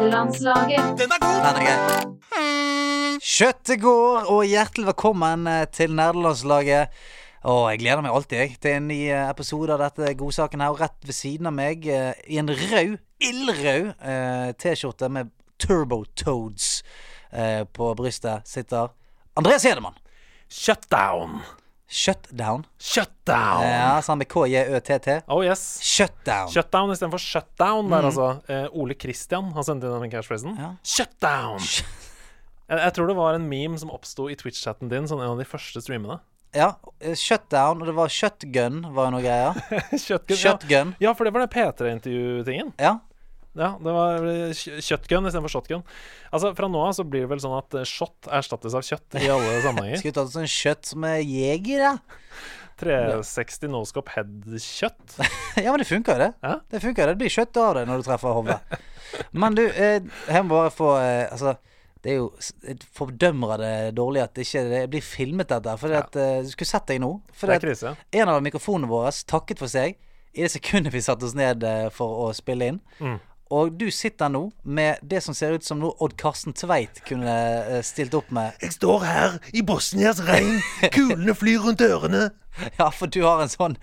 Fredagslaget. Den er god! Den er gøy. Kjøttet går, og hjertelig velkommen eh, til Nerdelandslaget. Å, jeg gleder meg alltid jeg, til en ny eh, episode av dette godsaken her. Og rett ved siden av meg, eh, i en rød, ildrød eh, T-skjorte med Turbo Toads eh, på brystet, sitter Andreas Hedemann. Shutdown. Shutdown. Shutdown. Eh, Ja, sammen med KJØTT. Oh yes. Shutdown. Shutdown istedenfor shutdown der, altså. Eh, Ole Christian har sendt inn den cashphrasen. Mm. Ja. Shutdown! Sh- Jeg, jeg tror det var en meme som oppsto i Twitch-chatten din, sånn en av de første streamene. Ja, eh, shutdown, og det var shotgun, var jo noe greier. Shotgun. Shotgun. Ja. ja, for det var den P3-intervju-tingen. Ja. Ja, det var eh, kjø- kjøttgun istedenfor shotgun. Altså, Fra nå av så blir det vel sånn at eh, shot erstattes av kjøtt i alle sammenhenger. Skulle tatt oss en kjøtt som er jeger, ja. 360 noscope head-kjøtt. Ja, men det funker jo, det. Ja. Det funker jo, det blir kjøtt av det når du treffer hodet. Men du, eh, her må bare få eh, Altså, det er jo s- Jeg fordømmer det dårlig at det ikke det blir filmet dette. For at, eh, du skulle sett deg nå. For Det er at krise. en av mikrofonene våre takket for seg i det sekundet vi satte oss ned eh, for å spille inn. Mm. Og du sitter nå med det som ser ut som noe Odd Karsten Tveit kunne eh, stilt opp med. Jeg står her i Bosnias regn. Kulene flyr rundt ørene. Ja, for du har en sånn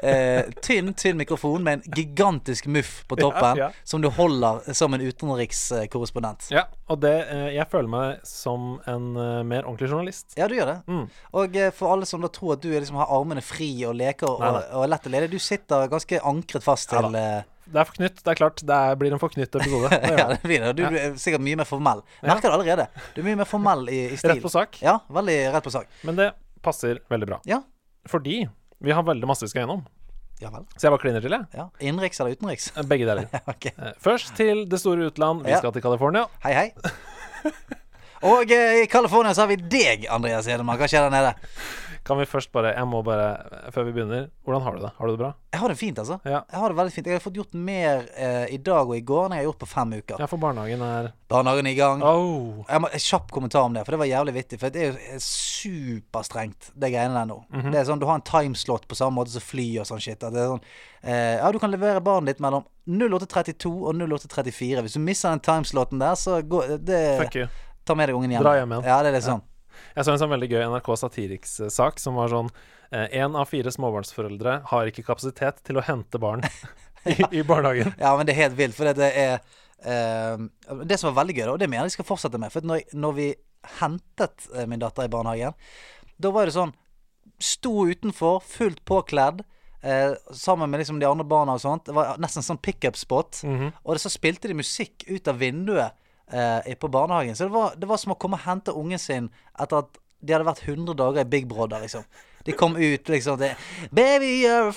eh, tynn, tynn mikrofon med en gigantisk muff på toppen ja. som du holder som en utenrikskorrespondent. Ja, og det, eh, jeg føler meg som en eh, mer ordentlig journalist. Ja, du gjør det. Mm. Og eh, for alle som da tror at du er liksom har armene fri og leker og, Nei, nei. og er lett å lede, du sitter ganske ankret fast Ja til eh, Det er forknytt, det er klart. Det er, blir en forknytt episode. Det Ja, gjør det. det blir det. Du er sikkert mye mer formell. Merker det allerede. Du er mye mer formell i, i stil. Rett på sak. Ja, veldig rett på sak. Men det passer veldig bra. Ja. Fordi vi har veldig masse vi skal gjennom. Ja vel. Så jeg bare kliner til, jeg. Ja. Innenriks eller utenriks? Begge deler. Ok. Eh, Først til det store utland. Vi Ja. skal til California. Hei, hei. Og eh, i California så har vi deg, Andreas Hedemann. Hva skjer der nede? Kan vi først bare Jeg må bare, før vi begynner Hvordan har du det? Har du det bra? Jeg har det fint, altså. Ja. Jeg har det veldig fint Jeg har fått gjort mer eh, i dag og i går enn jeg har gjort på fem uker. Ja, for barnehagen er Barnehagen er i gang. Oh. Jeg må, en kjapp kommentar om det, for det var jævlig vittig. For det er jo eh, superstrengt, det greiene der nå. Mhm. Det er sånn, Du har en timeslot på samme måte som fly og sånn shit. At det er sånn, eh, ja, Du kan levere barnet ditt mellom 08.32 og 08.34. Hvis du misser den timesloten der, så går det Fuck you. Ta med deg ungen hjem. Dra hjem igjen. Ja, det er liksom Jeg så en sånn veldig gøy NRK Satiriks-sak som var sånn Én av fire småbarnsforeldre har ikke kapasitet til å hente barn i, i barnehagen. Ja, men det er helt vilt, for det er eh, Det som var veldig gøy, da, og det mener jeg de skal fortsette med For at når, når vi hentet eh, min datter i barnehagen, da var det sånn Sto utenfor, fullt påkledd, eh, sammen med liksom de andre barna og sånt. Det var nesten sånn pickup-spot. Mhm. Og det, så spilte de musikk ut av vinduet eh, på barnehagen. Så det var, det var som å komme og hente ungen sin etter at de hadde vært 100 dager i Big Brother, liksom. De kom ut liksom det, Baby, you're a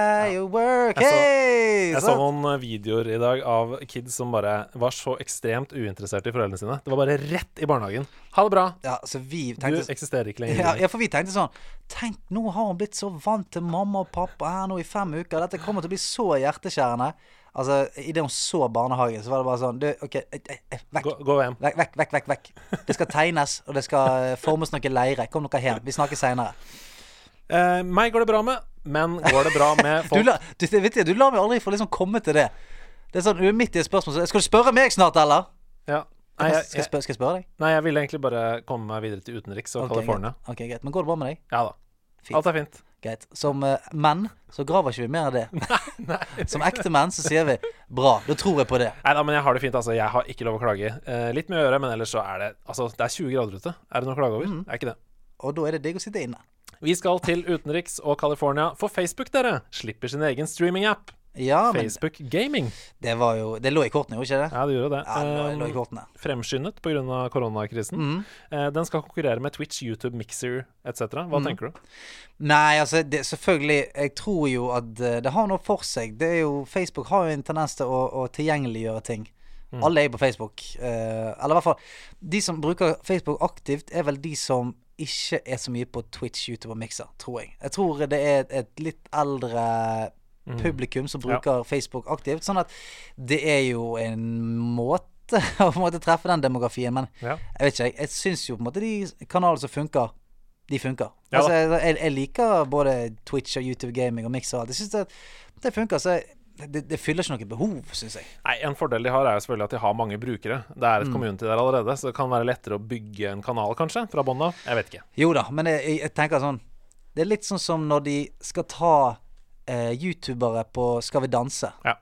firework. Jeg så- Hey! Jeg så Sant? noen eh, videoer i dag av kids som bare var så ekstremt uinteresserte i foreldrene sine. Det var bare rett i barnehagen. Ha det bra. Ja, så vi Du tenkte eksisterer ikke ja, lenger. ja, for vi tenkte sånn Tenk, nå har hun blitt så vant til mamma og pappa her nå i fem uker. Dette kommer til å bli så hjerteskjærende. Altså, idet hun så barnehagen, så var det bare sånn Du, OK, eh, eh, eh, vekk. Gå, gå hjem. Vekk, vekk, vekk. vekk, vekk Det skal tegnes, og det skal eh, formes noe leire. Kom dere hjem. Vi snakkes seinere. Eh, meg går det bra med, men går det bra med Du, folk la- du, det- vet du, du lar meg aldri få liksom komme til det. Det er sånn, Du er midt i et spørsmål. Så, skal du spørre meg snart, eller? ja. Skal nei, jeg, jeg, jeg, spørre, skal jeg spørre deg? nei, jeg ville egentlig bare komme meg videre til utenriks og Ok, California. greit. Ok, greit. Men går det bra med deg? Ja da. Fint. Alt er fint. Greit. Som eh, menn så graver ikke vi mer av det. Som ekte menn så sier vi 'bra, da tror jeg på det'. Nei da, men jeg har det fint, altså. Jeg har ikke lov å klage. Eh, litt mye å gjøre, men ellers så er det Altså, det er 20 grader ute. Er det noe å Mm. klage over? Det Er ikke det. Og da er det digg å sitte inne. Vi skal til utenriks og California, for Facebook, dere, slipper sin egen streaming-app. Ja, men Facebook Gaming. det var jo Det lå i kortene, gjorde ikke det? Ja, det gjør jo det. Ja, det lå, det Mm. lå i Eh, kortene. Fremskyndet pga. koronakrisen. Eh, Den skal konkurrere med Twitch, YouTube, Mixer etc. Mm. Hva tenker du? Nei, altså det, selvfølgelig Jeg tror jo at eh, det har noe for seg. Det er jo, Facebook har jo en tendens til å, å tilgjengeliggjøre ting. Alle er jo på Facebook. eh, eller i hvert fall De som bruker Facebook aktivt, er vel de som ikke er så mye på Twitch, YouTube og Mixer, tror jeg. Jeg tror det er et, et litt eldre publikum som bruker Facebook aktivt. Sånn at det er jo en måte å på en måte treffe den demografien, men Ja. jeg vet ikke, jeg, jeg syns jo på en måte de kanalene som funker, de funker. Ja da. altså, jeg, jeg liker både Twitch og YouTube Gaming og Mixer og alt. Jeg syns det, det funker. Så jeg, det, det fyller ikke noe behov, syns jeg. Nei, En fordel de har, er jo selvfølgelig at de har mange brukere. Det Mm. er et community der allerede, så det kan være lettere å bygge en kanal, kanskje, fra bånn av. Jeg vet ikke. Jo da, men jeg, jeg- jeg tenker sånn Det er litt sånn som når de skal ta eh, youtubere på Skal vi danse. Ja.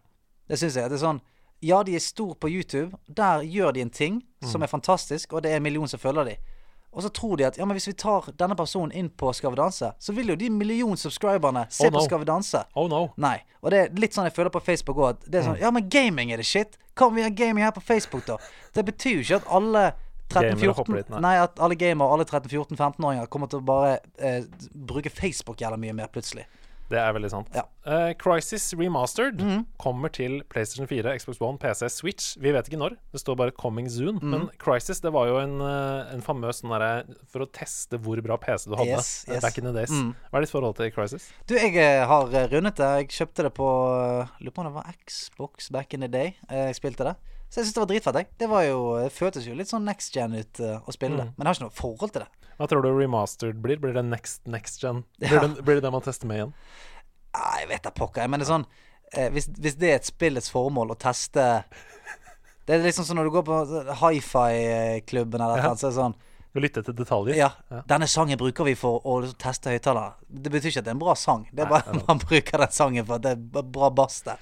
Det syns jeg. Det er sånn Ja, de er stor på YouTube. Der gjør de en ting som Mm. er fantastisk, og det er en million som følger de. Og så tror de at ja, men hvis vi tar denne personen inn på Skal vi danse, så vil jo de million subscriberne se Oh, no. på Skal vi danse. Oh no. Nei. Og det er litt sånn jeg føler på Facebook òg. Det Mm. er sånn Ja, men gaming er det shit. Kan vi ha gaming her på Facebook, da? Det betyr jo ikke at alle Gamere hopper dit, 13-14 nei. nei. at alle gamere, alle 13-14-15-åringer kommer til å bare eh, bruke Facebook jævla mye mer plutselig. Det er veldig sant. Ja. Mhm. Eh, Crisis Remastered kommer til PlayStation 4, Xbox One, PC, Switch. Vi vet ikke når. Det står bare 'coming soon'. Mhm. Men Crisis det var jo en, eh, en famøs sånn derre for å teste hvor bra PC du hadde Yes, eh, yes. Mhm. back in the days. Hva er ditt forhold til Crisis? Du, jeg eh, har eh, rundet det. Jeg kjøpte det på eh, Lurer på om det var Xbox back in the day. eh, Jeg spilte det. Så jeg syns det var dritfett. Jeg. Det var jo, det føltes jo litt sånn next gen ut eh, å spille Mm. det. Men jeg har ikke noe forhold til det. Hva tror du remastered blir? Blir det next, next gen? Blir, Ja. det, blir det det man tester med igjen? Nei, Ah, jeg vet da pokker. Jeg mener sånn eh, hvis, hvis det er et spillets formål å teste Det er liksom sånn når du går på hifi-klubben eller noe, Ja. sånt, så er det sånn Du lytter til detaljer? ja, denne sangen bruker vi for å liksom teste høyttalere. Det betyr ikke at det er en bra sang. Det er bare man bruker den sangen for at det er b- bra bass der.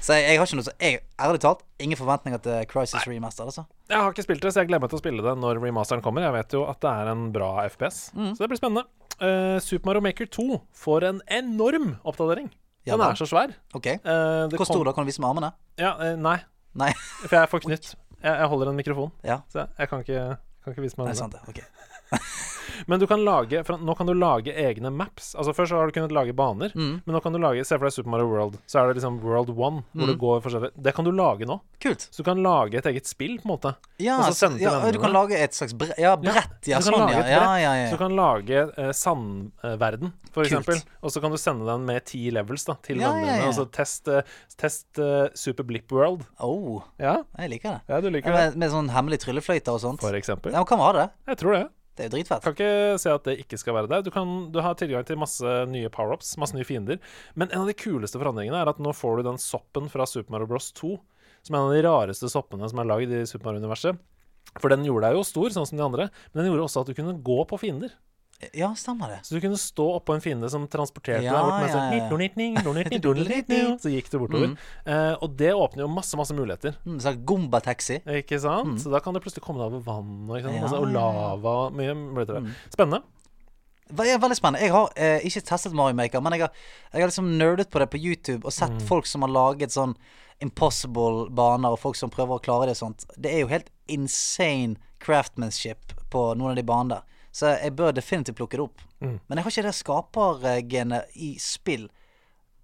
Så jeg, jeg har ikke noe så jeg, Ærlig talt, ingen forventninger til Crisis Remaster, altså. Jeg har ikke spilt det, så jeg gleder meg til å spille det når remasteren kommer. Jeg vet jo at det er en bra FPS, Mhm. så det blir spennende. Eh, Super Mario Maker 2 får en enorm oppdatering. Ja Den da. er så svær. OK. Eh, det Hvor kom- stor da? Kan du vise med armene? Ja, eh, nei, Nei. for jeg får knytt. Jeg, jeg holder en mikrofon, Ja. så jeg, jeg kan ikke, kan ikke vise meg Nei, den. sant det. Ok. Men du kan lage, for nå kan du lage egne maps. Altså Før så har du kunnet lage baner, Mm. men nå kan du lage Se for deg Super Mario World. Så er det liksom World One, hvor Mm. du går forskjellig Det kan du lage nå. Kult. Så du kan lage et eget spill, på en måte. Ja, Og så så, sender du ja, vennene du kan dine. lage et slags bre ja, brett. Ja, Du kan sånn, lage ja. et Ja, brett, ja, Så du ja. kan lage eh, sandverden, for Kult. eksempel. Og så kan du sende den med ti levels da til Ja, vennene ja, dine. ja. Altså test, eh, test eh, Super Blip World. Oh, Ja, jeg liker det. ja du Ja, liker med, det. med sånn hemmelig tryllefløyte og sånt. For eksempel. Ja, men kan vi ha det? Jeg tror det. Det er jo dritfett. Kan ikke se at det ikke skal være der. Du, kan, du har tilgang til masse nye power-ups, masse nye fiender. Men en av de kuleste forandringene er at nå får du den soppen fra Super Mario Bros 2, som er en av de rareste soppene som er lagd i Super Mario-universet. For den gjorde deg jo stor, sånn som de andre, men den gjorde også at du kunne gå på fiender. Ja, stemmer det. Så du kunne stå oppå en fiende som transporterte Ja, deg bort med ja, Mm. ja. sånn "Nitnonitning, nitnonitning, nitnonitning", Så gikk du bortover. Eh, og det åpner jo masse, masse muligheter. Mm, sånn Gomba-taxi. Ikke sant? Så da kan det plutselig komme deg over vann og, ikke Mm. sant? Ja, Altså, ja, og Mm. ja. lava. Mye muligheter. der. Spennende. Det er veldig spennende. Jeg har eh, ikke testet Mario Maker, men jeg har, jeg har liksom nerdet på det på YouTube og Mm. sett folk som har laget sånn impossible-baner, og folk som prøver å klare det og sånt. Det er jo helt insane craftmanship på noen av de banene der. Så jeg bør definitivt plukke det opp. Mm. Men jeg har ikke det skapergenet i spill.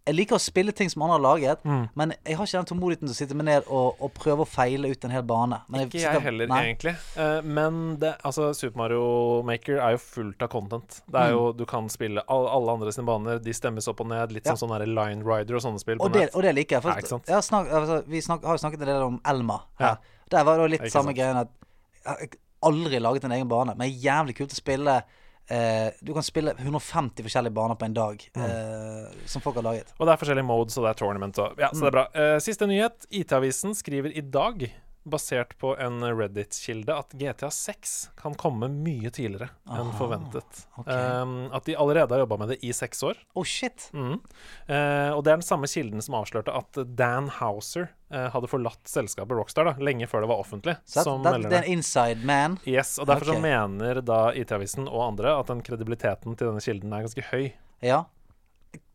Jeg liker å spille ting som andre har laget, Mm. men jeg har ikke den tålmodigheten til å sitte meg ned og, og prøve å feile ut en hel bane. Men Ikke jeg sitter- heller, nei. egentlig. Eh, men det, altså, Super Mario Maker er jo fullt av content. Det er Mm. jo, Du kan spille all, alle andre sine baner, de stemmes opp og ned. Litt som sånn der Line Rider og sånne spill. på Og det, nett. og det liker jeg. For Ja, ikke sant? jeg har snak, altså, vi snak, har jo snakket en del om Elma. Ja. her. Der var det jo litt Ikke samme sant. greien at jeg har aldri laget en egen bane, men jævlig kult å spille. eh, du kan spille 150 forskjellige baner på en dag, Mm. eh, som folk har laget. Og det er forskjellige modes, og det er tournament og Ja, Mm. så det er bra. Eh, siste nyhet. IT-avisen skriver i dag, basert på en Reddit-kilde, at GTA 6 kan komme mye tidligere enn forventet. ok. Eh, at de allerede har jobba med det i seks år. Oh shit! Mhm. Eh, og det er den samme kilden som avslørte at Dan Houser eh, hadde forlatt selskapet Rockstar da, lenge før det var offentlig. Så som that, that, melder det er det. en inside man. Yes, og Derfor Ok. så mener da IT-avisen og andre at den kredibiliteten til denne kilden er ganske høy. Ja.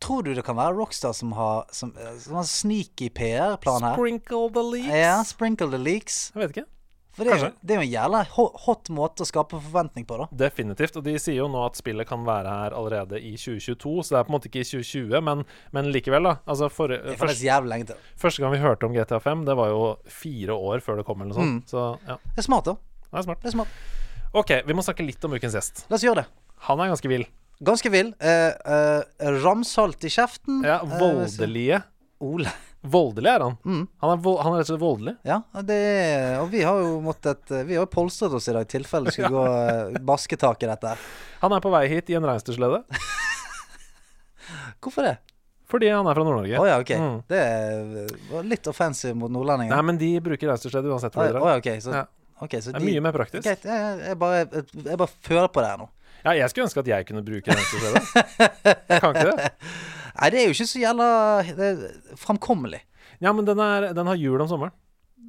Tror du det kan være Rockstar som har Som, eh, som har sneaky PR-plan her? Sprinkle the leaks. Ja, sprinkle the leaks. Jeg vet ikke. For det er, jo- Kanskje. det er jo en jævla ho- hot måte å skape forventning på, da. Definitivt. Og de sier jo nå at spillet kan være her allerede i 2022, så det er på en måte ikke i 2020, men, men likevel, da. Altså for, Det er første, faktisk jævlig lenge til. første gang vi hørte om GTA5, det var jo fire år før det kom, eller noe Mm. sånt. Så ja, Det er smart, da. det er smart. Det er smart. OK, vi må snakke litt om ukens gjest. La oss gjøre det. Han er ganske vill. Ganske vill. Eh, eh, ramsalt i kjeften. Ja, Eh, voldelige. så- Ole. Voldelig er han. Mm. Han, er vold, han er rett og slett voldelig. Ja, det er, og vi har jo måttet eh, Vi har jo polstret oss i dag, i tilfelle det skulle gå eh, basketak i dette. her. Han er på vei hit i en reinsdyrslede Hvorfor det? Fordi han er fra Nord-Norge. Å ja, ok. Mm. Det er- var litt offensive mot nordlendinger. Nei, men de bruker reinsdyrslede Å uansett hvor de ja, drar. ok, så, Ja. ok, så Det de er mye mer praktisk. Greit, jeg, jeg, bare, jeg, jeg bare føler på det her nå. Ja, jeg skulle ønske at jeg kunne bruke reinsdyrslede. Jeg kan ikke det. Nei, det er jo ikke så jævla det er framkommelig. Ja, men den, er, den har hjul om sommeren.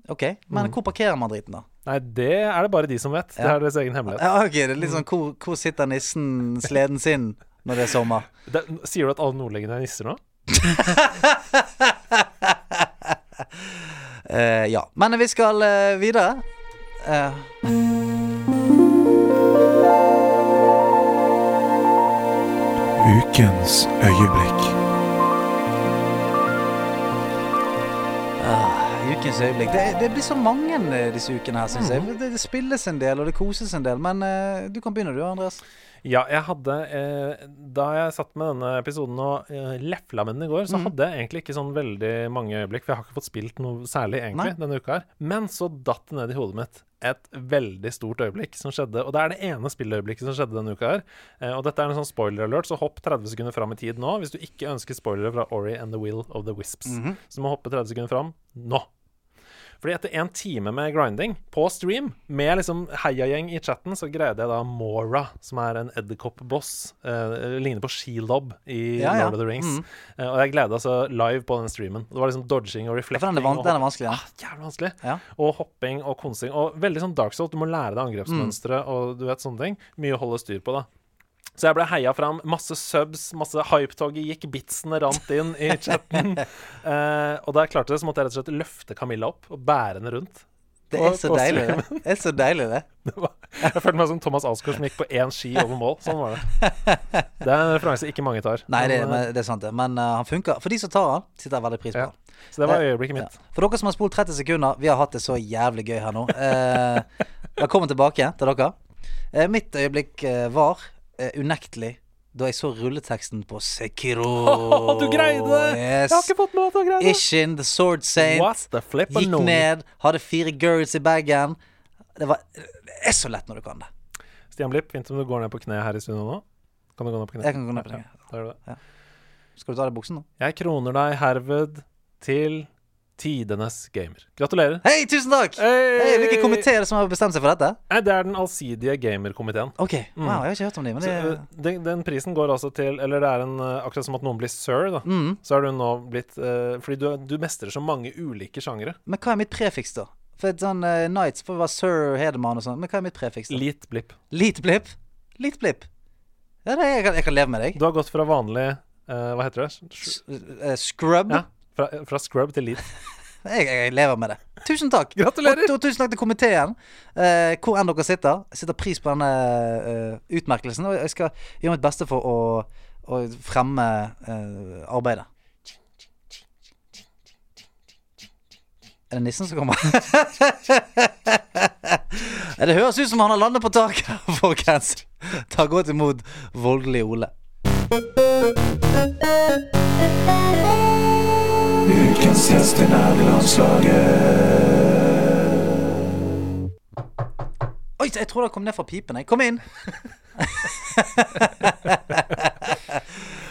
Ok, Men Mm. hvor parkerer man driten, da? Nei, det er det bare de som vet. Det Ja. er deres egen hemmelighet. Ja, ok, det er Mm. litt sånn Hvor, hvor sitter nissen sleden sin når det er sommer? Det, sier du at alle nordlendinger er nisser nå? Eh, ja. Men vi skal eh, videre. Eh, Ukens øyeblikk. ukens øyeblikk. Det, det blir så mange eh, disse ukene her, syns jeg. Det, det spilles en del, og det koses en del. Men eh, du kan begynne du, Andreas. Ja, jeg hadde eh, Da jeg satt med denne episoden og eh, lefla med den i går, så hadde jeg egentlig ikke sånn veldig mange øyeblikk, for jeg har ikke fått spilt noe særlig egentlig Nei. denne uka her. Men så datt det ned i hodet mitt et veldig stort øyeblikk som skjedde, og det er det ene spilløyeblikket som skjedde denne uka her. Eh, og dette er en sånn spoiler alert, så hopp 30 sekunder fram i tid nå hvis du ikke ønsker spoilere fra Ori and the Will of the Wisps. Så du må hoppe 30 sekunder fram nå. Fordi etter en time med grinding på stream, med liksom heiagjeng i chatten, så greide jeg da Mora, som er en edderkoppboss. Eh, ligner på Shelob i Ja, Mm. ja. Lord of the Rings. Eh, og jeg gleda altså live på den streamen. Det var liksom dodging og For reflecting. den er, van, og den er vanskelig. Ja. jævlig vanskelig. Ja. Og hopping og konsing. Og veldig sånn dark soul. Du må lære deg Mm. angrepsmønstre og du vet sånne ting. Mye å holde styr på, da. Så jeg ble heia fram. Masse subs, masse hypetoget gikk, bitsene rant inn i chatten. eh, og da jeg klarte det, så måtte jeg rett og slett løfte Camilla opp og bære henne rundt. Det På- er så på deilig, streamen. det. det er så deilig, det. Det var- Jeg følte meg som Thomas Alsgaard som gikk på én ski over mål. Sånn var det. Det er en referanse ikke mange tar. Nei, det, Men, eh, men, det er sant, det. Men eh, han funker. For de som tar han, sitter jeg veldig pris på. ja. Så det var øyeblikket mitt. Ja. For dere som har spolt 30 sekunder, vi har hatt det så jævlig gøy her nå. Eh, velkommen tilbake til dere. Eh, mitt øyeblikk eh, var eh, unektelig da jeg så rulleteksten på Sekiro. Å, du greide det! Yes. Jeg har ikke fått med at du greide det! Ishin, The Sword Saint. What the flip Gikk ned, hadde fire girls i bagen. Det, var, det er så lett når du kan det. Stian Blipp, fint om du går ned på kne her i studio nå. Kan du gå ned på kne? Jeg kan gå ned på kne. Ja, da gjør du det. Skal du ta av deg buksen nå? Jeg kroner deg herved til tidenes gamer. Gratulerer. Hei, tusen takk! Hei, Hvilken komité er det som har bestemt seg for dette? Nei, det er den allsidige gamerkomiteen. Ok, wow, Jeg har ikke hørt om dem, men det mm. Så, eh, Den, den prisen går altså til Eller det er en eh, akkurat som at noen blir sir, da. Mm. Så er du nå blitt eh, Fordi du, du mestrer så mange ulike sjangere. Men hva er mitt prefiks, da? For et sånn uh, Nights får være Sir Hedemann og sånn. Men hva er mitt prefiks? da? Lit blipp. Litblipp? Litblipp. Ja, det er, jeg, kan, jeg kan leve med deg. Du har gått fra vanlig eh, Hva heter det? Sh- S- eh, scrub? Ja. Fra, fra scrub til lit. Jeg, jeg lever med det. Tusen takk. Gratulerer. Og, og tusen takk til komiteen. eh, hvor enn dere sitter. Jeg setter pris på denne eh, utmerkelsen, og jeg skal gjøre mitt beste for å, å fremme eh, arbeidet. Er det nissen som kommer? Ja, det høres ut som han har landet på taket, folkens. Ta godt imot voldelig Ole. Ukens gjest i nerdelandslaget. Oi, jeg tror det kom ned fra pipen. Jeg. Kom inn. Hallo.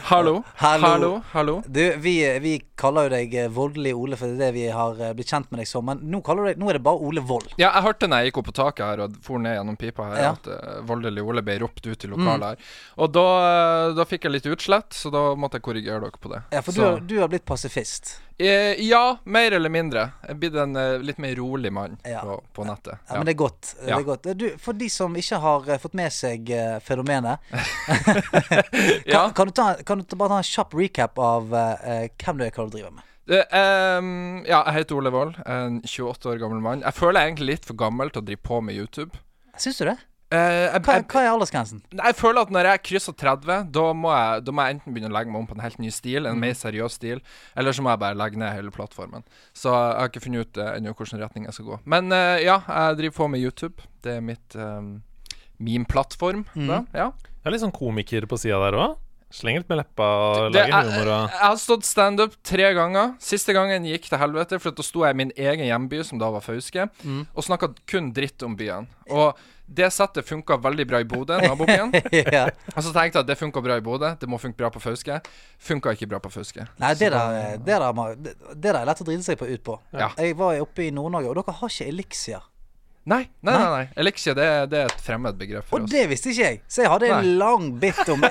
Hallo. Hallo. Hallo. Hallo. Du, vi, vi kaller jo deg eh, voldelig Ole, for det er det vi har eh, blitt kjent med deg som. Men nå, kaller du deg, nå er det bare Ole Vold. Ja, jeg hørte når jeg gikk opp på taket her og for ned gjennom pipa her, Ja. Mm. at uh, voldelig Ole ble ropt ut i lokalet her. Og da, eh, da fikk jeg litt utslett, så da måtte jeg korrigere dere på det. Ja, for du, så, har- du har blitt pasifist. eh, ja, mer eller mindre. Jeg er blitt en eh, litt mer rolig mann Ja. på, på nettet. Ja, Men det er godt. eh, Ja. Det er godt. Du, for de som ikke har eh, fått med seg eh, fenomenet, Ja. Ja. kan, du ta, kan du ta- bare ta en kjapp recap av eh, eh, hvem du er, hva du driver med? Det, ehm, ja, jeg heter Ole Wold, en 28 år gammel mann. Jeg føler jeg er egentlig litt for gammel til å drive på med YouTube. Syns du det? Eh, jeg, Hva, jeg, hva er aldersgrensen? Nei, Jeg føler at når jeg krysser 30, da må jeg, da må jeg enten begynne å legge meg om på en helt ny stil, en mer seriøs stil, eller så må jeg bare legge ned hele plattformen. Så jeg har ikke funnet ut eh, ennå hvilken retning jeg skal gå. Men eh, ja, jeg driver på med YouTube. Det er mitt eh, min plattform. Da, ja. Det er litt sånn komiker på sida der òg. Slenger litt med leppa og Det, lager jeg, jeg humor og har stått standup tre ganger. Siste gangen gikk til helvete, for at da sto jeg i min egen hjemby, som da var Fauske, og snakka kun dritt om byen. Og Det settet funka veldig bra i Bodø, nabobyen. ja. Og Altså, så tenkte jeg at det funka bra i Bodø, det må funke bra på Fauske. Funka ikke bra på Fauske. Nei, det der, eh, det, der, må- det det der er lett å drite seg på ut på. Ja. Jeg var oppe i Nord-Norge, og dere har ikke eliksir. Nei, nei, nei. nei. Elixia, det, er- det er et fremmed begrep for Og oss. det visste ikke jeg, så jeg hadde en Nei. lang bit om,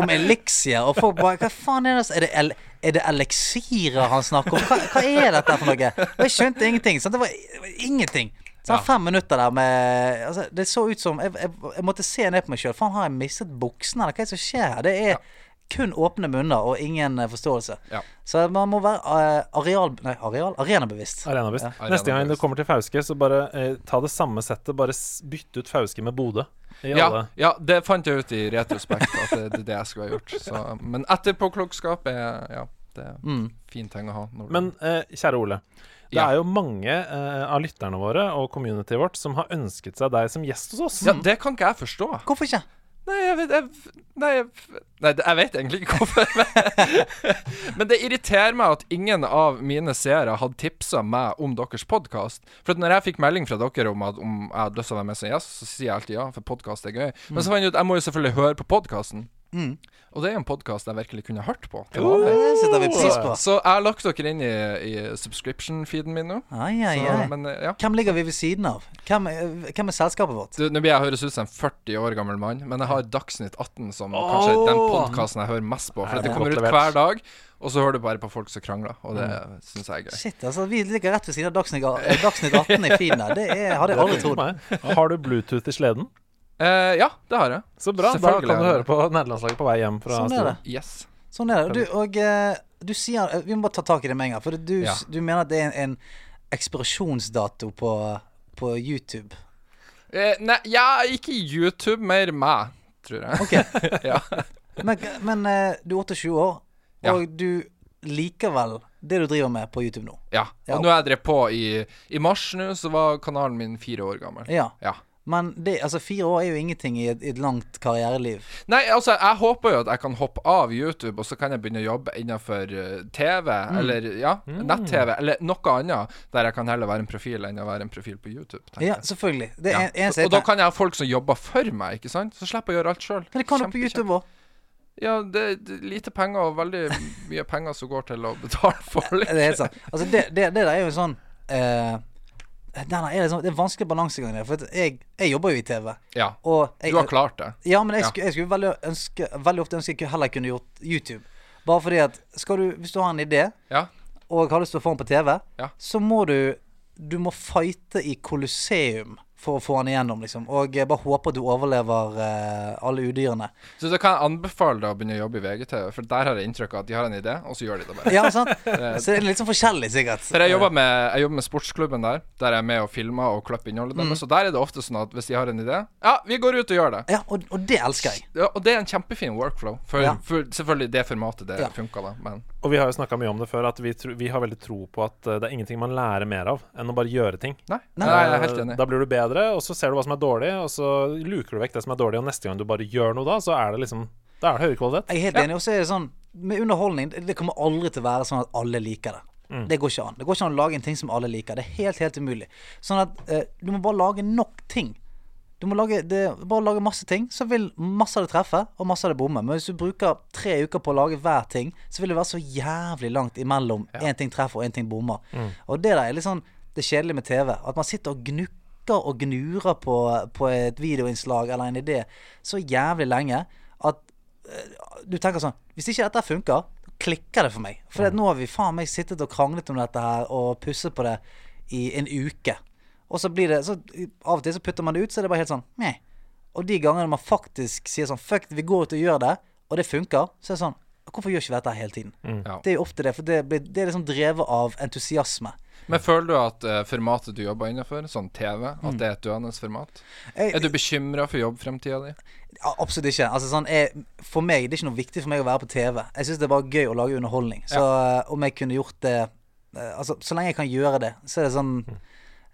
om eliksir. Og folk bare Hva faen er det altså? Er det, el, er det eliksirer han snakker om? Hva, hva er dette for noe? Og jeg skjønte ingenting. Sant? Det, var, det var ingenting. Så jeg har Fem minutter der med altså, Det så ut som Jeg, jeg, jeg måtte se ned på meg sjøl. Faen, har jeg mistet buksene, eller hva er det som skjer her? Det er kun åpne munner og ingen eh, forståelse. Ja. Så man må være eh, areal... Nei, areal? Arenabevisst. Arenabevisst. Ja. Neste gang du Arenabevisst. kommer til Fauske, så bare eh, ta det samme settet, bare s- bytte ut Fauske med Bodø. I Ja, alle ja, det fant jeg ut i retrospekt at det, det er det jeg skulle ha gjort. Så, men etterpåklokskap er Ja, det er en Mm. fin ting å ha. Når du- Men eh, kjære Ole, det Ja. er jo mange eh, av lytterne våre og communityet vårt som har ønsket seg deg som gjest hos oss. ja, det kan ikke jeg forstå. Hvorfor ikke? Nei, jeg vet, jeg, nei, jeg, nei, det- jeg vet egentlig ikke hvorfor. men- Men det irriterer meg at ingen av mine seere hadde tipsa meg om deres podkast. For at når jeg fikk melding fra dere om at om jeg hadde lyst til å være med som gjest, så sier jeg alltid ja, for podkast er gøy. Men Mm. så fant jeg ut jeg må jo selvfølgelig høre på podkasten. Og det er jo en podkast jeg virkelig kunne hørt på. til vanlig. Det setter vi pris på. Så jeg har lagt dere inn i, i subscription-feeden min nå. Ai, ai, Så, ai. men eh, ja. Hvem ligger vi ved siden av? Hvem, er- hvem er selskapet vårt? Du, nå blir jeg høres ut som en 40 år gammel mann, men jeg har Dagsnytt 18 som kanskje er den podkasten jeg hører mest på. For det det er kommer godt ut levert. hver dag, og så hører du bare på folk som krangler, og det syns jeg er gøy. Shit, altså Vi ligger rett ved siden av Dagsnytt, eh, Dagsnytt 18 i feeden her. Det er, hadde jeg aldri Tro trodd. meg. Har du Bluetooth i sleden? Eh, ja, det har jeg. Så bra. Da Selvfølgelig kan du har høre jeg på nederlandslaget på vei hjem fra Sånn er det. Yes. Sånn er det. Du, og eh, du sier eh, Vi må bare ta tak i det med en gang. For du, Ja. du mener at det er en, en ekspirasjonsdato på, på YouTube. Eh, nei, ja, ikke YouTube, mer meg, tror jeg. Ok, ja. Men, men eh, du er 28 år, Ja. og du likevel det du driver med på YouTube nå. ja. Og Ja. nå har jeg drevet på i I mars nå, så var kanalen min fire år gammel. Ja. Ja. Men det, altså, fire år er jo ingenting i et, i et langt karriereliv. Nei, altså, jeg håper jo at jeg kan hoppe av YouTube, og så kan jeg begynne å jobbe innenfor eh, TV, Mm. eller ja, nett-TV, eller noe annet, der jeg kan heller være en profil enn å være en profil på YouTube. tenker Ja, jeg. selvfølgelig. Det er Ja. en, eneste Så, og da jeg- kan jeg ha folk som jobber for meg, ikke sant? Så slipper jeg å gjøre alt sjøl. Men det kan du på YouTube òg. Ja, det er det er lite penger, og veldig mye penger som går til å betale for Det er helt sant. Altså, det, det, det der er jo sånn eh, den der er liksom, Det er en vanskelig balansegang der. For at jeg, jeg jobber jo i TV. Ja. Og jeg, Du har klart det. Ja, men jeg, Ja. skulle- jeg skulle veldig, ønske, veldig ofte ønske jeg kunne- heller kunne gjort YouTube. Bare fordi at skal du, Hvis du har en idé, Ja. og har lyst til å få den på TV, Ja. så må du Du må fighte i Colosseum for å få den igjennom, liksom. Og jeg bare håper at du overlever eh, alle udyrene. Så da kan jeg anbefale deg å begynne å jobbe i VGTV, for der har jeg inntrykk av at de har en idé, og så gjør de det bare. Ja, sant? Så det er litt sånn forskjellig, sikkert. For jeg jobber, med, jeg jobber med sportsklubben der, der jeg er med og filmer og klipper innholdet Mm. deres. Og der er det ofte sånn at hvis de har en idé Ja, vi går ut og gjør det. Ja, og, og det elsker jeg. Ja, og det er en kjempefin workflow. For, Ja. for selvfølgelig det formatet det Ja. funka, da. Men Og vi har jo snakka mye om det før, at vi, tro, vi har veldig tro på at eh, det er ingenting man lærer mer av enn å bare gjøre ting. nei, Nei. nei jeg er helt Eh, enig. Da blir du bedre, og så ser du hva som er dårlig, og så luker du vekk det som er dårlig, og neste gang du bare gjør noe da, så er det liksom Da er det høyere kvalitet. Jeg er helt enig. Og så er det sånn Med underholdning det- Det kommer aldri til å være sånn at alle liker det. Det går ikke an. Det går ikke an å lage en ting som alle liker. Det er helt, helt umulig. Sånn at eh, du må bare lage nok ting. Du må lage, det, bare lage masse ting, så vil masse av det treffe, og masse av det bomme. Men hvis du bruker tre uker på å lage hver ting, så vil det være så jævlig langt imellom én ting treffer og én ting bommer. Og det der er litt sånn det kjedelige med TV. At man sitter og gnukker og gnurer på, på et videoinnslag eller en idé så jævlig lenge at du tenker sånn Hvis ikke dette funker, klikker det for meg. For at nå har vi faen meg sittet og kranglet om dette her og pusset på det i en uke. Og så blir det så, Av og til så putter man det ut, så er det bare helt sånn meh. Og de gangene man faktisk sier sånn Fuck, det, vi går ut og gjør det, og det funker, så er det sånn Hvorfor gjør ikke vi dette her hele tiden? Ja. Det er jo ofte det, for det, blir- det er liksom drevet av entusiasme. Men føler du at eh, formatet du jobber innenfor, sånn TV, Mm. at det er et døende format? Jeg- Er du bekymra for jobbfremtida di? Ja, Absolutt ikke. Altså, sånn, jeg, for meg, Det er ikke noe viktig for meg å være på TV. Jeg syns det er bare gøy å lage underholdning. Så eh, om jeg kunne gjort det eh, Altså, Så lenge jeg kan gjøre det, så er det sånn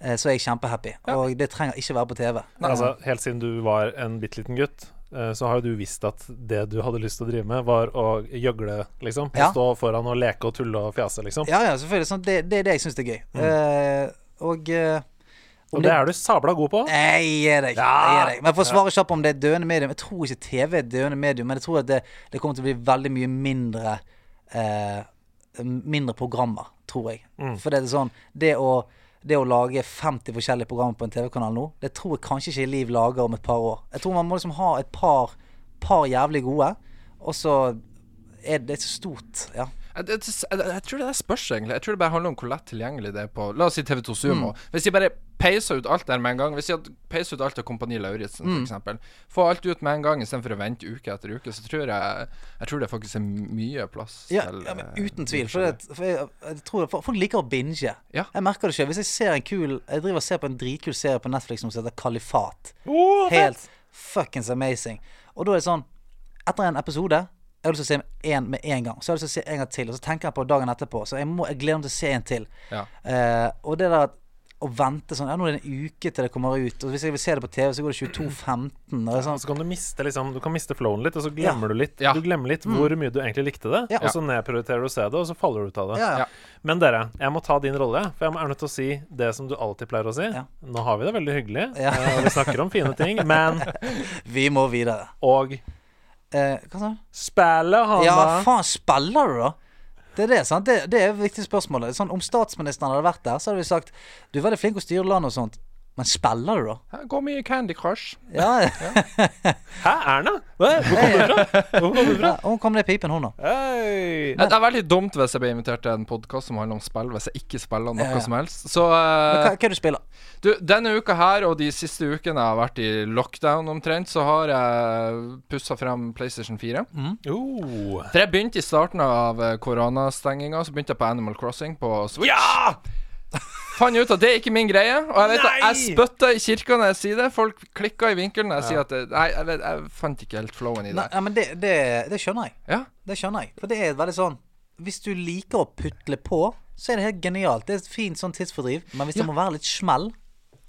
eh, Så er jeg kjempehappy. Og det trenger ikke være på TV. Altså, helt siden du var en bitte liten gutt, eh, så har jo du visst at det du hadde lyst til å drive med, var å gjøgle, liksom. Ja. Stå foran og leke og tulle og fjase, liksom. Ja, ja, selvfølgelig. Sånn, det, det er det jeg syns er gøy. Eh, og eh, Og det er du sabla god på. Jeg gir deg. Jeg gir deg. Men for å svare kjapt om det er døende medium Jeg tror ikke TV er døende medium, men jeg tror at det, det kommer til å bli veldig mye mindre eh, Mindre programmer, tror jeg. For det er sånn det å, det å lage 50 forskjellige programmer på en TV-kanal nå, det tror jeg kanskje ikke Liv lager om et par år. Jeg tror man må liksom ha et par, par jævlig gode, og så er det så stort. Ja. Jeg, jeg, jeg, jeg tror det der spørs, egentlig. Jeg tror det bare handler om hvor lett tilgjengelig det er på La oss si TV2 Sumo. Mm. Hvis de bare peiser ut alt der med en gang Hvis de hadde peiser ut alt av Kompani Lauritzen, Mm. for f.eks. Få alt ut med en gang istedenfor å vente uke etter uke, så tror jeg Jeg tror det faktisk er mye plass Ja, til ja men eh, uten tvil. For, det, for jeg, jeg tror folk folk liker å binge. Ja. Jeg merker det selv. Hvis jeg ser en kul Jeg driver og ser på en dritkul serie på Netflix som heter Kalifat. Åh, fett! Helt fuckings amazing. Og da er det sånn Etter en episode jeg har lyst til å se en med en gang. Så jeg har lyst til å se en gang til. Og så tenker jeg på dagen etterpå. Så jeg, må, jeg gleder meg til å se en til. Ja. Eh, og det der at å vente sånn Ja, nå er det en uke til det kommer ut. Og hvis jeg vil se det på TV, så går det 22.15. Og det er sånn Så kan du miste liksom Du kan miste flowen litt, og så glemmer du litt Ja. Du glemmer litt hvor mye du egentlig likte det, Ja. og så nedprioriterer du å se det, og så faller du ut av det. Ja, ja. Ja. Men dere, jeg må ta din rolle, for jeg må- er nødt til å si det som du alltid pleier å si. Ja. Nå har vi det veldig hyggelig, Ja. eh, vi snakker om fine ting, men Vi må videre. Og Eh, hva sa du? spillet, Hanna. Ja, faen, spiller du, da? Det er det, sant? Det, det er et viktig spørsmål. Det er Sånn, om statsministeren hadde vært der, så hadde vi sagt Du er veldig flink til å styre landet og sånt, men spiller du, da? Her Går mye Candy Crush. Ja, Hæ, Erna? Hva? Hvor kom du fra? Hvor kom du fra? ja Hun kom ned i pipen, hun, da. Hei. Det er veldig dumt hvis jeg blir invitert til en podkast som handler om spill, hvis jeg ikke spiller noe Ja, ja. som helst. Så Men eh, Hva, hva er det du spiller? Du, denne uka her og de siste ukene jeg har vært i lockdown omtrent, så har jeg pussa frem PlayStation 4. Oh. For jeg begynte i starten av eh, koronastenginga, så begynte jeg på Animal Crossing på Switch. Ja! Fant ut at det er ikke min greie, og jeg vet at jeg Nei! spytta i kirka når jeg sier det. Folk klikka i vinkelen når jeg sier at det, Nei, jeg, vet, jeg fant ikke helt flowen i Nei, det. ja, men det, det, det skjønner jeg. Ja, Det skjønner jeg. For det er veldig sånn Hvis du liker å putle på, så er det helt genialt. Det er et fint sånn tidsfordriv, men hvis det må være litt smell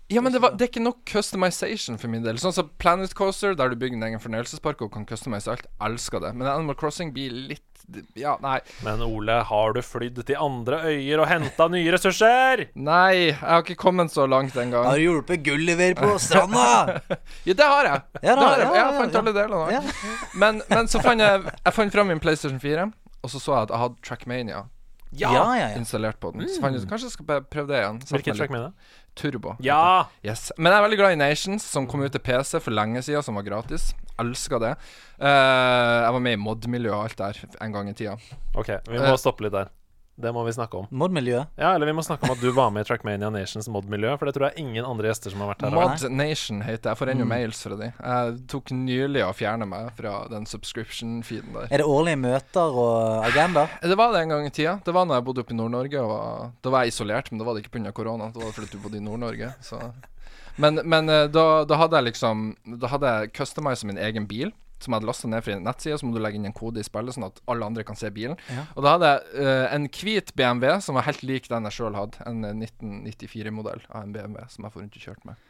ja men det, var, det er ikke nok customization for min del. Sånn som Planet Coaster, der du bygger en egen fornøyelsespark og kan customize alt. Elsker det. Men Animal Crossing blir litt Ja, nei. Men Ole, har du flydd til andre øyer og henta nye ressurser? Nei, jeg har ikke kommet så langt engang. Har du hjulpet Gulliver på stranda? Ja, det har jeg. Ja da, det har ja, jeg. jeg ja, fant ja. alle delene. Ja. Men, men så fant jeg Jeg fant fram min PlayStation 4, og så så jeg at jeg hadde Trackmania Ja, ja, ja. installert på den. Så fant jeg ut kanskje jeg skal bare prøve det igjen. Satt Hvilken meg litt track mener du? Turbo. Ja! Yes. Men jeg er veldig glad i Nations, som kom ut til PC for lenge siden, som var gratis. Elsker det. Eh, jeg var med i mod-miljøet og alt der en gang i tida. OK, vi Eh. må stoppe litt der. Det må vi snakke om. Mod-miljøet. Ja, eller vi må snakke om at du var med i Trackmania Nations mod-miljø, for det tror jeg ingen andre gjester som har vært her. har vært. Mod Nation heter jeg. Jeg får ennå mails fra de. Jeg tok nylig å fjerne meg fra den subscription-feeden der. Er det årlige møter og agenda? Det var det en gang i tida. Det var når jeg bodde oppe i Nord-Norge. og var- Da var jeg isolert, men da var det ikke pga. korona. Da var det fordi du bodde i Nord-Norge. så- Men, men eh, da, da hadde jeg liksom Da hadde jeg customiset min egen bil. Som jeg hadde lasta ned fra en nettside, så må du legge inn en kode i spillet, sånn at alle andre kan se bilen. Og da hadde jeg eh, en hvit BMW som var helt lik den jeg sjøl hadde. En 1994-modell av en BMW som jeg får rundt og kjørte med.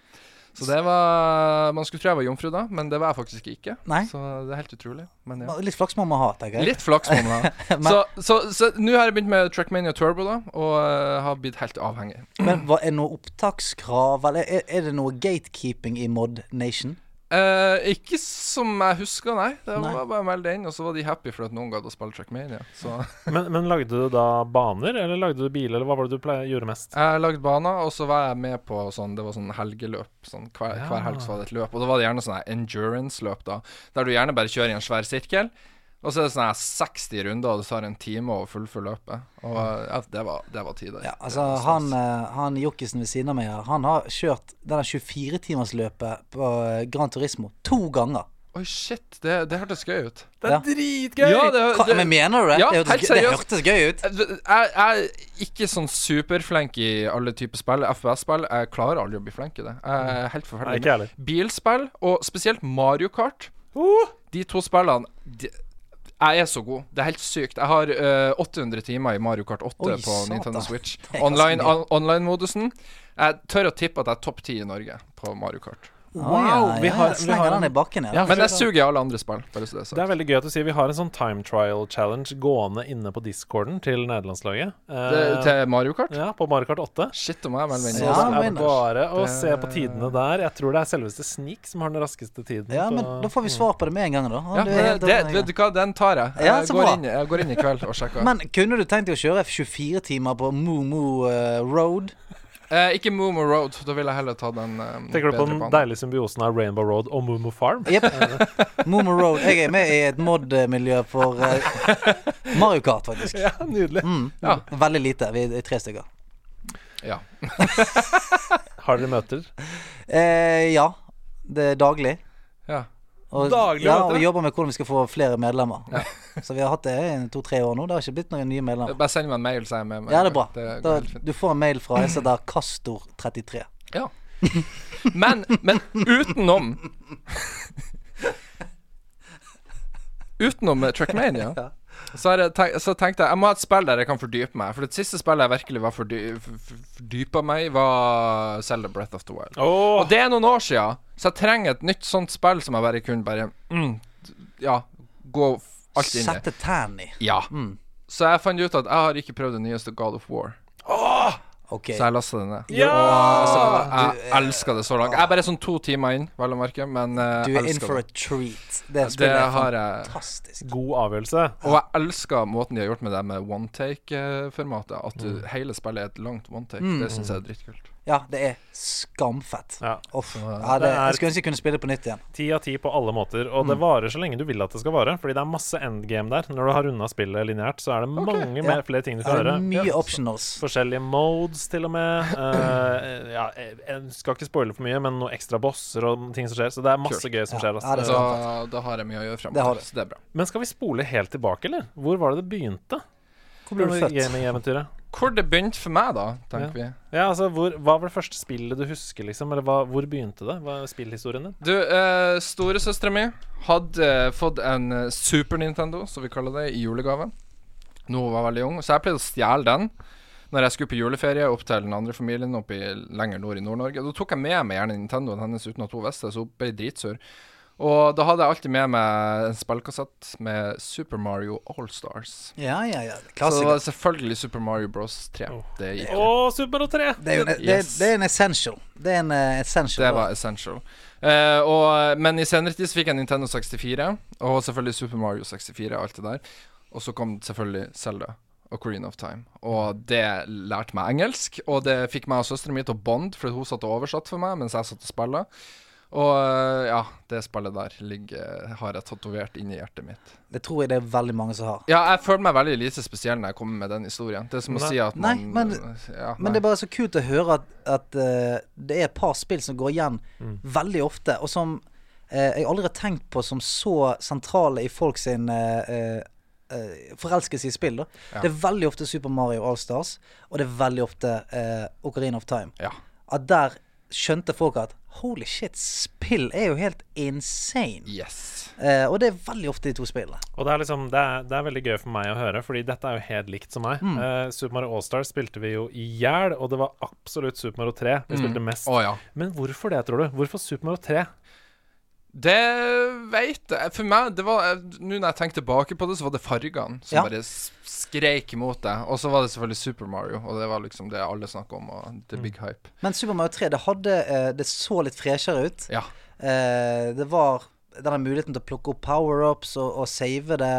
Så det var Man skulle tro jeg var jomfru da, men det var jeg faktisk ikke. Nei. Så det er helt utrolig. Men ja. Litt flaks må man ha, tenker jeg. Litt flaks må man ha. Men- Så så- så nå har jeg begynt med Trackmania Turbo, da, og eh, har blitt helt avhengig. Men hva, er det noe opptakskrav, eller er, er det noe gatekeeping i Mod Nation? Eh, ikke som jeg husker, nei. Det Nei. var bare å melde inn, og så var de happy for at noen gadd å spille Trackmania. Så Men, men lagde du da baner, eller lagde du biler, eller hva var det du pleier, gjorde mest? jeg lagde baner, og så var jeg med på sånn Det var sånn helgeløp. Sånn, hver, hver helg så var det et løp, og da var det gjerne sånn her endurance-løp, da. Der du gjerne bare kjører i en svær sirkel. Og så er det sånn her 60 runder, og det tar en time å fullføre løpet. Og ja, det var, det var tider. Ja, altså Han, eh, han jokkisen ved siden av meg her, han har kjørt denne 24-timersløpet på eh, Gran Turismo to ganger. Oi, shit. Det, det hørtes gøy ut. Det Ja. er dritgøy! Ja, det, Hva, men mener du det? Ja, det, helt hørtes, gøy- det seriøst. hørtes gøy ut. Jeg, jeg er ikke sånn superflink i alle typer spill. FPS-spill. Jeg klarer aldri å bli flink i det. Jeg Mm. er helt Nei, forferdelig. ikke heller. Bilspill, og spesielt Mario Kart. Oh! De to spillene de, Jeg er så god. Det er helt sykt. Jeg har eh, 800 timer i Mario Kart 8 Oi, på satan. Nintendo Switch. Det er ganske Online- mye. on- Online-modusen. jeg tør å tippe at jeg er topp ti i Norge på Mario Kart. Å, ja, vi ja, har- jeg vi slenger har en- den i bakken igjen. Ja, Men jeg for- suger i alle andre spill, bare så det er Det sagt. er veldig gøy at du sier vi har en sånn time trial challenge gående inne på discorden til nederlandslaget. Eh, Det, til Mario Kart? ja, på Mario Kart 8. Shit, da må jeg melde meg Så inn. det Ja, også. er men- bare å Det- se på tidene der. Jeg tror det er selveste Sneak som har den raskeste tiden. Ja, men på- da får vi svar på det med en gang, da. Ja, du er men helt det, enig. vet du hva, den tar jeg. Ja, Jeg så går bra. inn, jeg går inn i kveld og sjekker. Men kunne du tenkt deg å kjøre 24 timer på Moo Moo eh, Road? Eh, ikke Moomoo Road, da vil jeg heller ta den eh, Tenker du på bedre den banen. deilige symbiosen av Rainbow Road og Moomoo Farm? Jepp. Moo Moo Road. Jeg er med i et mod-miljø for eh, Mario Kart, faktisk. Ja, nydelig. Mm. Ja. Veldig lite. Vi er tre stykker. Ja. Har dere møter? Eh, ja. Det er daglig. ja. Og, Daglig, ja, vet du. og vi jobber med hvordan vi skal få flere medlemmer. Så vi har hatt det i to-tre år nå. Det har ikke blitt noen nye medlemmer. Bare send meg en mail, så er jeg med. meg. Ja, det er bra. Det går Da, helt fint. du får en mail fra jeg heter Castor33. Ja. Men, men utenom Utenom eh, Trackmania Ja. så, er det, tenk- så tenkte jeg jeg må ha et spill der jeg kan fordype meg. For det siste spillet jeg virkelig var fordy, f- f- fordypa meg i, var Zelda Breath of the Wild. Oh, Og det er noen år sia, så jeg trenger et nytt sånt spill som jeg bare kunne bare mm, Ja, gå f- alt inn i. Sette Mm. tærne i. Ja. Så jeg fant ut at jeg har ikke prøvd det nyeste God of War. OK. Så jeg lasta det ned. Ja! Altså, jeg elsker det så langt. Jeg er bare sånn to timer inn, vel å merke, men eh, Du jeg er in elsker for a det. treat. Det Det spillet er har jeg. fantastisk. God avgjørelse. Og jeg elsker måten de har gjort med det med one take-formatet. At du, Mm. hele spillet er et langt one take. Det syns jeg er dritkult. Ja, det er skamfett. Ja. Uff. Ja, det, Det er- jeg skulle ønske jeg kunne spille på nytt igjen. Ti av ti på alle måter, og det Mm. varer så lenge du vil at det skal vare. Fordi det er masse endgame der. Når du har runda spillet lineært, så er det mange mer, Ja. flere ting du Det kan er gjøre. mye optionals. Forskjellige modes, til og med. Eh, ja, jeg, jeg skal ikke spoile for mye, men noen ekstra bosser og ting som skjer. Så det er masse Kult. gøy som Ja, skjer. det Altså. er Så da har jeg mye å gjøre Det har du. fremover. Så det er bra. Men skal vi spole helt tilbake, eller? Hvor var det det begynte? Hvor ble du Dette født? Gaming-eventyret? Hvor det begynte for meg, da, tenker vi. Ja, altså, hvor, hva var det første spillet du husker, liksom? Eller hva, hvor begynte det? Hva er spillhistorien din? Du, eh, storesøstera mi hadde eh, fått en eh, Super Nintendo, som vi kaller det, i julegave. Nå var hun veldig ung, så jeg pleide å stjele den når jeg skulle på juleferie opp til den andre familien oppe i, lenger nord i Nord-Norge. Da tok jeg med meg gjerne Nintendoen hennes uten at hun visste det, så hun ble dritsur. Og da hadde jeg alltid med meg en spillkassett med Super Mario Allstars. Ja, ja, ja. Så det Klassiker. var selvfølgelig Super Mario Bros 3. Oh. Det gikk Å, Super Mario 3! Det er, jo en, det, er- Yes. det er en essential. Det er en eh, essential. Det var essential. Eh, og, men i senere tid så fikk jeg Nintendo 64, og selvfølgelig Super Mario 64 og alt det der. Og så kom selvfølgelig Zelda og Coreen of Time. Og det lærte meg engelsk, og det fikk meg og søsteren min til å bonde, for hun satt og oversatte for meg mens jeg satt og spilte. Og eh, ja, det spillet der ligger, har jeg tatovert inn i hjertet mitt. Det tror jeg det er veldig mange som har. Ja, jeg føler meg veldig lite spesiell når jeg kommer med den historien. Det er som å Nei. si at Nei, man men- ja, Men det nei. er bare så kult å høre at, at eh, det er et par spill som går igjen Mm. veldig ofte, og som eh, jeg aldri har tenkt på som så sentrale i folk sin eh, eh, eh, forelskelse i spill. Da. Det er veldig ofte Super Mario Allstars, og det er veldig ofte eh, Ocarina of Time. Ja. At der skjønte folk at holy shit, spill er jo helt insane. Yes. Eh, og det er veldig ofte de to spillene. Og det er, liksom, det, er, det er veldig gøy for meg å høre, fordi dette er jo helt likt som meg. Eh, Super Mario All-Stars spilte vi jo i hjel, og det var absolutt Super Mario 3 vi spilte mest. Mm. Å ja. Men hvorfor det, tror du? Hvorfor Super Mario 3? Det veit jeg. For meg det var Nå når jeg tenker tilbake på det, så var det fargene som Ja. bare s- skreik mot deg. Og så var det selvfølgelig Super Mario, og det var liksom det alle snakka om, og the big hype. Men Super Mario 3 det, hadde, eh, det så litt freshere ut. Ja. Eh, det var denne muligheten til å plukke opp power-ups og, og save det.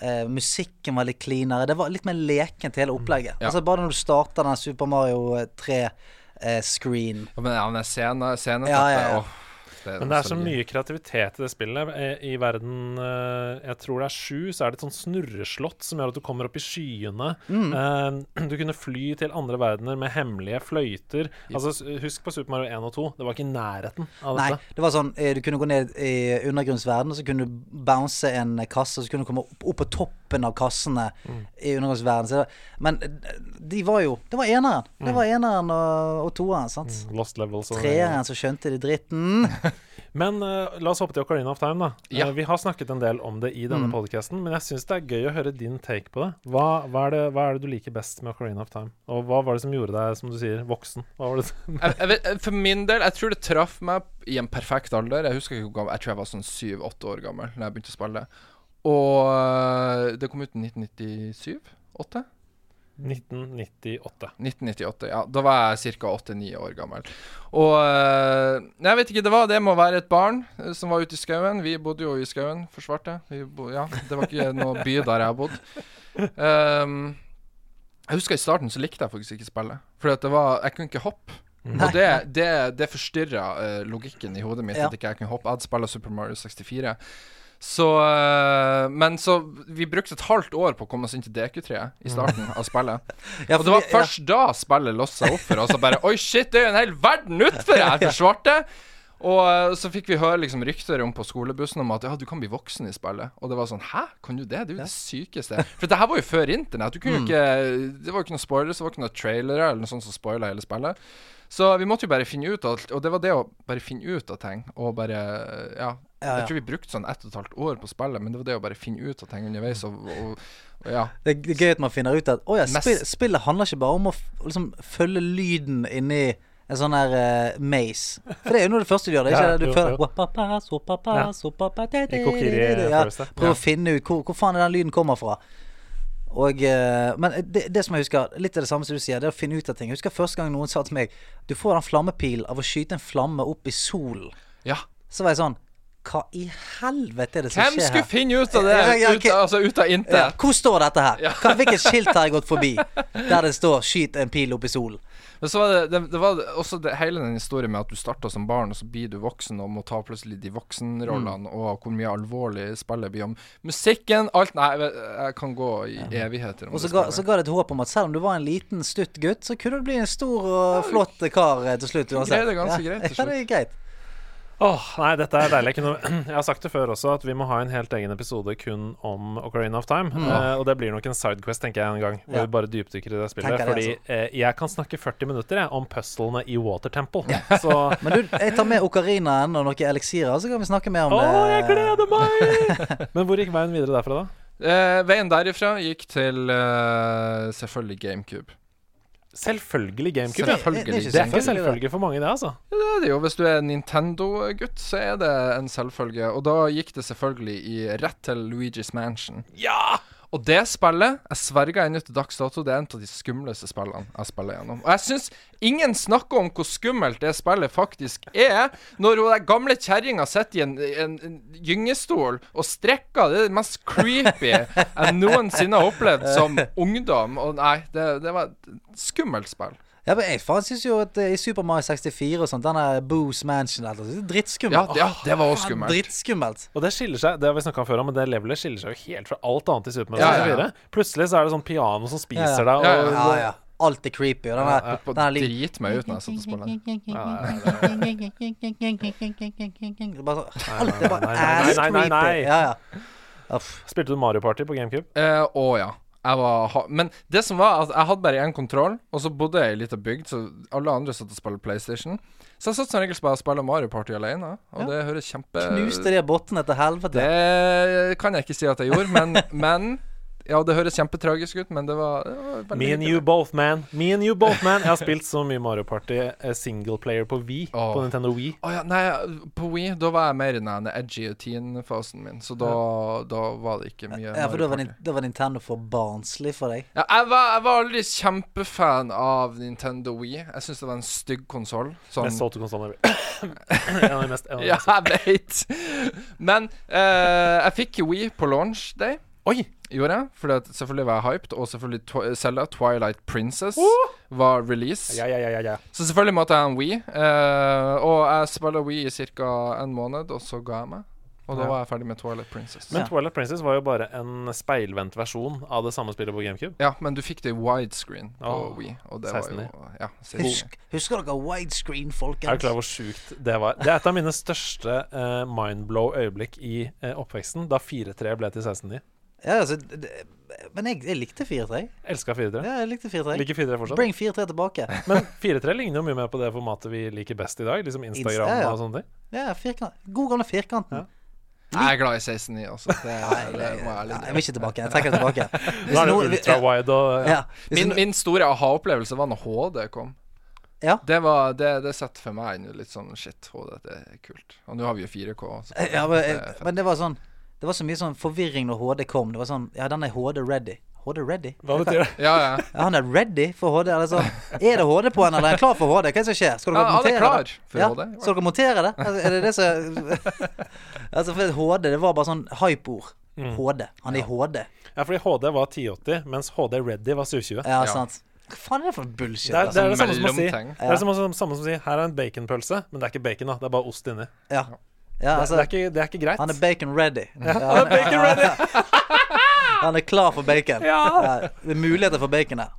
Eh, musikken var litt cleanere. Det var litt mer lekent, hele opplegget. Mm. Ja. Altså Bare når du starter den Super Mario eh, 3-screen. Og Men ja, men scene, sceneteppet Ja, ja, ja. åh, det Men det er så nostalgi. mye kreativitet i det spillet. Eh, I verden eh, jeg tror det er sju, så er det et sånt snurreslott som gjør at du kommer opp i skyene. Eh, Du kunne fly til andre verdener med hemmelige fløyter. Altså, s- husk på Super Mario 1 og 2. Det var ikke i nærheten av Nei, dette. det var sånn eh, du kunne gå ned i undergrunnsverdenen, og så kunne du bounce en kasse, og så kunne du komme opp, opp på toppen toppen av kassene Mm. i undergangsverdenen. Så det- Men eh, de var jo Det var eneren. Mm. Det var eneren og, og toeren. sant? Lost levels og Treeren som skjønte de dritten. Men eh, la oss hoppe til Ocarina of Time, da. Eh, Ja. vi har snakket en del om det i Mm. denne podcasten, men jeg syns det er gøy å høre din take på det. Hva, hva, er det. hva er det du liker best med Ocarina of Time? Og hva var det som gjorde deg, som du sier, voksen? Hva var det som... jeg, jeg, vet- eh, for min del, jeg tror det traff meg i en perfekt alder. Jeg husker ikke hvor gammel Jeg tror jeg var sånn syv-åtte år gammel da jeg begynte å spille. Og øh, det kom ut i 1997? 8? 1998. 1998, ja. Da var jeg ca. 8-9 år gammel. Og øh, Jeg vet ikke, det var det med å være et barn øh, som var ute i skauen. Vi bodde jo i skauen, forsvarte. Vi bo, ja, det var ikke noe by der jeg bodde. Ehm, jeg husker i starten så likte jeg faktisk ikke spillet. Fordi at det var Jeg kunne ikke hoppe. Og det, det, det forstyrra logikken i hodet mitt Ja. at ikke jeg kunne hoppe. Jeg hadde spilla Super Mario 64. Så eh, Men så Vi brukte et halvt år på å komme oss inn til DQ3 i starten av spillet. Ja, Og det var fordi- ja. først da spillet låste seg opp for oss, og bare Oi, shit, det er jo en hel verden utfor her for svarte! Og eh, så fikk vi høre liksom rykter om på skolebussen om at ja, du kan bli voksen i spillet. Og det var sånn Hæ, kan du det? Det er jo det sykeste. For det her var jo før internett. Du kunne Mm. jo ikke Det var jo ikke noen spoilers, det var ikke noen trailere eller noe sånt som spoila hele spillet. Så vi måtte jo bare finne ut av alt. Og det var det å bare finne ut av ting, og bare Ja. Ja, ja. Jeg tror vi brukte sånn ett og et halvt år på spillet, men det var det å bare finne ut av ting underveis, og, og, og ja. Det er gøy at man finner ut at å ja, Mest- spill, spillet handler ikke bare om å f liksom, følge lyden inni en sånn her eh, maze. For det er jo noe av det første du gjør. Det er Ja, ikke det jo, du føler jo. Wapapa, sopapa, Ja. sopapa, da, da, I Kokiri, da, da, da. føles det. Prøv Ja. å finne ut hvor, hvor faen er den lyden kommer fra. Og, eh, men det, det som jeg husker, litt av det samme som du sier, det er å finne ut av ting. Jeg husker første gang noen sa til meg Du får den flammepil av å skyte en flamme opp i solen. ja. Så var jeg sånn Hva i helvete er det som Hvem skjer her? skulle finne ut av det? Ja, ja, ok. ut, altså ut av Ja. intet. Hvor står dette her? Hva, hvilket skilt har jeg gått forbi der det står 'skyt en pil opp i solen'? Men så var det, det, det var også det, hele den historien med at du starta som barn, og så blir du voksen og må ta plutselig de Mm. voksenrollene, og hvor mye alvorlig spillet blir om musikken, alt Nei, jeg, jeg kan gå i evigheter om Og så det ga, spillet. så ga det et håp om at selv om du var en liten, stutt gutt, så kunne du bli en stor og flott kar eh, til slutt uansett. greide det ganske greit til Ja, det er greit. Åh, nei, dette er deilig. Jeg, kunne, jeg har sagt det før også, at vi må ha en helt egen episode kun om Ocarina of Time. Eh, og det blir nok en sidequest, tenker jeg en gang, hvor Mm. Ja. vi bare dypdykker i det spillet. Tenker det, fordi eh, jeg kan snakke 40 minutter jeg, om puzzlene i Water Temple. Så Åh, Men du, jeg tar med okarinaen og noen eliksirer, så kan vi snakke mer om det. jeg gleder meg! Men hvor gikk veien videre derfra, da? Eh, veien derifra gikk til eh, selvfølgelig GameCube. Selvfølgelig GameCube. ja. Selvfølgelig. Det- det- det Det er ikke Selvfølgelig, selvfølgelig for mange, det, altså. Det er det jo. Hvis du er Nintendo-gutt, så er det en selvfølge. Og da gikk det selvfølgelig i rett til Luigi's Mansion. Ja! Og det spillet, jeg sverger ennå til dags dato, det er en av de skumleste spillene jeg spiller gjennom. Og jeg syns ingen snakker om hvor skummelt det spillet faktisk er, når hun der gamle kjerringa sitter i en, en, en gyngestol og strekker. Det er det mest creepy jeg noensinne har opplevd som ungdom. Og nei, det, det var et skummelt spill. Ja, men jeg faen syns jo at eh, i Super Mario 64 og sånt, denne Boos Mansion eller noe sånt, det er Ja, dritskummelt. det, ja, det var også skummelt. Dritskummelt. Og det skiller seg, det har vi snakket om før, men det levelet skiller seg jo helt fra alt annet i Super Mario Ja, ja, ja. 64. Plutselig så er det sånn piano som Ja, spiser deg, og Ja, Ja, ja. Alt er creepy. Og denne, ja, Og Drit meg ut når jeg satt og spilte. Det er bare sånn Alt er bare nei, nei, ass nei, nei, nei. creepy. Ja, ja. Uff. Spilte du Mario Party på GameCube? Eh, Å ja. Jeg var ha Men det som var at jeg hadde bare én kontroll, og så bodde jeg i ei lita bygd, så alle andre satt og spilte PlayStation. Så jeg satt som regel bare og spilte Mario Party alene, og det høres kjempe Knuste de bottene til helvete. Det kan jeg ikke si at jeg gjorde, men, men Ja, det høres kjempetragisk ut, men det var, det var veldig Me and hyggelig. you both, man. Me and you both, man. Jeg har spilt så mye Mario Party eh, single player på Wii. Åh. På Nintendo Wii. Å ja, nei, på Wii, da var jeg mer i den ene edgy teen-fasen min, så da, da var det ikke mye Ja, for da Mario var, Party. Nin- da var Nintendo for barnslig for deg. Ja, jeg, var, jeg var aldri kjempefan av Nintendo Wii. Jeg syns det var en stygg konsoll. Sånn Mest solgte konsollen jeg En av de mest, en av de Ja, mest. jeg vet Men eh, jeg fikk Wii på launch day. Oi! Gjorde jeg, fordi at selvfølgelig var jeg hyped, og selvfølgelig tw Zelda Twilight Princess var release. Ja, ja, ja, ja, ja. Så selvfølgelig måtte jeg ha en Wii. eh, og jeg spiller Wii i ca. en måned, og så ga jeg meg. Og da Ja. var jeg ferdig med Twilight Princess. Men Ja. Twilight Princess var jo bare en speilvendt versjon av det samme spillet på GameCube. ja, men du fikk det i widescreen på Åh, Wii, og det 16 var i. jo Ja, 16 i. Husk, husker dere widescreen, Er du folkens? klar over hvor sjukt det var? Det er et av mine største eh, mindblow øyeblikk i eh, oppveksten, da 4-3 ble til 16-9. Ja, altså, d- d- men jeg, jeg likte 4-3. Elska 4-3. Ja, jeg likte 4-3. Liker 4-3 fortsatt. Bring 4-3 tilbake. Men 4-3 ligner jo mye mer på det formatet vi liker best i dag. Liksom Instagram Insta, ja. og sånne ting. Ja, firkant. God gamle firkanten. Jeg er glad i 16-9, altså. Det, Nei, det må jeg ærlig Nei, jeg innrømme. vil ikke tilbake. Jeg trekker det tilbake. Da er det noen- ultra-wide og ja. ja. Hvis Min, no- min store aha-opplevelse var når HD kom. Ja. Det var, det, det setter for meg inn litt sånn Shit, HD, det er kult. Og nå har vi jo 4K. Så ja, men, eh, det er fett. men det var sånn Det var så mye sånn forvirring når HD kom. Det var sånn Ja, den er HD ready. HD ready? Hva betyr det? Ja, ja. Ja, han er ready for HD. Eller sånn Er det HD på han, eller er han klar for HD? Hva er det som skjer? Skal dere Ja, han er montere klar det? for ja. HD. Skal dere montere det? Altså, Er det det som Altså, for HD, det var bare sånn hype-ord. Mm. HD. Han er i HD. Ja, fordi HD var 1080, mens HD Ready var 720. Ja, Ja. sant. Hva faen er det for bullshit? Det er, det altså? er det samme som å si Mellomting. Det er det samme som, samme som å si Her er en baconpølse, men det er ikke bacon, da. Det er bare ost inni. Ja. ja, Det altså er ikke, det er ikke greit. Han er bacon ready. Ja, Han er bacon ready! han er klar for bacon. Ja. det er muligheter for bacon der.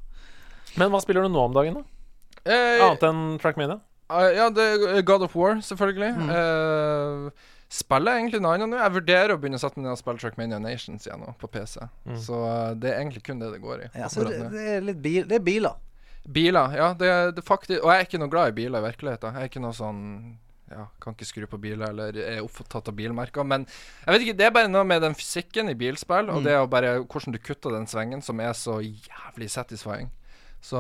Men hva spiller du nå om dagen, da? Øh. Eh, Annet enn Trackmania? Eh, ja, det er God of War, selvfølgelig. Mm. Eh, spiller egentlig noe annet nå. Jeg vurderer å begynne å sette meg ned og spille Trackmania Nations igjen nå, på PC. Så eh, det er egentlig kun det det går i. Mm. Ja, så akkurat det, nå. det er litt bil, det er biler. Biler, ja. Det, det faktisk, og jeg er ikke noe glad i biler i virkeligheten. Jeg er ikke noe sånn ja, kan ikke skru på biler eller er opptatt av bilmerker. Men jeg vet ikke, det er bare noe med den fysikken i bilspill, Mm. og det å bare hvordan du kutter den svingen, som er så jævlig satisfying. Så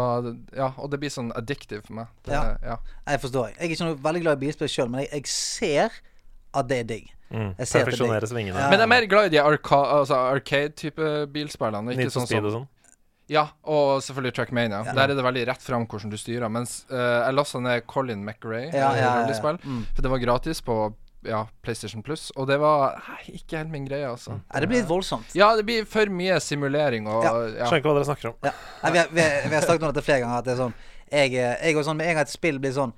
ja, og det blir sånn addictive for meg. Det, Ja. ja. Jeg forstår. Jeg er ikke noe veldig glad i bilspill sjøl, men jeg, jeg ser at det er digg. Jeg ser at det er Mm. Perfeksjonere digg. svingene. Ja. Men jeg er mer glad i de arka altså arcade-type bilspillene. og Need Ikke for sånn speed som, og sånn. ja, og selvfølgelig Trackmania. Der er det veldig rett fram hvordan du styrer. Mens eh, jeg lasta ned Colin McRae, Ja, eh, ja, Mm. ja, ja. rallyspill, for det var gratis på ja, PlayStation Plus, og det var nei, ikke helt min greie, altså. Ja, det blir litt voldsomt. Ja, det blir for mye simulering og Mm. Ja. ja. Skjønner ikke hva dere snakker om. Ja. Nei, vi, har, vi, har, vi har snakket om dette flere ganger. At det er sånn Jeg, er- jeg er sånn med en gang et spill blir sånn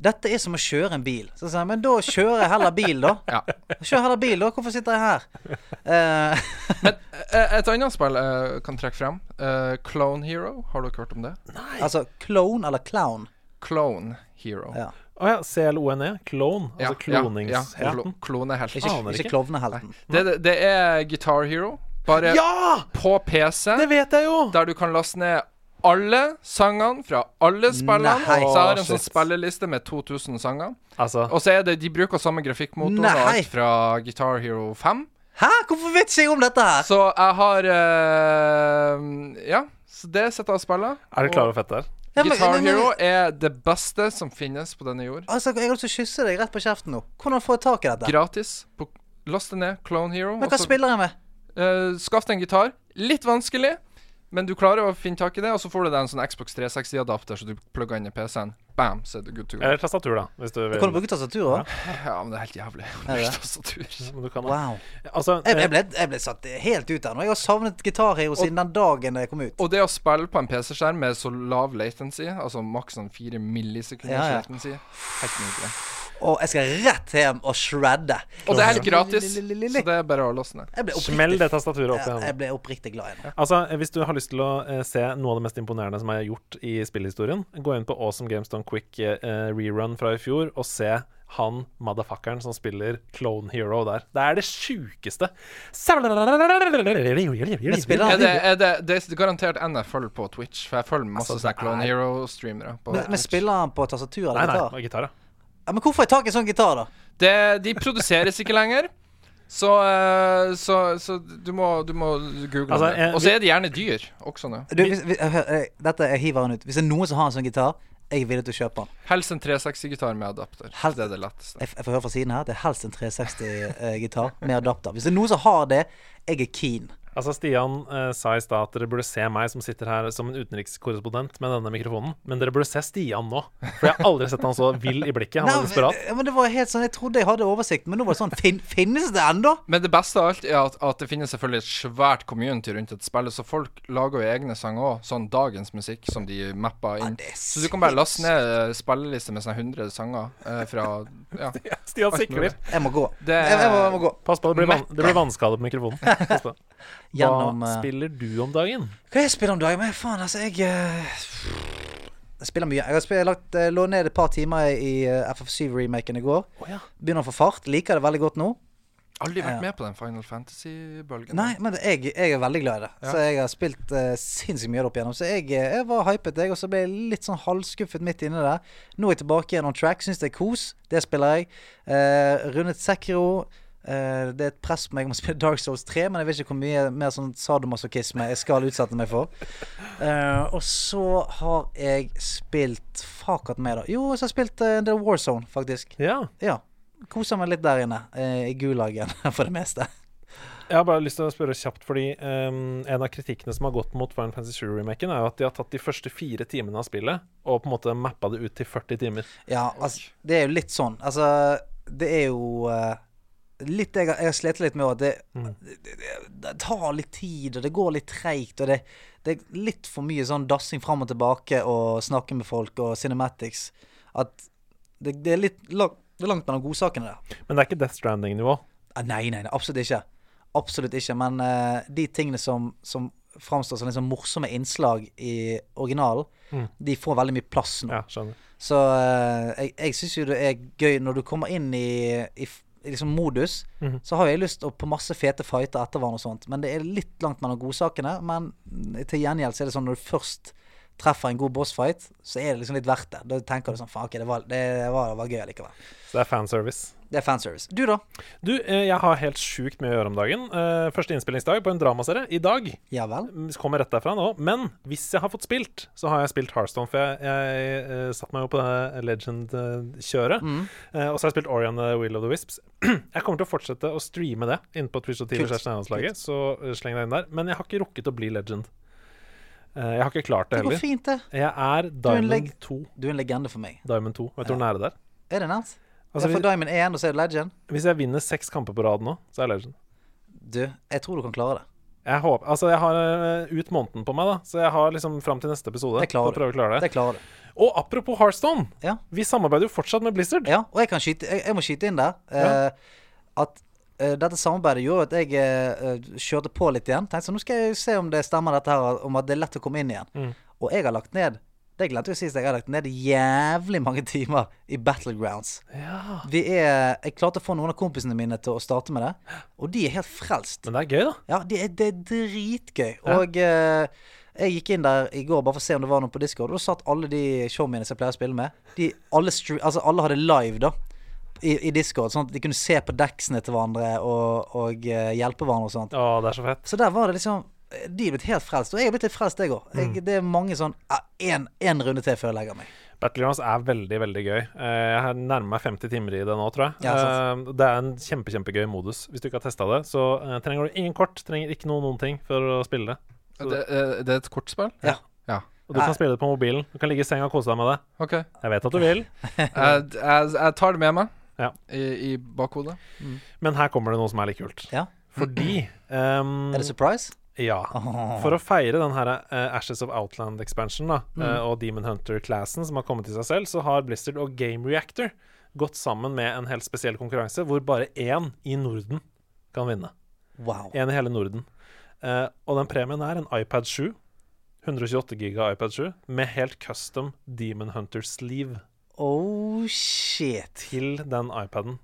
Dette er som å kjøre en bil. Så sier jeg, men da kjører jeg heller bil, da. Ja. Kjør heller bil, da. Hvorfor sitter jeg her? Eh, Eh, Et annet spill jeg kan trekke frem, eh, Clone Hero. Har dere hørt om det? altså clone eller clown. Clone Hero. Ja. Å ja, CLONE. E, Clone. Ja, Altså ja, ja, kloningsheten. klo- klonehelt. Ikke, Aner ikke ikke. klovnehelten. Det, det, det er Guitar Hero, bare Ja! på PC. Det vet jeg jo! der du kan laste ned alle sangene fra alle spillene. Nei. Så jeg har en Shit. sånn spilleliste med 2000 sanger. Altså, Og så er det, de bruker samme grafikkmotor og Nei. alt fra Guitar Hero 5. Hæ? Hvorfor vet ikke jeg om dette her? Så jeg har eh, Ja, så det sitter jeg og spiller. er du klar over fett der? Ja, men- Guitar men- men- Hero er det beste som finnes på denne jord. Altså, Jeg har lyst til å kysse deg rett på kjeften nå. Hvordan får jeg tak i dette? Gratis. På, last det ned. Clone Hero. Men og hva så- spiller jeg med? Eh, Skaff deg en gitar. Litt vanskelig, men du klarer å finne tak i det. Og så får du deg en sånn Xbox 360-adapter, så du plugger inn i PC-en. Bam, så er du good to go. Eller tastatur, da. Hvis du Kan du vil. bruke tastatur òg? Ja, men det er helt jævlig. Er det? Tastatur. Men du kan, da. Wow. altså, Jeg, jeg, eh, ble, jeg ble satt helt ut der nå. Jeg har savnet gitarhero siden den dagen jeg kom ut. Og det å spille på en PC-skjerm med så lav latency, altså maks sånn fire millisekunder Ja, ja. latency Helt nydelig. Og jeg skal rett hjem og shredde. Og det er helt gratis, så Jeg det er bare å laste ned. ble smell oppriktig, det tastaturet opp i jeg hånda. ble oppriktig glad i den. Altså, Hvis du har lyst til å eh, se noe av det mest imponerende som er gjort i spillhistorien, gå inn på Awesome Games Done Quick eh, eh, rerun fra i fjor og se han motherfuckeren som spiller Clone Hero der. Det er det sjukeste. Men spiller han- Er det, er det, det er garantert en jeg følger på Twitch, for jeg følger masse Altså, det sånne Clone er- Hero-streamere. på Men, men Twitch. spiller han på tastatur Nei, eller nei, gitar? og gitar, ja. Ja, men hvorfor har jeg tak i en sånn gitar, da? Det, de produseres ikke lenger. Så, eh, så, så du, må, du må google Altså, det. eh, Og så er de gjerne dyr også nå. Du, hvis, hvis, hør, eh, dette jeg hiver den ut. Hvis det er noen som har en sånn gitar, jeg er villig til å kjøpe den. Helst en 360-gitar med adapter. Helst- Det er det letteste. Jeg, jeg får høre fra siden her, det er helst en 360-gitar med adapter. Hvis det er noen som har det, jeg er keen. Altså Stian eh, sa i stad at dere burde se meg som sitter her som en utenrikskorrespondent med denne mikrofonen, men dere burde se Stian nå. For jeg har aldri sett han så vill i blikket. Han Nei, var desperat. men- men det var helt sånn, Jeg trodde jeg hadde oversikt, men nå var det sånn fin, Finnes det ennå? Men det beste av alt er at, at det finnes selvfølgelig et svært community rundt et spill, så folk lager jo egne sanger òg, sånn dagens musikk som de mapper inn. Ah, det er så du kan bare laste ned eh, spilleliste med sånne 100 sanger eh, fra Ja. eh, Stian sikler. Jeg må gå. Det er- jeg, jeg, må, jeg må gå. Pass på, det blir, van det blir vannskade på mikrofonen. Pass på. Gjennom Hva eh, spiller du om dagen? Hva jeg spiller om dagen? Men faen, altså, jeg eh, Jeg spiller mye. Jeg har spilt, lagt, eh, lå ned et par timer i eh, FF7-remaken i går. Å ja. Begynner å få fart. Liker det veldig godt nå. Aldri Ja. vært med på den Final Fantasy-bølgen. Nei, men det- jeg, jeg er veldig glad i det. Ja. Så jeg har spilt eh, sinnssykt mye opp igjennom. Så jeg, eh, jeg var hypet, jeg, og så ble jeg litt sånn halvskuffet midt inne der. Nå er jeg tilbake igjen on track. Syns det er kos. Det spiller jeg. Eh, rundet Sekro. Eh, det er et press på meg om å spille Dark Souls 3, men jeg vet ikke hvor mye mer sånn sadomasochisme jeg skal utsette meg for. Eh, og så har jeg spilt Fuck at meg, da. Jo, så har jeg spilt eh, en del War Zone, faktisk. Ja. Ja. Kosa meg litt der inne. eh, I gulagen, for det meste. Jeg har bare lyst til å spørre kjapt, fordi ehm, en av kritikkene som har gått mot Final Fantasy 7-remaken, er jo at de har tatt de første fire timene av spillet og på en måte mappa det ut til 40 timer. Ja, altså, det er jo litt sånn. Altså, det er jo eh, litt Jeg har, jeg har slitt litt med at det, det, det, det tar litt tid, og det går litt treigt, og det, det er litt for mye sånn dassing fram og tilbake og snakke med folk og cinematics. At det, det er litt langt, det er langt mellom godsakene der. Men det er ikke Death Stranding-nivå. Ah, Nei, nei, nei, absolutt ikke. Absolutt ikke. Men eh, de tingene som, som framstår som liksom morsomme innslag i originalen, de får veldig mye plass nå. Ja, skjønner. Så eh, jeg, jeg syns jo det er gøy når du kommer inn i, i, f- i liksom modus, så har jeg lyst å- på masse fete fighter etter hverandre og sånt. Men det er litt langt mellom godsakene. Men til gjengjeld så er det sånn når du først treffer en god bossfight, så er det liksom litt verdt det. Da tenker du sånn faen, ok, det var, det, var, det var gøy likevel. Så det er fanservice. Det er fanservice. Du, da? Du, eh, jeg har helt sjukt mye å gjøre om dagen. Eh, første innspillingsdag på en dramaserie i dag. Ja vel? Mm, Kommer rett derfra nå. Men hvis jeg har fått spilt, så har jeg spilt Hearthstone, for jeg, jeg eh, satte meg jo på det Legend-kjøret. Mm. Eh, og så har jeg spilt Orion the Will of the Wisps. jeg kommer til å fortsette å streame det inne på Twitch og TV Kult. Kjersten Eiendomslaget, så eh, sleng deg inn der. Men jeg har ikke rukket å bli Legend. Eh, jeg har ikke klart det Det går heller. fint, det. Jeg er er en Diamond leg- 2. Du er en legende for meg. Diamond 2. Vet du hvor nære det er? Er det nevnt? Altså, ja, for hvis, Diamond 1, og så er det Legend. hvis jeg vinner seks kamper på rad nå, så er jeg Legend. Du, jeg tror du kan klare det. Jeg håper, altså jeg har eh, ut måneden på meg, da så jeg har liksom fram til neste episode. Det klarer på å prøve å klare det. Det klarer du. Og apropos Hearthstone, Ja. vi samarbeider jo fortsatt med Blizzard. Ja, og jeg, kan skyte, jeg, jeg må skyte inn der Ja. eh, at eh, dette samarbeidet gjorde at jeg eh, eh, kjørte på litt igjen. Tenkte så nå skal jeg se om det stemmer dette her, om at det er lett å komme inn igjen. Mm. Og jeg har lagt ned det glemte jeg å si, så jeg har lagt ned jævlig mange timer i Battlegrounds. Ja. Vi er, jeg klarte å få noen av kompisene mine til å starte med det, og de er helt frelst. Men det er gøy, da. Ja, det er, det er dritgøy. Og eh, jeg gikk inn der i går bare for å se om det var noe på Discord, og da satt alle de showmiene som jeg pleier å spille med, de, alle, stre- altså, alle hadde live, da. I, I Discord, sånn at de kunne se på decksene til hverandre og, og eh, hjelpe hverandre og sånt. Å, det er så fett. Så der var det liksom De er blitt helt frelst. Og jeg er blitt litt frelst, jeg òg. Mm. Det er mange sånn Én runde til før jeg legger meg. Battlegrounds er veldig, veldig gøy. Eh, Jeg har nærmer meg 50 timer i det nå, tror jeg. Ja, Eh, det er en kjempe, kjempegøy modus. Hvis du ikke har testa det, så eh, trenger du ingen kort, trenger ikke noe noen ting for å spille det. Så- Det, eh, det er et kortspill? Ja. ja. Og du kan spille det på mobilen. Du kan ligge i senga og kose deg med det. OK. Jeg vet at du vil, Jeg, jeg, jeg tar det med meg Ja. i, i bakhodet. men her kommer det noe som er litt kult. Ja. Fordi ehm, Er det surprise? Ja. For å feire den her eh, Ashes of Outland-expansionen da, eh, og Demon Hunter-classen som har kommet til seg selv, så har Blizzard og Game Reactor gått sammen med en helt spesiell konkurranse hvor bare én i Norden kan vinne. Wow. Én i hele Norden. Eh, og den premien er en iPad 7. 128 giga iPad 7 med helt custom Demon Hunter-sleeve Oh shit. til den iPaden.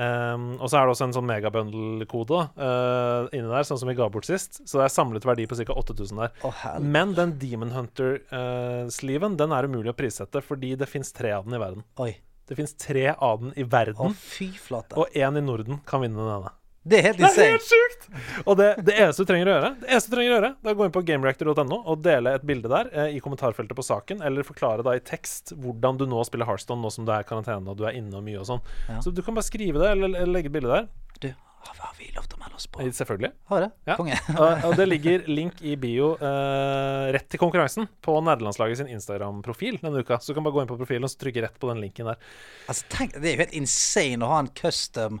Ehm, og så er det også en sånn megabundle-kode uh, inni der, sånn som vi ga bort sist. Så det er samlet verdi på ca. 8000 der. Å hel... Men den Demon Hunter-sliven Den er umulig å prissette, fordi det fins tre av den i verden. Oi. Det fins tre av den i Å, verden, fy flate. Mm. og én i Norden kan vinne denne. Det er helt Det insane. er helt sjukt! Og det, det eneste du trenger å gjøre, Det eneste du trenger å gjøre Det er å gå inn på gamereactor.no og dele et bilde der eh, i kommentarfeltet på saken, eller forklare da i tekst hvordan du nå spiller Hearthstone nå som du er i karantene og du er inne og mye og sånn. Ja. Så du kan bare skrive det, eller, eller legge et bilde der. Du, har har vi lov til å melde oss på? Eh, Selvfølgelig. Har vi det? Ja. Konge. Og og det ligger link i bio eh, rett til konkurransen på Nerdelandslaget sin Instagram-profil denne uka. Så du kan bare gå inn på profilen og så trykke rett på den linken der. Altså, tenk, det er jo helt insane å ha en custom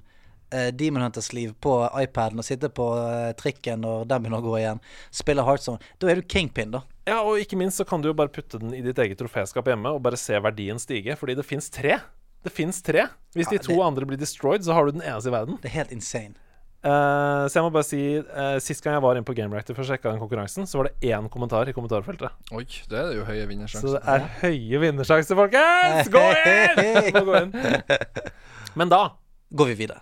eh, Demon Hunters-liv på iPaden og sitte på eh, trikken når den begynner å gå igjen. Spille Heartzone. Da er du kingpin, da. Ja, og ikke minst så kan du jo bare putte den i ditt eget troféskap hjemme og bare se verdien stige, fordi det fins tre. Det fins tre. Hvis de Ja, to det- andre blir destroyed, så har du den eneste i verden. Det er helt insane. Eh, så jeg må bare si eh, Sist gang jeg var inne på GameRactor for å sjekke den konkurransen, så var det én kommentar i kommentarfeltet. Oi, det er jo Så høye det vinnersjanser. er høye vinnersjanser, folkens! Gå inn! Må gå inn. Men da Går vi videre.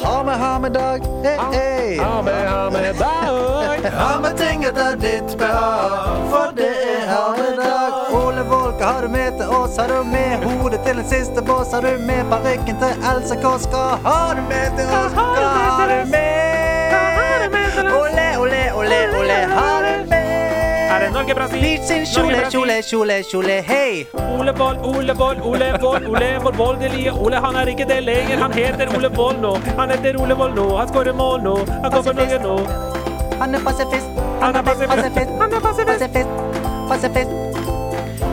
Ha med, ha med dag. Hey, hey. Ha med, ha med deg! Ha med ting etter ditt behag, for det er ha med dag. Ole Volk har du med til oss, har du med hodet til en siste bås, har du med parykken til Else Kåss, hva har du med til oss, hva har du med? Ole, ole, ole, ole, har du Er det med? Norge, Brasil? Nytt sin kjole, kjole, kjole, kjole, hei! Ole Vold, Ole Vold, Ole Vold, Ole vår voldelige Ole. Han er ikke det lenger, han heter Ole Vold nå. Han heter Ole Vold nå, han skårer mål nå. Han Altså, kommer Norge nå. Han er pasifist, Han er pasifist, han er pasifist. pasifist, pasifist. Altså,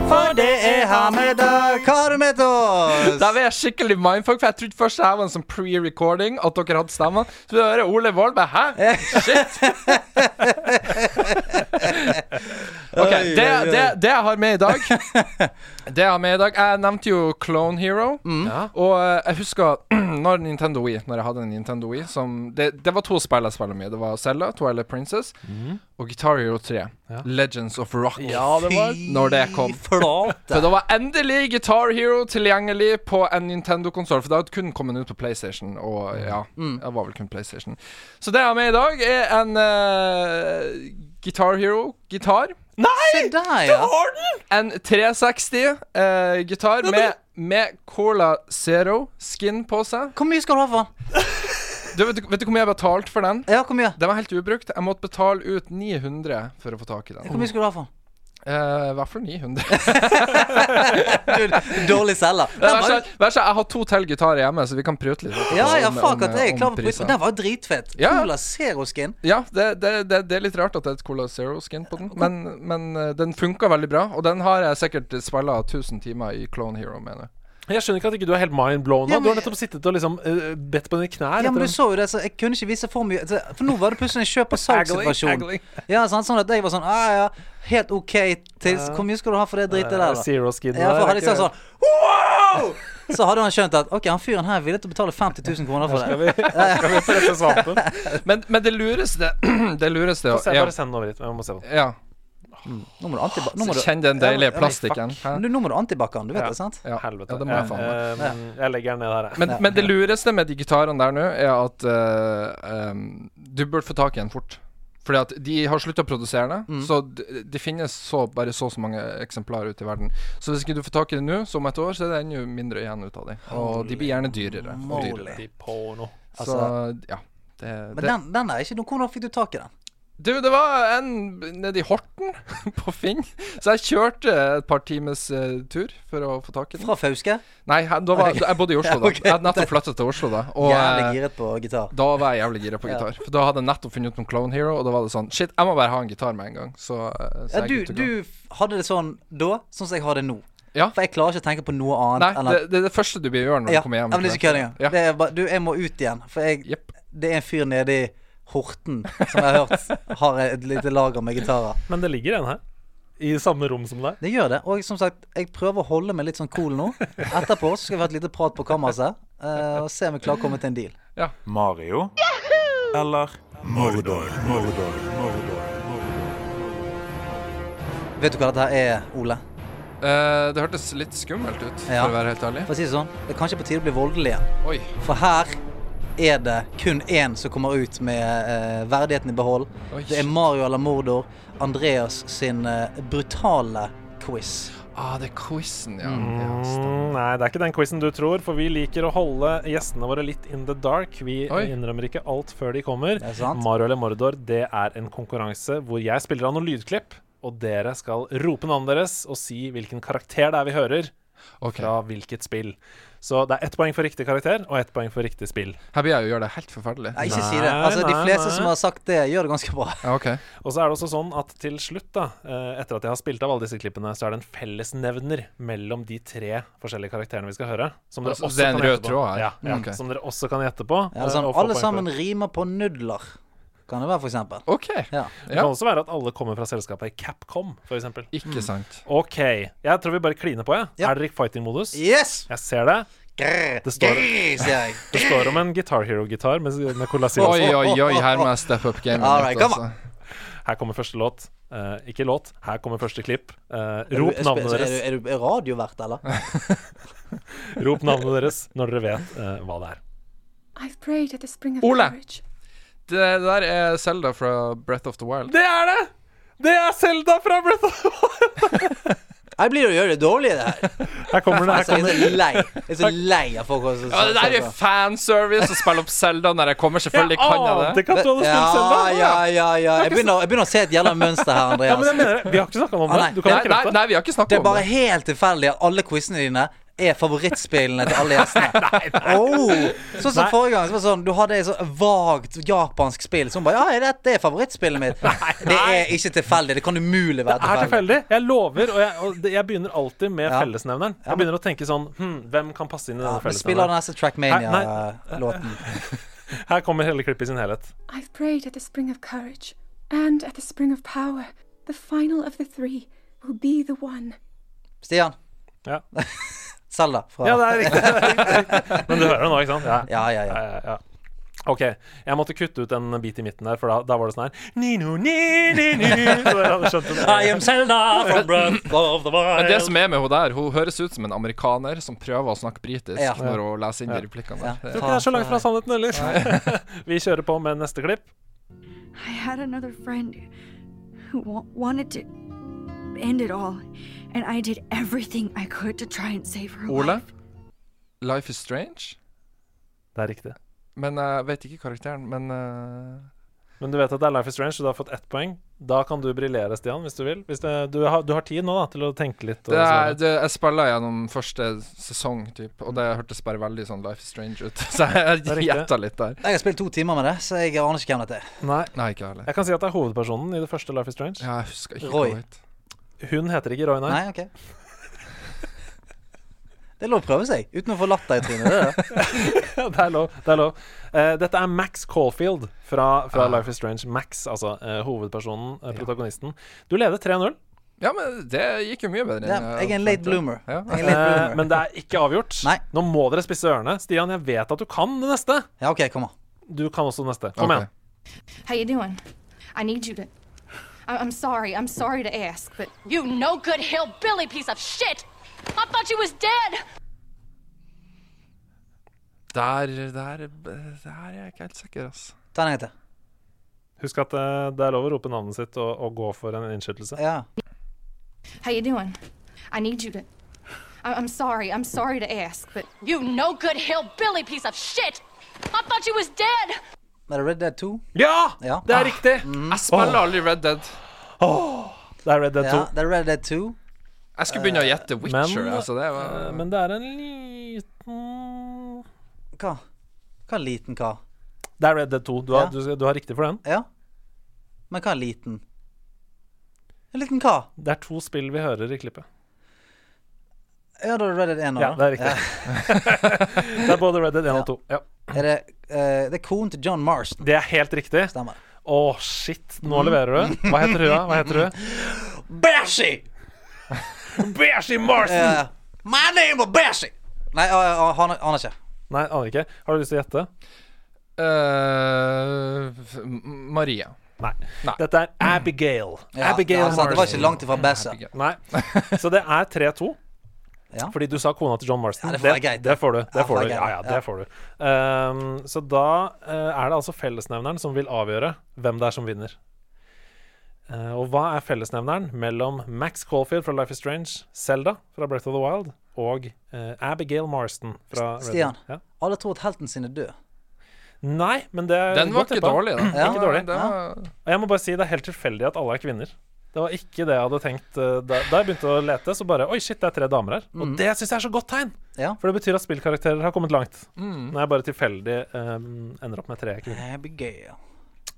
For det er ha med dag, hva har du med til oss? Da var jeg skikkelig mindfuck, for jeg trodde først det her var en sånn pre-recording, at dere hadde stemmene. Så det hører Ole Wahlberg, hæ? Shit! OK, det, det, det jeg har med i dag Det jeg har med i dag Jeg nevnte jo Clone Hero. Og eh, jeg husker når Nintendo Wii Når jeg hadde en Nintendo Wii som, det, det var to spill jeg spilte mye. Det var Zelda, Twilight Princess og Guitar Hero 3. Legends of Rock. Når det kom. Fy flate. Så da var endelig Guitar Hero tilgjengelig på en Nintendo-konsoll. For det hadde kun kommet ut på PlayStation, og ja, Mm. det var vel kun PlayStation. Så det jeg har med i dag, er en eh, Guitar Hero-gitar. Se der, ja. En 360-gitar med, med Cola Zero skin på seg. Hvor mye skal du ha for den? Du, vet, du, vet du hvor mye jeg betalte for den? Ja, hvor mye? Den var helt ubrukt. Jeg måtte betale ut 900 for å få tak i den. Hvor mye skal du ha for den? Eh, I hvert fall 900. Du, dårlig selger. Den Vær var så, jo- vær så, jeg har to til gitarer hjemme, så vi kan prute litt. etterpå Ja, ja, om- fuck om- eh, at jeg er om klar over prisen. priser. Den var jo dritfett. Ja. Cola Zero Skin. Ja, det, det, det, det er litt rart at det er et Cola Zero-skin på den, men, men eh, den funka veldig bra. Og den har jeg sikkert spilla 1000 timer i Clone Hero, mener jeg. Jeg skjønner ikke at ikke du er helt mind blown Ja, nå. men- Du har nettopp sittet og liksom eh, bedt på dine knær. Ja, men etter du så jo det, så jeg kunne ikke vise for mye. Så- For nå var det plutselig en kjøp og salg-situasjon. Haggling, Ja, sant, sånn at jeg var sånn ah, ja, helt OK til Hvor mye skal du ha for det dritet den, der, eh, da? Zero skin. Ja, for der, hadde jeg ikke- sagt sånn Wow! Så hadde han skjønt at OK, han fyren her er villig til å betale 50 000 kroner for det. Skal vi, skal vi presse svampen? Men, men det lureste Det lureste Se, er bare send den over hit. Jeg må se på den. Ja. Nå må du antibac... Nå må Så du, kjenn den deilige men- plastikken. Hæ? nå må du antibac-en, du vet Ja. det, sant? Ja, Helvete. ja, det må jeg faen meg. Eh, eh, jeg legger den ned her, jeg. Men, men det lureste med de gitarene der nå, er at eh, em, du burde få tak i en fort. Fordi at de har slutta å produsere det. Mm. Så det, det finnes så, bare så og så mange eksemplarer ute i verden. Så hvis ikke du får tak i det nå, som et år, så er det enda mindre igjen ut av dem. Og de blir gjerne dyrere. Og dyrere. De porno. Så ja. Det, Altså, Men det, den, den er ikke noe Hvordan fikk du tak i den? du, det var en nede i Horten, på Finn. Så jeg kjørte et par times eh, tur for å få tak i den. Fra Fauske? Nei, jeg- da var, jeg bodde i Oslo da. ok. Jeg hadde nettopp flytta til Oslo da. Og, eh, Jævlig giret på gitar. Da var jeg jævlig gira på gitar. For da hadde jeg nettopp funnet ut om Clone Hero, og da var det sånn Shit, jeg må bare ha en gitar med en gang. Så, eh, så Ja, du, jeg er good to go. du f- hadde det sånn da, sånn som jeg har det nå. Ja. For jeg klarer ikke å tenke på noe annet Nei, enn det, at det er det første du blir gjøre når ja, du kommer hjem. ja, men det er ikke kødd engang. Ja. Det er bare Du, jeg må ut igjen. For jeg Jepp. Det er en fyr nede i Horten som jeg har hørt har et lite lager med gitarer. Men det ligger en her. I samme rom som deg. Det gjør det. Og som sagt, jeg prøver å holde meg litt sånn cool nå. Etterpå så skal vi ha et lite prat på kammerset eh, og se om vi klarer å komme til en deal. Mario eller Mordor. Mordor. Mordor. Vet du hva dette her er, Ole? Eh, det hørtes litt skummelt ut, Ja. for å være helt ærlig. For å si det sånn, det er kanskje på tide å bli voldelig igjen. Oi. For her er det kun én som kommer ut med eh, verdigheten i behold. Oi, det er shit. Mario eller Mordor. Andreas sin eh, brutale quiz. Ah, det er quizen, ja. ja stemmer. Mm, nei, det er ikke den quizen du tror, for vi liker å holde gjestene våre litt in the dark. Vi Oi. innrømmer ikke alt før de kommer. Det er sant. Mario eller Mordor, det er en konkurranse hvor jeg spiller av noen lydklipp, og dere skal rope navnet deres og si hvilken karakter det er vi hører Ok, fra hvilket spill. Så det er ett poeng for riktig karakter og ett poeng for riktig spill. Her blir jeg jo gjøre det helt forferdelig. Nei, ikke Nei, si det. Altså, De nei, fleste nei. som har sagt det, gjør det ganske bra. Ja, ok. Og så er det også sånn at til slutt, da, eh, etter at jeg har spilt av alle disse klippene, så er det en fellesnevner mellom de tre forskjellige karakterene vi skal høre. Som dere Altså, også det er en kan rød gjette på. tråd her? Mm, Ja, ja, Ok. Som dere også kan gjette på. Ja, eh, sånn, og få alle poeng sammen for. rimer på nudler, kan det være, for eksempel. Ok, Ja. Det kan ja. også være at alle kommer fra selskapet Capcom, f.eks. Ikke sant. OK, jeg tror vi bare kliner på, jeg. Ja. Er dere i fighting-modus? Yes! Jeg ser det. Grr, Det står- grr, sier jeg. Det står om en Guitar Hero-gitar med, med Cola Zero. Oi, oi, oi, her må jeg steppe up gamet Mm. All right, mitt, come altså. Her kommer første låt. Eh, ikke låt, her kommer første klipp. Eh, Er du- rop navnet Er, deres du- er du er radiovert, eller? Rop navnet deres når dere vet eh, hva det er. I've prayed at the spring of Ole. courage. Det der er Selda fra Breath of the Wild. Det er det! Det er Selda fra Breath of the Wild! Jeg blir å gjøre det dårlig, det her. Her kommer det. her Altså, kommer jeg er så lei Jeg er så lei av folk som Ja, det der er jo fanservice å spille opp Selda når jeg kommer. Selvfølgelig Jeg kan jeg ante det. ikke at du hadde ja, spilt Selda. ja, ja, ja. Jeg begynner, jeg begynner å se et jævla mønster her, Ja, men jeg Andreas. mener det. Vi har ikke snakka om Ah, det. nei. Du kan Nei, ikke nei, rette det. nei, vi har ikke Det snakka er om bare det. helt tilfeldig at alle quizene dine er favorittspillene til alle gjestene. Oh. Sånn som Nei. forrige gang. Så var det sånn, du hadde et så vagt japansk spill som bare Ja, dette er favorittspillet mitt. Det er ikke tilfeldig. Det kan umulig være Det er tilfeldig. tilfeldig. Jeg lover, og jeg, og det- jeg begynner alltid med Ja. fellesnevneren. Ja, Jeg men- begynner å tenke sånn hm, Hvem kan passe inn i Ja, denne vi spiller den fellesnevneren? neste Nei, nei. Trackmania-låten. Her kommer hele klippet i sin helhet. I've prayed at the spring of courage and at the spring of power. The final of the three will be the one. Stian. Ja. Selda. Fra... Ja, Ja, det er riktig. det er riktig. Men du hører det nå, ikke sant? ja, ja, Ja, ja, ja. OK. Jeg måtte kutte ut en bit i midten der, for da, da var det sånn her Nino, ni, ni, ni. Så dere hadde skjønt det. I am Zelda from Breath of the Wild. Men det som er med hun der, hun høres ut som en amerikaner som prøver å snakke britisk Ja. når hun leser inn de replikkene der. Ja. Jeg tror ikke det er så langt fra sannheten heller. Vi kjører på med neste klipp. I had another friend who wa- wanted to end it all, and I did everything I could to try and save her Ole? life. Life is strange? Det er riktig. Men jeg vet ikke karakteren, men eh, Men du vet at det er Life is Strange, så du har fått ett poeng. Da kan du briljere, Stian, hvis du vil. Hvis det, du, har, du har tid nå da, til å tenke litt. Og det er, svare. det, Jeg spilla gjennom første sesong, typ, og det hørtes bare veldig sånn Life is strange ut. Så jeg Det er riktig. gjetta litt der. Jeg har spilt to timer med det, så jeg aner ikke hvem dette er. Nei. Nei, ikke jeg heller. Jeg kan si at det er hovedpersonen i det første Life is Strange. Ja, jeg husker ikke Roy. hva hun het. Hun heter ikke Roy, nei. Nei, ok Det er lov å prøve seg uten å få latter i trynet. Det er det. det er lov. Det er lov. Eh, dette er Max Caulfield fra, fra Life is Strange. Max, altså eh, hovedpersonen, eh, protagonisten. Du leder 3-0, Ja, men det gikk jo mye bedre. enn Ja, jeg er en late forventet. bloomer. Ja. Jeg er en late eh, bloomer. men det er ikke avgjort. Nei. Nå må dere spisse ørene. Stian, jeg vet at du kan det neste. Ja, OK, kom an. Du kan også det neste. Kom Ok. igjen. How you doing? I need you to. I- I'm sorry. I'm sorry to ask, but you no good hillbilly piece of shit. I thought you was dead. Der, der, der er jeg ikke helt sikker, ass. Ta den en gang til. Husk at eh, det er lov å rope navnet sitt og, og gå for en innskytelse. Ja. How you doing? I need you to. I- I'm sorry. I'm sorry to ask, but you no good hillbilly piece of shit. I thought you was dead. Er det Red Dead 2? Ja! Ja. Ah. Mm. Det er riktig! Jeg spiller aldri Red Dead. Det er Red Dead 2. Ja, det er Red Dead 2. Jeg skulle begynne å gjette Eh, Witcher. men- altså det var... Eh, Men det er en liten Hva? Hva er liten hva? Det er Red Dead 2. Du har, Ja. du, du har riktig for den. Ja? Men hva er liten? En liten hva? Det er to spill vi hører i klippet. Ja, da er det Red Dead 1 nå. Ja, da. det er riktig. Det er både Red Dead 1 og 2. Ja. Ja. Er det, eh, det er konen til John Marston. Det er helt riktig. Å, Stemmer. shit. Nå leverer du. Hva heter hun? da? Hva heter hun? Bashy! Beashi Marson! Eh, my name is Bashy! Nei, jeg aner aner ikke. Nei, aner ikke. Har du lyst til å gjette? Eh, f- M- Maria. Nei. Nei. Dette er Abigail. Ja, Abigail altså, det var Marston. ikke langt ifra Bassa. Abigail. Nei. Så det er 3-2. Ja. Fordi du sa kona til John Marston. Ja, det får være det, greit, det får du. Det Ja, får det får du. Ja, være ja, greit, det ja. får du. Ehm, så da eh, er det altså fellesnevneren som vil avgjøre hvem det er som vinner. Eh, og hva er fellesnevneren mellom Max Caulfield fra Life is Strange, Selda fra Breath of the Wild og eh, Abigail Marston fra Red Stian. Dead? Ja. Alle tror at helten sin er død. Nei, men det Den var ikke dårlig, da. Eh, Ja, Ikke dårlig. Det var... Og jeg må bare si det er helt tilfeldig at alle er kvinner. Det var ikke det jeg hadde tenkt eh, da, da jeg begynte å lete. Så bare Oi, shit, det er tre damer her. Og det syns jeg er så godt tegn! Ja. For det betyr at spillkarakterer har kommet langt. Når jeg bare tilfeldig eh, ender opp med tre kvinner. Abigail.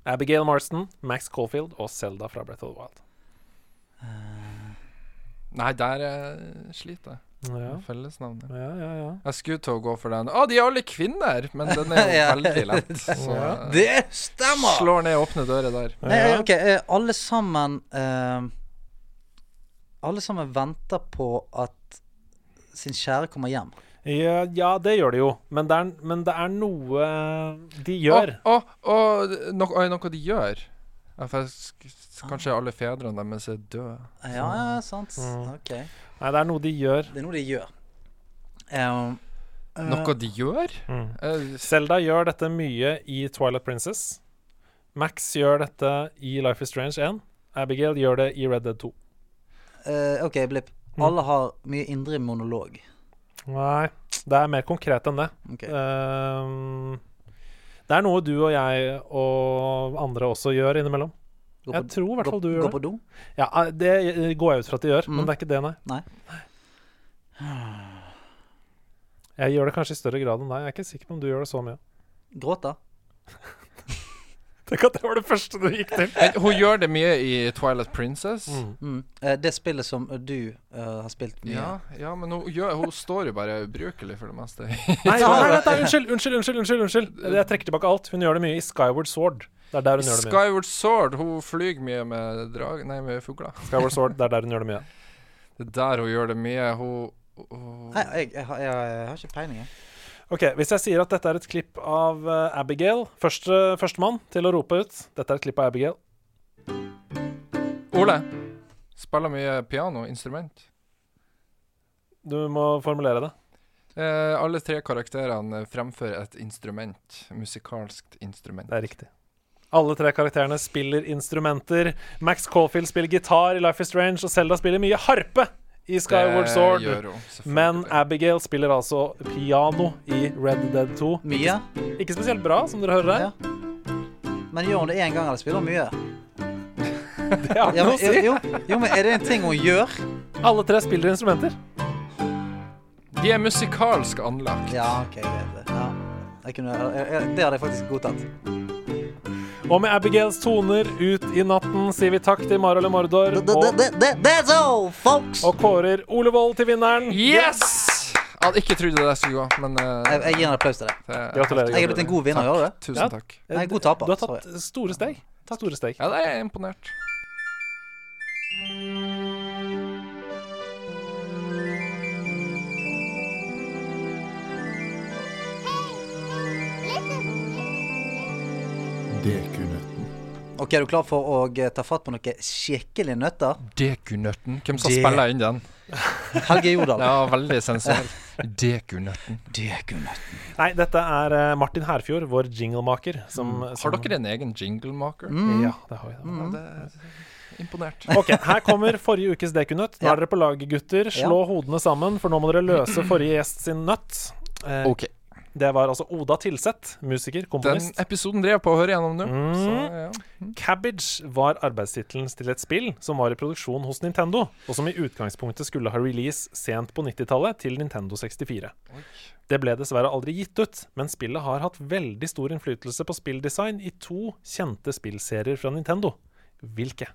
Abigail Marston, Max Caulfield og Selda fra Breath of the Wild. Nei, der eh, sliter jeg. Ja, Fellesnavnet. ja, ja. ja. Jeg skulle til å gå for den. Å, de er alle kvinner! Men den er jo Ja. veldig lett. Så eh, Det stemmer! slår ned åpne dører der. Nei, ok, eh, alle sammen eh, Alle sammen venter på at sin kjære kommer hjem. ja, ja det gjør de jo. Men det er, men det er noe de Å, gjør. å, å, no- oi, noe de gjør. Ja, for jeg sk- Kanskje alle fedrene deres er døde. Eh, Ja, ja, sant. Ok. Nei, det er noe de gjør. Det er noe de gjør. Eh, Noe de gjør? Eh, Selda gjør dette mye i Twilight Princess. Max gjør dette i Life is Strange 1. Abigail gjør det i Red Dead 2. Eh, OK, Blipp. Mm. Alle har mye indre monolog. Nei, det er mer konkret enn det. Ok. Ehm, det er noe du og jeg og andre også gjør innimellom. Gå Jeg tror i hvert gå- fall du gjør Gå på do? Ja, eh, det går jeg ut fra at de gjør, men det er ikke det, Mm. nei. Nei. Jeg gjør det kanskje i større grad enn deg. Jeg er ikke sikker på om du gjør det så mye. Gråte? Tenk at det var det første du gikk til. Men hun gjør det mye i Twilight Princess. Mm. Eh, det spillet som du eh, har spilt mye Ja, ja, men hun, gjør, hun står jo bare ubrukelig for det meste. Nei, nei, nei, nei, unnskyld, unnskyld, unnskyld, unnskyld, unnskyld. Jeg trekker tilbake alt. Hun gjør det mye i Skyward Sword. Det er der hun gjør det mye. Skyward Sword, hun flyr mye med drag... Nei, med fugler. Skyward Sword, det er der hun gjør det mye. Det er der hun gjør det mye. Hun, hun Nei, jeg, jeg, har- jeg, jeg har ikke peiling, jeg. Ok, Hvis jeg sier at dette er et klipp av eh, Abigail første, Førstemann til å rope ut. Dette er et klipp av Abigail. Ole spiller mye piano, instrument. Du må formulere det. Eh, alle tre karakterene fremfører et instrument. Musikalskt instrument. Det er riktig. Alle tre karakterene spiller instrumenter. Max Caulfield spiller gitar i Life is Strange, og Selda spiller mye harpe i Skyward Det Sword. gjør hun, selvfølgelig. Men Abigail spiller altså piano i Red Dead 2. Mye? Ikke spesielt bra, som dere hører her. Ja. Men gjør hun det én gang, eller spiller hun mye? Det har Ja, ikke men, noe å si. jo, jo, men er det en ting hun gjør? Alle tre spiller instrumenter. De er musikalsk anlagt. Ja, OK, greit. det. Ja. Jeg kunne, jeg, jeg, det hadde jeg faktisk godtatt. Og med Abigails toner ut i natten sier vi takk til Marole Mordor Th- th- og, th- th- That's all, folks! og kårer Ole Wold til vinneren. Yes! Jeg hadde ikke trodd det der skulle gå, men eh, Jeg, jeg gir en applaus til deg. det- Gratulerer. Jeg er blitt en god vinner, gjør du det? Tusen Ja. takk. Nei, god taper. Du har tatt store steg. Store steg. Ja, det er jeg imponert. OK, er du klar for å eh, ta fatt på noen skikkelige nøtter? Dekunøtten. Hvem som Det- spiller inn den? Helge Jordal. Ja, veldig sensuell. Dekunøtten. Dekunøtt. Nei, dette er eh, Martin Herfjord, vår jinglemaker. Som, som, Mm. Har dere en egen jinglemaker? Mm, Ja, det har vi. Ja, det er imponert. Ok, Her kommer forrige ukes dekunøtt. Nå Ja. er dere på laget, gutter. Slå hodene sammen, for nå må dere løse forrige gjest sin nøtt. Eh, OK. Det var altså Oda Tilseth, musiker, Den komponist. episoden drev jeg på å høre gjennom nå. Så, ja. Cabbage var arbeidstittelen til et spill som var i produksjon hos Nintendo, og som i utgangspunktet skulle ha release sent på 90-tallet til Nintendo 64. Det ble dessverre aldri gitt ut, men spillet har hatt veldig stor innflytelse på spilldesign i to kjente spillserier fra Nintendo. Hvilke?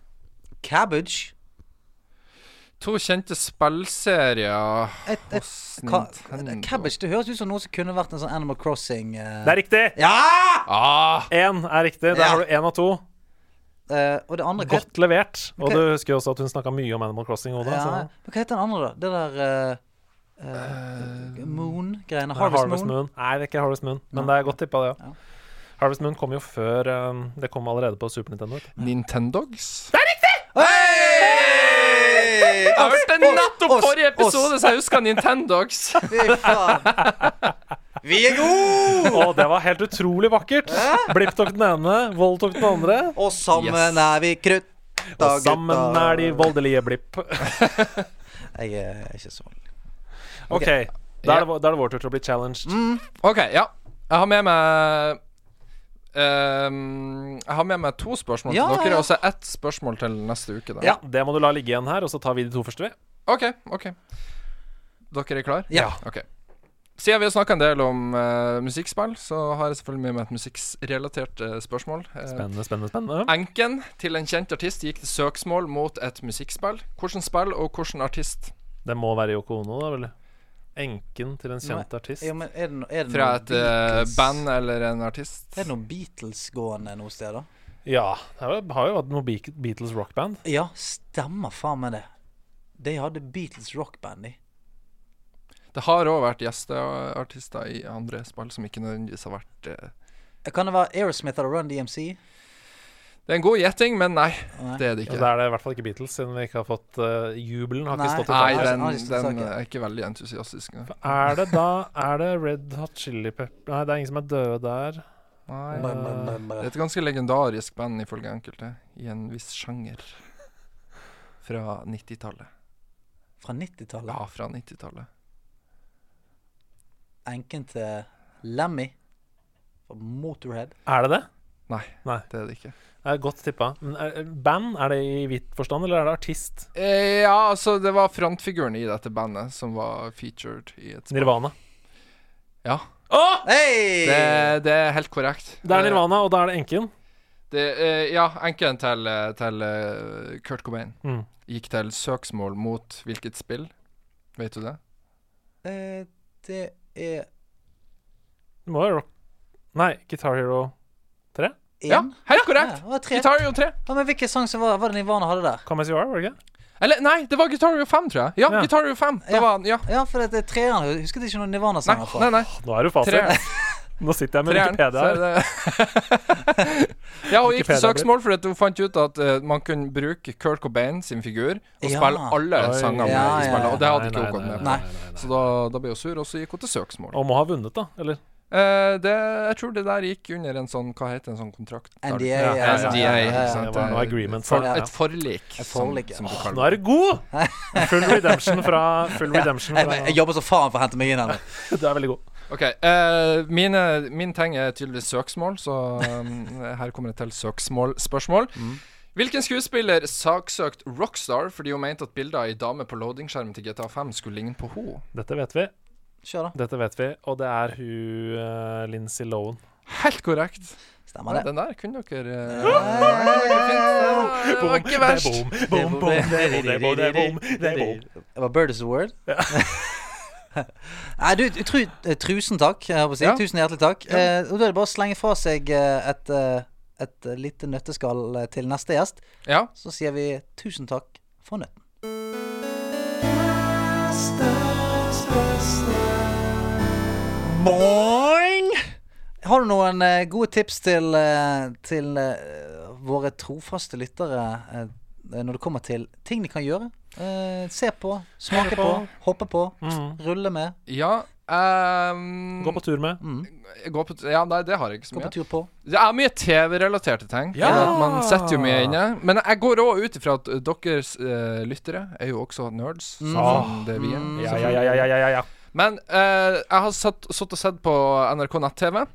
Cabbage. To kjente spillserier Et, et, hos ka, Nintendo. cabbage, det høres ut som noe som kunne vært en sånn Animal Crossing eh. Det er riktig! Ja! Ah, Én er riktig. Der Ja. har du én av to. Eh, og det andre hva- Godt levert. Og Ok. du husker jo også at hun snakka mye om Animal Crossing. Oda, ja, så- men Hva heter den andre, da? Det der eh, eh, Moon-greiene. Nei, Harvest, Moon. Nei, det er ikke Harvest Moon, men Nei. det er godt tippa, det òg. Ja. Harvest Moon kom jo før um, Det kom allerede på Super Nintendo. vet du. Nintendogs? Hey! Jeg hørte nettopp oss, forrige oss. episode, så jeg husker Nintendogs. Fy faen. Vi er gode! Å, det var helt utrolig vakkert! Blipp tok den ene, Vold tok den andre. Og sammen Yes. er vi krutt. Og sammen er de voldelige blipp. Jeg er ikke så OK, da er det, vår- da er det vår tur til å bli challenged. OK, ja. Jeg har med meg ehm, jeg har med meg to spørsmål til Ja, ja, dere, ja. og så ett spørsmål til neste uke. Da. Ja, Det må du la ligge igjen her, og så tar vi de to første, vi. OK. ok Dere er klare? Ja. Ok. Siden vi har snakka en del om eh, musikkspill, så har jeg selvfølgelig med meg et musikkrelatert eh, spørsmål. Eh, Spennende, spennende, spennende. Enken til en kjent artist gikk til søksmål mot et musikkspill. Hvilket spill og hvilken artist? Det må være Yoko Ono, da, vel? Enken til en kjent Nei, artist. Jo, men er det, no, er det Fra noe et eh, Beatles- band eller en artist? Er det noe Beatles gående noe sted, da? Ja, det har jo- har jo vært noe Be- Beatles rockband. Ja, stemmer faen meg det. De hadde Beatles rockband, de. Det har òg vært gjesteartister i andre spill som ikke nødvendigvis har vært eh, Kan det være Aerosmith eller Run DMC? Det er en god gjetting, men nei, Nei. det er det Ja, ikke. Da er Altså, det i hvert fall ikke Beatles, siden vi ikke har fått eh, Jubelen har Nei. ikke stått i Nei, tallene. den, Nei, det er den saken. er ikke veldig entusiastisk. Nei. Er det da Er det Red Hot Chili Pepper Nei, det er ingen som er døde der. Nei. Bra, bra, bra, bra. Det er et ganske legendarisk band, ifølge enkelte, i en viss sjanger. Fra 90-tallet. Fra 90-tallet. Ja, fra 90-tallet. Enken til Lemmy fra Motorhead. Er det det? Nei, Nei. det er det ikke. Det er godt tippa. Men er, band, er det i hvitt forstand, eller er det artist? Eh, ja, altså, det var frontfiguren i dette bandet som var featured i et Nirvana. Ja. Hei! Det, det er helt korrekt. Det er Nirvana, og da er det enken. Det, eh, ja, enken til, eh, til eh, Kurt Cobain Mm. gikk til søksmål mot hvilket spill? Vet du det? Eh, det er Det må være rock Nei, Guitar Hero én. Ja, helt korrekt! Ja, det var tre. Guitar Hero 3. Ja, men hvilken sang som var, var det Nirvana hadde der? Come As You Are, var det ikke? Eller nei, det var Guitar Hero 5, tror jeg. Ja, Ja. Guitar Hero 5. Det Ja. var den, ja. Ja, for det er treeren. Jeg Husket ikke noen Nei, Nirvana-sanger nei, fra. nei. Nå er du fasit. Treeren. Nå sitter jeg med Treeren. Wikipedia her. så er det- ja, hun gikk til Wikipedia søksmål fordi hun fant ut at eh, man kunne bruke Kurt Cobain sin figur og Ja. spille alle Oi. sangene Ja, ja, i spillet, ja. og det hadde ikke Nei, hun gått nei, med på. nei, Nei. nei, nei. Så da, da ble hun sur, og så gikk hun til søksmål. Og må ha vunnet, da. Eller? Eh, det, jeg tror det der gikk under en sånn Hva heter en sånn kontrakt? NDA, Der- ja, Ja, ja, NDA, ja, ja, ja. ikke sant? Det var noe agreement for, for- ja. Et forlik. Et forlik, ja. som, som du Nå kaller er det. du god! Full redemption fra Full redemption Jeg, jeg fra jobber så faen for å hente meg inn her nå. Du er veldig god. OK. eh, mine, min ting er tydeligvis søksmål, så eh, her kommer det til søksmålspørsmål. Hvilken skuespiller saksøkt Rockstar fordi hun mente at bilder av ei dame på loadingskjermen til GTA5 skulle ligne på henne? Dette vet vi. Kjør, da. Dette vet vi, og det er hun uh, Lincy Lohan. Helt korrekt. Stemmer det. Den der kunne dere eh, det var ikke fint, det var- Det var ikke verst. Det er bom, bom, det er bom, det er bom, det er bom, det er bom. Det var Bird is the word. Nei, du, tru, eh, trusen takk. Jeg håper å si. Ja. Tusen hjertelig takk. Eh, og da er det bare å slenge fra seg eh, et, eh, et eh, lite nøtteskall eh, til neste gjest. Ja. Så sier vi tusen takk for nøtten. Boing! Har du noen eh, gode tips til, eh, til eh, våre trofaste lyttere eh, når det kommer til ting de kan gjøre? Eh, se på, smake Høre på, på. hoppe på, Mm. rulle med, ja ehm, Gå på tur med. gå på t- Ja, nei, det har jeg ikke så gå mye. på tur på. Det er mye TV-relaterte ting. Ja! for at Man sitter jo mye inne. Men jeg går òg ut ifra at deres eh, lyttere er jo også nerds. Mm. Sånn som Ah. det vi er. Ja, ja, ja, ja, ja, ja, ja. Men eh, jeg har satt, satt og sett på NRK nett-TV.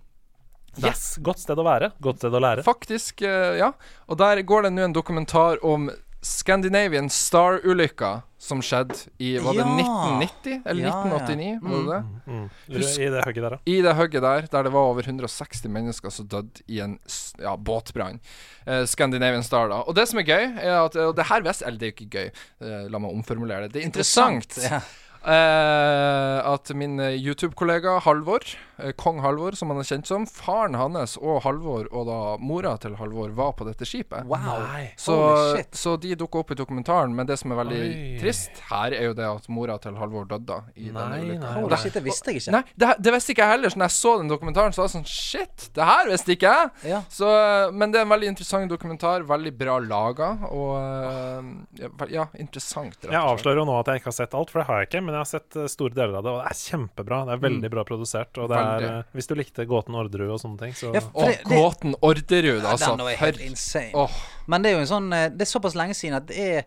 Yes! Godt sted å være. Godt sted å lære. Faktisk, eh, ja. Og der går det nå en dokumentar om Scandinavian Star-ulykka som skjedde i Var det Ja. 1990? Eller Ja, ja. 1989? Var det det? Mm. Husk- I det hugget der, ja. I det hugget der, der det var over 160 mennesker som døde i en s- ja, båtbrann. Eh, Scandinavian Star, da. Og det som er gøy, er at Og det her visste Eller det er jo ikke gøy, eh, la meg omformulere det. Det er interessant, Ja. eh, at min eh, YouTube-kollega Halvor, eh, kong Halvor, som han er kjent som, faren hans og Halvor, og da mora til Halvor, var på dette skipet. Wow. Nei. Så, Holy shit. så de dukker opp i dokumentaren, men det som er veldig Oi. trist her, er jo det at mora til Halvor døde da, i Nei, denne ulykka. nei, Og Holy det- shit, det visste jeg ikke. Nei, det, det visste ikke jeg heller. Så når jeg så den dokumentaren, så var jeg sånn Shit, det her visste ikke jeg! Ja. Så, men det er en veldig interessant dokumentar. Veldig bra laga. Og eh, ja, vel- ja, interessant, rett Jeg og slett. avslører jo nå at jeg ikke har sett alt, for det har jeg ikke. Men jeg har sett eh, store deler av det, og det er kjempebra. Det er veldig bra produsert. Og det er, Veldig. eh, hvis du likte gåten Orderud og sånne ting, så Ja, for Og det- det- gåten Orderud, Ja, altså. Den var helt For insane. Åh. Men det er jo en sånn eh, Det er såpass lenge siden at det er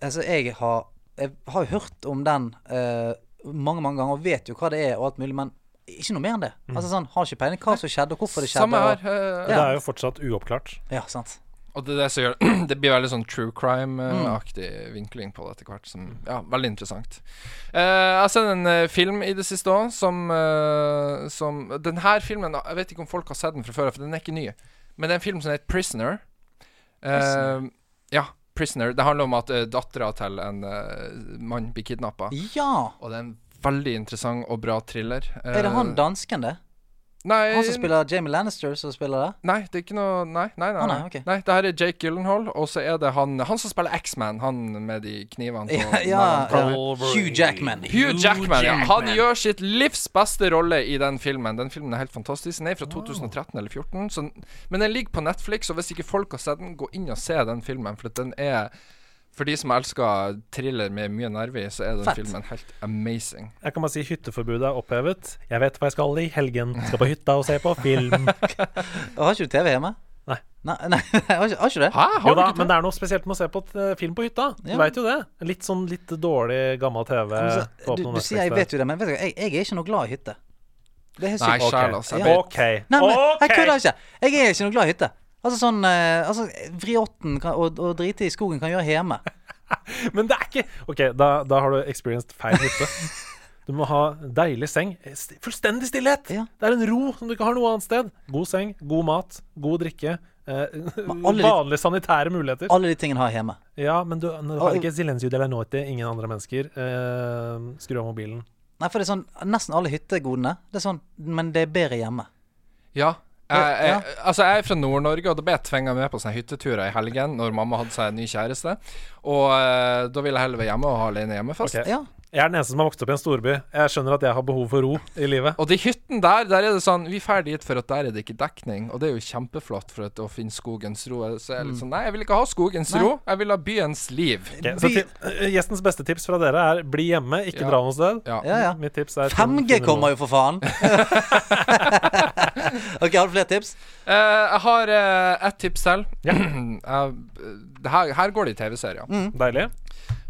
Altså, jeg har Jeg har jo hørt om den eh, mange, mange ganger og vet jo hva det er og alt mulig, men ikke noe mer enn det. Altså sånn, Har ikke peiling hva som skjedde, og hvorfor det skjedde. Mm. Samme her. og- eh, Det er jo fortsatt uoppklart. Ja, sant. Og det er det som gjør Det blir veldig sånn true Mm. crime-aktig vinkling på det etter hvert. Som, ja, veldig interessant. Eh, jeg har sett en eh, film i det siste òg som, eh, som Den her filmen Jeg vet ikke om folk har sett den fra før, for den er ikke ny. Men det er en film som heter Prisoner. Eh, ja, Prisoner. Det handler om at uh, dattera til en eh, mann blir kidnappa. Ja! Og det er en veldig interessant og bra thriller. Eh, Er det han dansken, det? Nei, Han som spiller Jamie Lannister, som spiller det? nei, det er ikke noe Nei, nei, nei. Å, nei, nei, ok. nei det her er Jake Gyllenhaal, og så er det han Han som spiller X-Man, han med de knivene på Ja, ja, ja. Hugh Jackman. Hugh Jackman, ja. Han gjør sitt livs beste rolle i den filmen. Den filmen er helt fantastisk. Den er fra 2013 eller 2014, så, men den ligger på Netflix, og hvis ikke folk har sett den, gå inn og se den filmen, for at den er for de som elsker thriller med mye nerver, så er den Fett. filmen helt amazing. Jeg kan bare si hytteforbudet er opphevet. Jeg vet hva jeg skal i helgen. Skal på hytta og se på film. Og Har ikke du TV hjemme? Nei. Nei, nei har, ikke, har ikke det? Hæ, Jo Ah, har du da, ikke men det er noe spesielt med å se på et, eh, film på hytta. Du Ja. vet jo det. Litt sånn litt dårlig gammel TV. Men så- Få opp du, noen du sier jeg eh, Netflix vet jo det, men vet du, hva, jeg, jeg er ikke noe glad i hytte. Det er helt Nei, sykt. Ok. sjæl, altså. Jeg Ja. vet- OK. Nei, men OK! jeg kødder ikke. Jeg er ikke noe glad i hytte. Altså sånn eh, altså, Vriotten kan, og, og drite i skogen kan gjøre hjemme. Men det er ikke OK, da, da har du experienced feil hytte. Du må ha deilig seng. St- Fullstendig stillhet! Ja. Det er en ro som du ikke har noe annet sted. God seng, god mat, god drikke. Eh, alle de- vanlige sanitære muligheter. Alle de tingene har jeg hjemme. Ja, men du, du har Alle- ikke Zelenskyj Delanoiti, ingen andre mennesker. Eh, skru av mobilen. Nei, for det er sånn Nesten alle hyttegodene. Det er sånn Men det er bedre hjemme. Ja. Jeg, Ja. jeg, altså jeg er fra Nord-Norge, og da ble jeg tvinga med på sånne hytteturer i helgen når mamma hadde seg en ny kjæreste. Og eh, da ville jeg heller være hjemme og ha alene hjemmefest. Ok. Ja. Jeg er den eneste som har vokst opp i en storby. Jeg skjønner at jeg har behov for ro i livet. Og de hyttene der, der er det sånn Vi drar dit for at der er det ikke dekning, og det er jo kjempeflott for at, å finne skogens ro. Så jeg er litt sånn Nei, jeg vil ikke ha skogens ro, jeg vil ha byens liv. Ok, så til, eh, gjestens beste tips fra dere er bli hjemme, ikke Ja. dra noe sted. Ja. Ja, ja. Mitt tips er 5G kommer jo, for faen! ok, har du flere tips? Eh, jeg har eh, ett tips til. Ja. Mm. Jeg- det her, her går det i TV-serier. Deilig.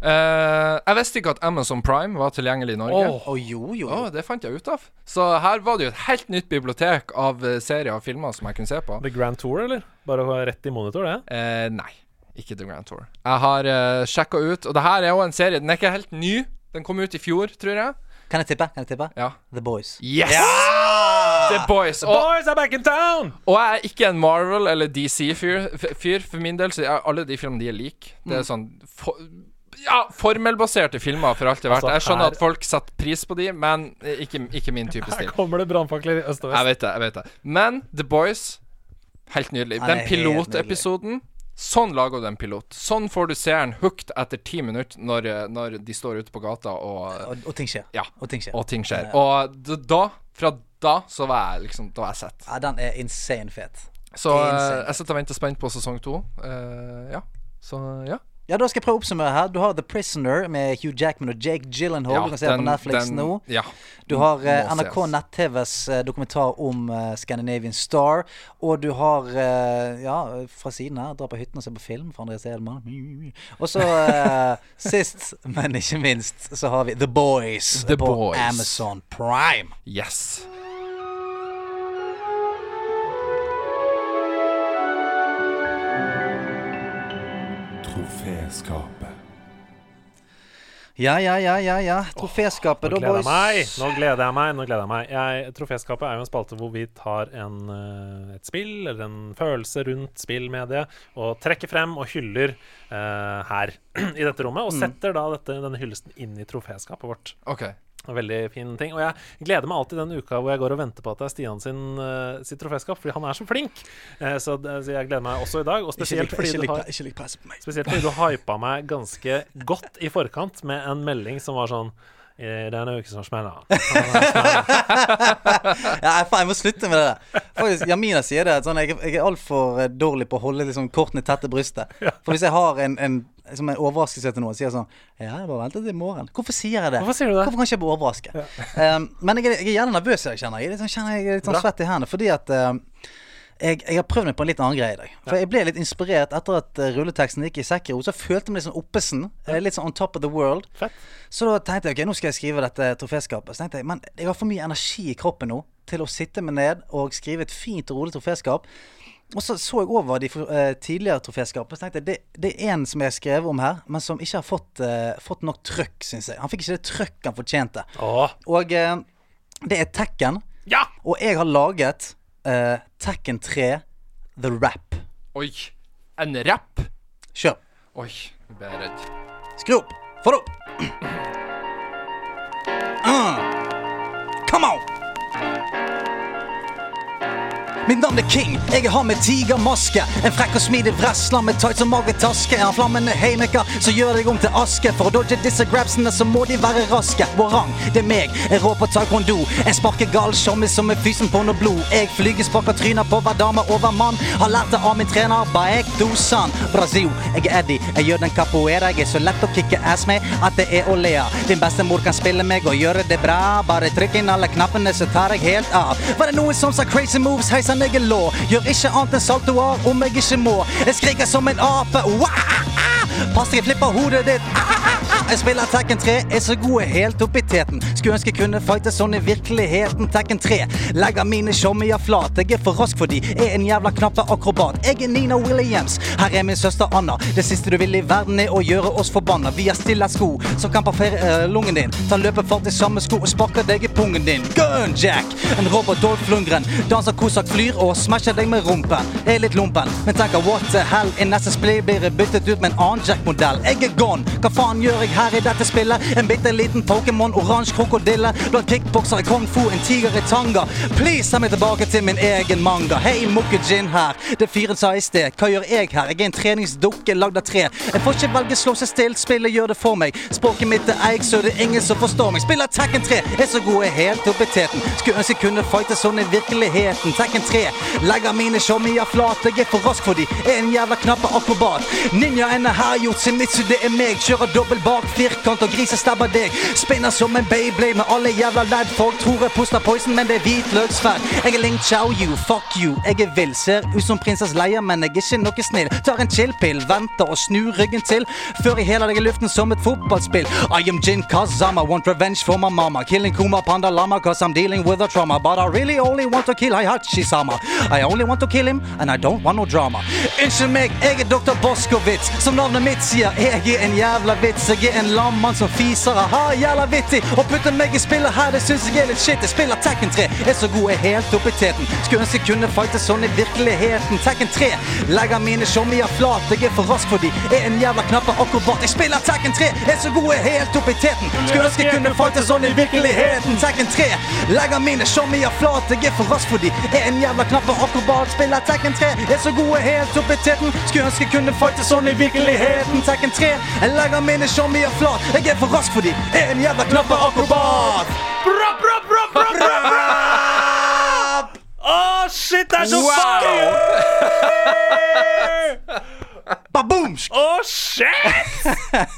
Eh, jeg visste ikke at Amazon Prime var tilgjengelig i Norge. Å jo, jo. Å, det fant jeg ut av. Så her var det jo et helt nytt bibliotek av eh, serier og filmer som jeg kunne se på. The Grand Tour, eller? Bare å ha rett i monitor, det. Eh, nei, ikke The Grand Tour. Jeg har uh, sjekka ut, og det her er jo en serie Den er ikke helt ny. Den kom ut i fjor, tror jeg. Kan jeg tippe? Kan jeg tippe? Ja. The Boys. Yes! The Boys. Og, Boys are back in town! og jeg er ikke en Marvel- eller DC-fyr. For min del så er alle de filmene de er like. Det Mm. er sånn for, ja, formelbaserte filmer for alt det er verdt. Altså, Jeg skjønner her- at folk setter pris på de, men eh, ikke, ikke min type Her stil. kommer det brannfakler i øst og Jeg vest. vet det, jeg vet det. Men The Boys Helt nydelig. Han er Den helt pilotepisoden Sånn lager du en pilot. Sånn får du seeren hooked etter ti minutter når, når de står ute på gata og, Og, og ting skjer. Ja. Og ting skjer. og ting skjer. Og d- da, fra da, så var jeg liksom Da var jeg sett. Ja, den er insane fet. Så Det er eh, insane. jeg sitter og venter spent på sesong to. Eh, ja. Så ja. Ja, da skal jeg prøve å oppsummere her. Du har The Prisoner med Hugh Jackman og Jake Gyllenhaal. ja du kan se den, på Netflix nå. Ja. Du har eh, Må NRK ses. Nett-TVs eh, dokumentar om eh, Scandinavian Star. Og du har eh, Ja, fra siden her. Dra på hytten og se på film for Andreas Edelmann. Og så eh, sist, men ikke minst, så har vi The Boys The på Boys. Amazon Prime. Yes. Troféskapet. Ja, ja, ja, ja. ja Troféskapet, Nå da, gleder boys. jeg meg! Nå gleder jeg meg. nå gleder jeg meg jeg, Troféskapet er jo en spalte hvor vi tar en, eh, et spill eller en følelse rundt spillmediet og trekker frem og hyller eh, her i dette rommet. Mm. Og setter da dette, denne hyllesten inn i troféskapet vårt. OK. En Veldig fin ting. Og jeg gleder meg alltid den uka hvor jeg går og venter på at det er Stian sin, eh, sitt troféskap, fordi han er så flink. Eh, så, det, så jeg gleder meg også i dag. Og Ikke spesielt ligg fordi ikke du ligg har pre- ikke ligg presset på meg. Spesielt fordi du hypa meg ganske godt i forkant med en melding som var sånn «Eh, det er en uke som smeller. Ja, faen, jeg må slutte med det der. Faktisk, Jamina sier det. at Sånn, jeg, jeg er altfor eh, dårlig på å holde liksom, kortene tett til brystet. For hvis jeg har en, en, liksom, en overraskelse til noen, sier jeg sånn Ja, jeg bare venter til i morgen. Hvorfor sier jeg det? Hvorfor sier du det? Hvorfor kan ikke jeg bare overraske? Um, men jeg, er- jeg er gjerne nervøs, jeg kjenner jeg. er litt sånn- kjenner jeg er litt sånn svett i hendene. Fordi at um, jeg, jeg har prøvd meg på en litt annen greie i dag. For Jeg ble litt inspirert etter at eh, rulleteksten gikk i Sekiro. Så følte jeg meg litt sånn oppesen. eh, Litt sånn on top of the world. Fett. Så da tenkte jeg ok, nå skal jeg skrive dette troféskapet. Så tenkte jeg, Men jeg har for mye energi i kroppen nå til å sitte meg ned og skrive et fint og rolig troféskap. Og så så jeg over de eh, tidligere troféskapene. Så tenkte jeg, det, det er en som jeg har skrevet om her, men som ikke har fått, eh, fått nok trøkk, syns jeg. Han fikk ikke det trøkk han fortjente. Åh, Og eh, det er Tekken. ja! Og jeg har laget eh, Tekken 3 The Rap. Oi. En rapp. Kjør. Oi. Jeg ble redd. Skru opp. Få det opp. Mm. Come on. Mitt navn er King, jeg har med tigermaske. En frekk og smidig wrestler med tights og magetaske. Jeg har flammende haymaker som gjør deg om til aske. For å dodge disse grabsene så må de være raske. Warang, det er meg, jeg rår på taekwondo. En sparker gal sjommis som er fysen på noe blod. Jeg flyger, sparker tryner på hver dame og hver mann. Har lært det av min trener Baek Dusan. Brasil, jeg er Eddie, jeg gjør den capoeira. Jeg er så lett å kicke ass med at det er olea. Din bestemor kan spille meg og gjøre det bra. Bare trykk inn alle knappene, så tar jeg helt av. Var det noen som sa crazy moves? Hei sann, jeg er lå. Gjør ikke annet enn saltoar om jeg ikke må. Jeg skriker som en ape. Wah! Pass deg, jeg flipper hodet ditt. Ah, ah, ah, ah. Jeg spiller Tekken 3, er så god jeg er helt opp i teten. Skulle ønske jeg kunne fighte sånn i virkeligheten. Tekken 3 legger mine showmier flat. Jeg er for rask for de, er en jævla knappe akrobat. Jeg er Nina Williams, her er min søster Anna. Det siste du vil i verden er å gjøre oss forbanna. Vi har stille sko som kan parfere eh, lungen din. Ta løpefart i samme sko og sparker deg i pungen din. Gunjack! En robot Dolph Lundgren danser kosak flyr og smasher deg med rumpen. Er litt lumpen, men tenker what the hell. I neste spill blir jeg byttet ut med en annen Jack-modell. Jeg er gone, hva faen gjør jeg her i dette spillet? En bitte liten Pokémon, oransje krokodille. Blant kickboksere, kung fu, en tiger i tanga. Please, send meg tilbake til min egen manga. Hei, Mokkujin her. Det fyren sa i sted. Hva gjør jeg her? Jeg er en treningsdukke lagd av tre. Jeg får ikke velge slå seg stilt, spillet gjør det for meg. Språket mitt er eik, så det er ingen som forstår meg. Spiller Tekken 3, er så god jeg er helt oppe i teten. Skulle ønske jeg kunne fighte sånn i virkeligheten. Tekken 3, legger mine showmier flat. Jeg er for rask for de, er en jævla knappe akrobat. Ninjaen er hergjort, Simitsu det er meg. Kjører dobbel bak firkant og grisestabber deg. Spinner som en Beyblade med alle jævla ledd. Folk tror jeg poster poison, men det er hvitløksferd. Jeg er Ling Chao Yu, fuck you. Jeg er vill, ser ut som prinsess Leia, men jeg er ikke noe snill. Tar en chillpill, venter og snur ryggen til før jeg heler deg i luften som et fotballspill. I am Jin Kazama, want revenge for my mama. Killing Kuma Panda Lama, cause I'm dealing with a trauma. But I really only want to kill Hayachi-sama. I only want to kill him, and I don't want no drama. Unnskyld meg, jeg er Dr. Boskowitz. Som navnet mitt sier, jeg er en jævla vits. Jeg er en lam mann som fiser. Aha, jævla vittig. Å putte meg i spillet her, det syns jeg er litt shit. Jeg spiller Tekken 3, er så god, jeg er helt oppe i teten. Skulle ønske jeg kunne fighte sånn i virkeligheten. Tekken 3 legger mine showmier flat. Jeg er for rask for de, er en jævla knappe akrobat. Jeg spiller Tekken 3, er så god, jeg er helt oppe i teten. Skulle ønske jeg kunne fighte sånn i virkeligheten. Tekken 3 legger mine showmier flat. Jeg er for rask for de, er en jævla knappe akrobat. Spiller Tekken 3, er så god, jeg er helt oppe i teten. Skulle ønske jeg kunne fighte sånn i virkeligheten. Tekken 3 legger mine showmier flat. Jeg er for rask for de, er en jævla knappe akrobat. Å, shit, det er så fucking Baboomsk! Å, shit!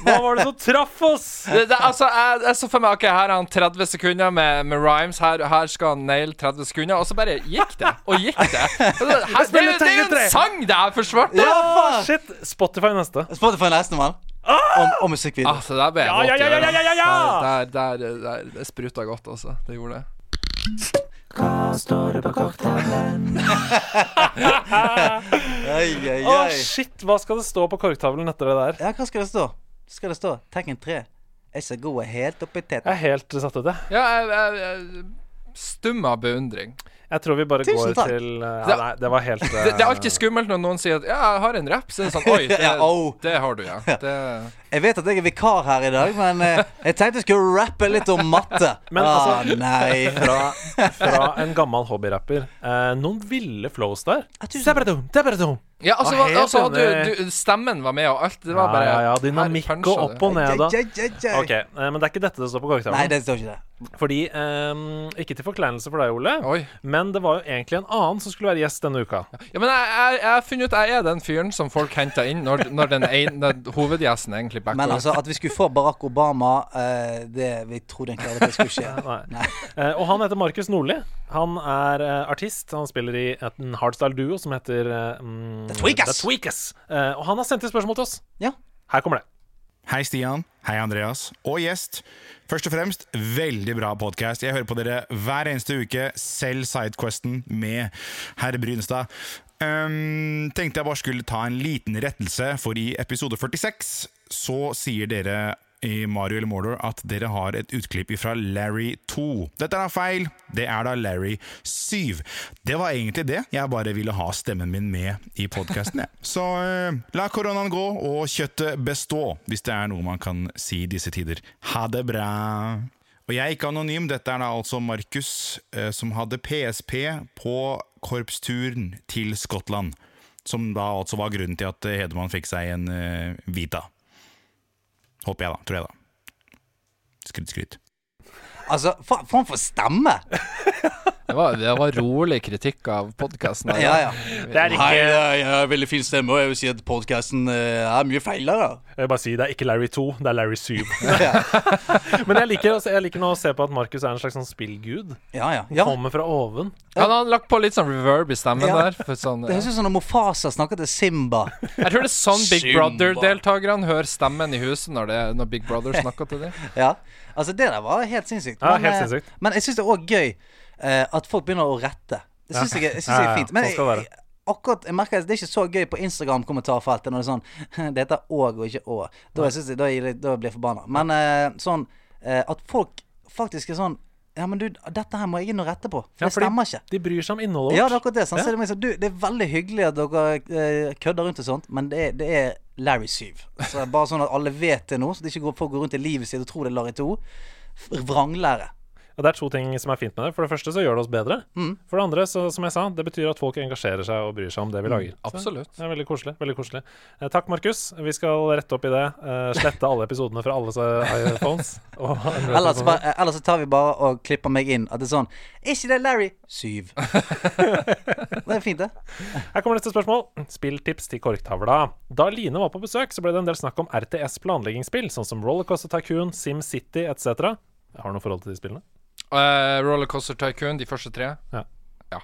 Hva var det som traff oss? Det, det, altså, jeg, jeg så for meg Ok, her har han 30 sekunder med, med rhymes. Her, her skal han naile 30 sekunder. Og så bare gikk det. Og gikk det. Altså, Her, det, det, det er jo en sang det her forsvarte! Å, shit! Spotify neste. Spotify neste, mann. Og, og musikkvideo. Altså, der ble Ja, ja, jeg våt i ja, ja, ørene. ja, ja, ja! Der, der, der, der Det spruta godt, altså. Det gjorde det. Ai, ai, Å, ai. shit! Hva skal det stå på korktavlen etter det der? Ja, hva skal det stå? Skal det stå Tekken 3? Jeg er så god jeg er helt oppi Jeg teten. er helt satt ut, jeg. Ja, jeg, jeg, jeg Stum av beundring. Jeg tror vi bare Tusen går takk. til uh, Det- Nei, det var helt uh, Det, det er alltid skummelt når noen sier at 'ja, jeg har en rapp', så er det sånn 'oi, det, Ja, au. det har du, ja'. Det, Jeg vet at jeg er vikar her i dag, men eh, jeg tenkte jeg skulle rappe litt om matte. Men ah, altså- nei. fra, fra en gammel hobbyrapper. Eh, noen ville flows der. Zabradum, zabradum. ja, altså, Ah, helt altså du, enig. du, stemmen var med, og alt. Det var Ja, bare ja, ja. her altså. Dynamikk punchet og det. opp og ned. Da. Ja, ja, ja. Ok, eh, Men det er ikke dette det står på Nei, korktavlen. det står ikke det. Fordi, eh, Ikke til forkleinelse for deg, Ole, Oi. men det var jo egentlig en annen som skulle være gjest denne uka. Ja, men jeg, jeg, jeg har funnet ut jeg er den fyren som folk henter inn når, når den ene den hovedgjesten egentlig backer Men altså, at vi skulle få Barack Obama, eh, det vi trodde egentlig aldri at det skulle skje. Nei. Eh, og han heter Markus Nordli. Han er eh, artist. Han spiller i et- en hardstyle-duo som heter eh, mm, The Tweakers. The Tweakers. Eh, og han har sendt inn spørsmål til oss. Ja. Her kommer det. Hei Stian, hei Andreas og gjest. Først og fremst, veldig bra podkast. Jeg hører på dere hver eneste uke, selv Sidequesten med herr Brynstad. Ehm, tenkte jeg bare skulle ta en liten rettelse, for i episode 46 så sier dere i Mario eller Mordor at dere har et utklipp fra Larry 2. Dette er da feil. Det er da Larry 7. Det var egentlig det. Jeg bare ville ha stemmen min med i podkasten. Så eh, la koronaen gå, og kjøttet bestå, hvis det er noe man kan si i disse tider. Ha det bra! Og jeg er ikke anonym, dette er da altså Markus eh, som hadde PSP på korpsturen til Skottland. Som da altså var grunnen til at eh, Hedemann fikk seg en eh, Vita. Håper jeg, da. Tror jeg, da. Skryt, skryt. Altså, fa faen for stemme! Det var, det var rolig kritikk av podkasten. Ja, ja. Det er Hei, ikke jeg har veldig fin stemme, og jeg vil si at podkasten er mye feil her, da. Jeg vil bare si, det er ikke Larry 2, det er Larry 7. Ja. Men jeg liker, altså, jeg liker nå å se på at Markus er en slags sånn spillgud. Ja, ja. ja. Kommer fra oven. Han har lagt på litt sånn reverb i stemmen Ja. der. For sånn, Det høres ut som når Mofasa snakker til Simba. Jeg tror det er sånn Big Simba. Brother-deltakerne hører stemmen i huset når, det, når Big Brother snakker til dem. Ja, altså det der var helt sinnssykt. Ja, helt eh, sinnssykt. men jeg syns det er òg gøy eh, at folk begynner å rette. Det syns jeg, jeg synes det Ja, ja, er fint. Men sånn jeg, skal det være. jeg, akkurat, jeg merker at det er ikke så gøy på Instagram-kommentarfeltet når det er sånn Det heter òg og ikke å. Da, jeg synes jeg- da, gir jeg- da blir jeg forbanna. Men eh, sånn eh, at folk faktisk er sånn Ja, men du, dette her må jeg inn og rette på. For Ja, det fordi stemmer ikke. De bryr seg om innholdet Ja, det er vårt. akkurat det. Sant? Så Ja. det, er liksom, du, det er veldig hyggelig at dere eh, kødder rundt og sånt, men det er, det er Larry 7. Så det er bare sånn at alle vet det nå, så det ikke går, folk går rundt i livet sitt og tror det er Larry 2. Vranglære. Og det er to ting som er fint med det. For det første så gjør det oss bedre. Mm. For det andre, så, som jeg sa, det betyr at folk engasjerer seg og bryr seg om det vi lager. absolutt. Så, det er veldig koselig. veldig koselig eh, Takk, Markus. Vi skal rette opp i det. Eh, slette alle episodene fra alle eh, iPhones. Og Android-telefoner. Ellers, bare- eh, ellers så tar vi bare og klipper meg inn at det er sånn Er ikke det Larry 7? det er fint, det. Her kommer neste spørsmål. Spilltips til korktavla. Da Line var på besøk, så ble det en del snakk om RTS planleggingsspill, sånn som Rollercoaster Tycoon, SimCity etc. Jeg har noe forhold til de spillene. Eh, Rollercoaster Tycoon, de første tre. Ja. ja.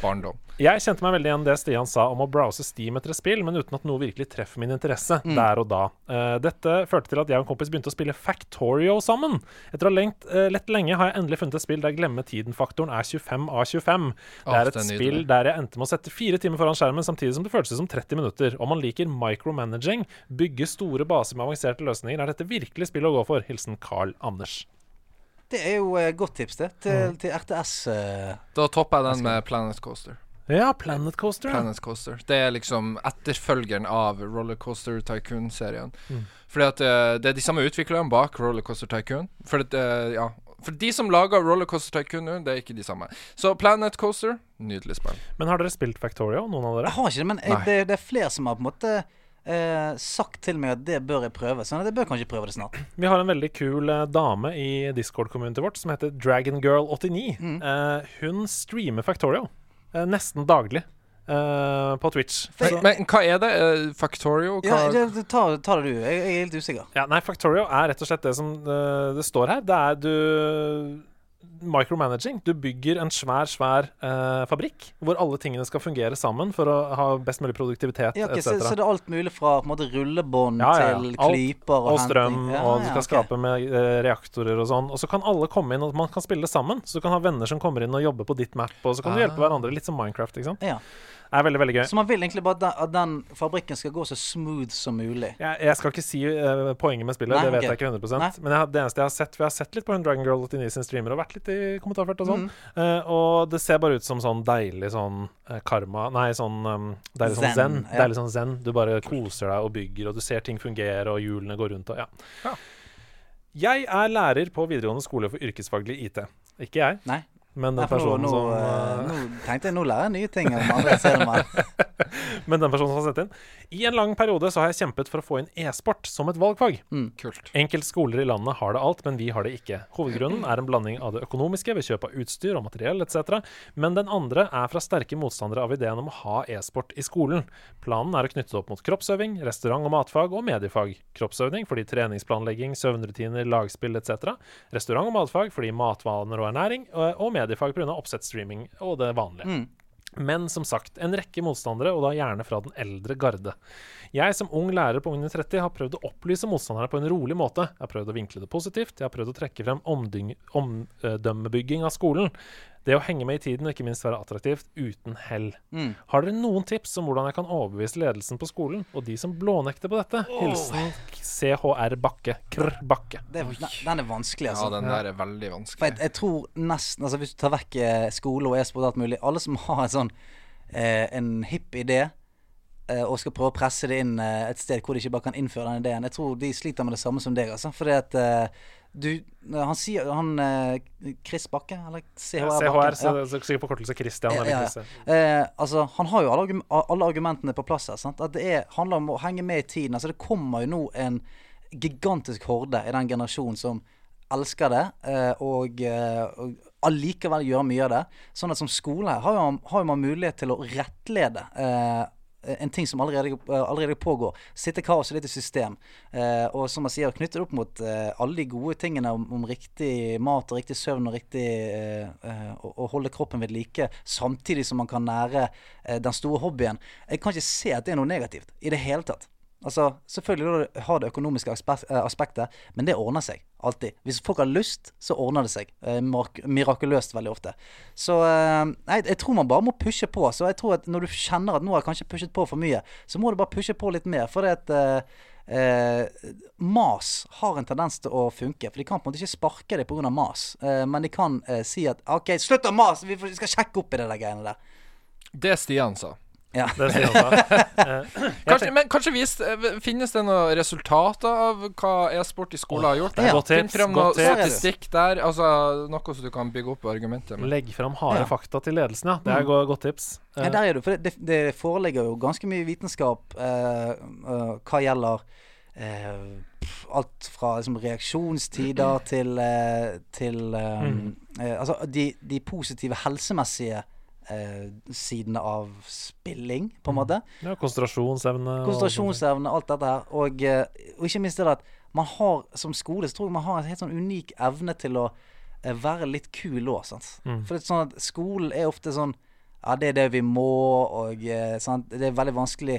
Barndom. Jeg kjente meg veldig igjen det Stian sa om å browse Steam etter spill, men uten at noe virkelig treffer min interesse der og da. Eh, dette førte til at jeg og en kompis begynte å spille Factorio sammen. Etter å ha lengt, eh, lett lenge har jeg endelig funnet et spill der glemme-tiden-faktoren er 25 av 25. Det Åh, er et det er nydelig. spill der jeg endte med å sette fire timer foran skjermen, samtidig som det føltes som 30 minutter. Om man liker micromanaging, bygge store baser med avanserte løsninger, er dette virkelig spill å gå for. Hilsen Carl Anders. Det er jo eh, godt tips, det, til, Mm. til RTS. eh. Da topper jeg den med Planet Coaster. Ja, Planet Coaster. ja. Planet Coaster. Det er liksom etterfølgeren av Rollercoaster Tycoon-serien. Mm. Fordi at eh, det er de samme utviklerne bak Rollercoaster Tycoon. For, at, eh, ja. For de som lager Rollercoaster Tycoon nå, det er ikke de samme. Så Planet Coaster, nydelig spill. Men har dere spilt Factorio, noen av dere? Jeg har ikke det, men jeg, Nei. det, det er flere som har på en måte eh, sagt til meg at det bør jeg prøve. Sånn at jeg bør kanskje prøve det snart. Vi har en veldig kul eh, dame i Discord-communityet vårt som heter Dragongirl89. Mm. Eh, hun streamer Factorio eh, nesten daglig eh, på Twitch. Men, men hva er det? Eh, Factorio? Hva? Ja, det, det, ta, ta det du. Jeg, jeg er helt usikker. Ja, nei, Factorio er rett og slett det som eh, det står her. Det er du Micromanaging. Du bygger en svær, svær eh, fabrikk hvor alle tingene skal fungere sammen for å ha best mulig produktivitet Ja, ok, så, etc. så det er alt mulig fra på en måte rullebånd Ja, ja, ja. til Alt- klyper og, Og strøm, henting. Ja, og du ja, skal ok. skape med eh, reaktorer og sånn. Og så kan alle komme inn, og man kan spille sammen. Så du kan ha venner som kommer inn og jobber på ditt map, og så kan du hjelpe hverandre. Litt som Minecraft, ikke sant. Ja. Det er veldig, veldig gøy. Så man vil egentlig bare at den, at den fabrikken skal gå så smooth som mulig. Jeg, jeg skal ikke si eh, poenget med spillet, Nei, det ok. vet jeg ikke 100 Nei. Men jeg, har- det eneste jeg har sett For jeg har sett litt på hun Dragon Girl 89 sin streamer og vært litt i kommentarfelt og sånn. Mm. Eh, og det ser bare ut som sånn deilig sånn eh, karma Nei, sånn um, deilig sånn Zen, zen. ja. Deilig sånn zen. Du bare koser deg og bygger, og du ser ting fungere, og hjulene går rundt og ja. Ja. Jeg er lærer på videregående skole for yrkesfaglig IT. Ikke jeg, Nei. men Nei, den for nå, personen nå, som eh, eh, nå tenkte jeg nå lærer jeg nye ting om andre seriemann. Men den personen som har sendt inn. I en lang periode så har jeg kjempet for å få inn e-sport som et valgfag. Kult. Enkelte skoler i landet har det alt, men vi har det ikke. Hovedgrunnen er en blanding av det økonomiske ved kjøp av utstyr og materiell etc., men den andre er fra sterke motstandere av ideen om å ha e-sport i skolen. Planen er å knytte det opp mot kroppsøving, restaurant- og matfag og mediefag. Kroppsøving fordi treningsplanlegging, søvnrutiner, lagspill etc. Restaurant- og matfag fordi matvaner og ernæring, og og mediefag pga. oppsett, streaming og det vanlige. Men som sagt, en rekke motstandere, og da gjerne fra den eldre garde. Jeg som ung lærer på Ung under 30 har prøvd å opplyse motstanderne på en rolig måte. Jeg har prøvd å vinkle det positivt, jeg har prøvd å trekke frem omdyng- omdømmebygging av skolen. Det å henge med i tiden og ikke minst være attraktivt, uten hell. Mm. Har dere noen tips om hvordan jeg kan overbevise ledelsen på skolen, og de som blånekter på dette? Hilsen CHR Bakke. Krr Bakke. Det er- Den den er vanskelig, Ja, altså. den der er veldig For jeg, vanskelig. jeg tror nesten Altså Hvis du tar vekk eh, skole og e-sport og alt mulig Alle som har en sånn eh, en hipp idé eh, og skal prøve å presse det inn eh, et sted hvor de ikke bare kan innføre den ideen. Jeg tror de sliter med det samme som deg, altså. Fordi at eh, du Han sier Han eh, Chris Bakke, eller CHR Bakke? CHR, Ja. så så sikkert forkortelse Christian. Ja, eller ja, Christian. ja. Eh, altså, han har jo alle, argum- alle argumentene på plass her. Sant? At det er, handler om å henge med i tiden. Altså, det kommer jo nå en gigantisk horde i den generasjonen som elsker det, eh, og, eh, og allikevel gjør mye av det. Sånn at som skole her har jo man, har jo man mulighet til å rettlede. Eh, en ting som allerede, eh, allerede pågår. Sitte kaoset litt i system. Eh, og som jeg sier, knytte det opp mot eh, alle de gode tingene om, om riktig mat og riktig søvn og riktig eh, eh, å, å holde kroppen ved like, samtidig som man kan nære eh, den store hobbyen. Jeg kan ikke se at det er noe negativt i det hele tatt. Altså, Selvfølgelig har det økonomiske aspe- eh, aspektet, men det ordner seg alltid. Hvis folk har lyst, så ordner det seg. eh, mirak- Mirakuløst veldig ofte. Så eh, nei, jeg tror man bare må pushe på. Så jeg tror at når du kjenner at nå har jeg kanskje pushet på for mye, så må du bare pushe på litt mer. For det at eh, eh, mas har en tendens til å funke. For de kan på en måte ikke sparke deg pga. mas, eh, men de kan eh, si at OK, slutt å mase! Vi får- vi skal sjekke opp i det der greiene der. Det Stian sa. Ja. Det sier han da. Kanskje, men kanskje vis, eh, finnes det noen resultater av hva e-sport i skolen har gjort? Ja. Godt Finn tips, frem noe godt tips. statistikk der, altså noe som du kan bygge opp argumentet med. Legg fram harde Ja. Mm. fakta til ledelsen, ja. Det er go- godt tips. Eh, Ja, der er du. For det, det, det foreligger jo ganske mye vitenskap eh, eh, hva gjelder eh, pff, alt fra liksom, reaksjonstider til, eh, til eh, eh, Altså de, de positive helsemessige eh, sidene av spilling, på en måte. Ja, konsentrasjonsevne. og Konsentrasjonsevne, alt dette her. Og, eh, og ikke minst det at man har som skole så tror jeg man har en helt sånn unik evne til å eh, være litt kul òg. For det er sånn at skolen er ofte sånn Ja, det er det vi må, og eh, sant? det er veldig vanskelig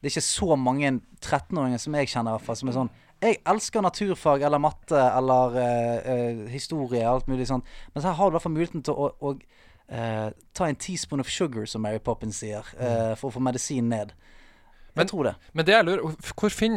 Det er ikke så mange 13-åringer som jeg kjenner, i hvert fall, som er sånn jeg elsker naturfag eller matte eller eh, eh, historie og alt mulig sånt. Men så her har du i hvert fall muligheten til å, å eh, ta en teaspoon of sugar, som Mary Poppins sier, eh, for å få medisinen ned. Men- jeg tror det. Men det jeg lurer, hvor finn,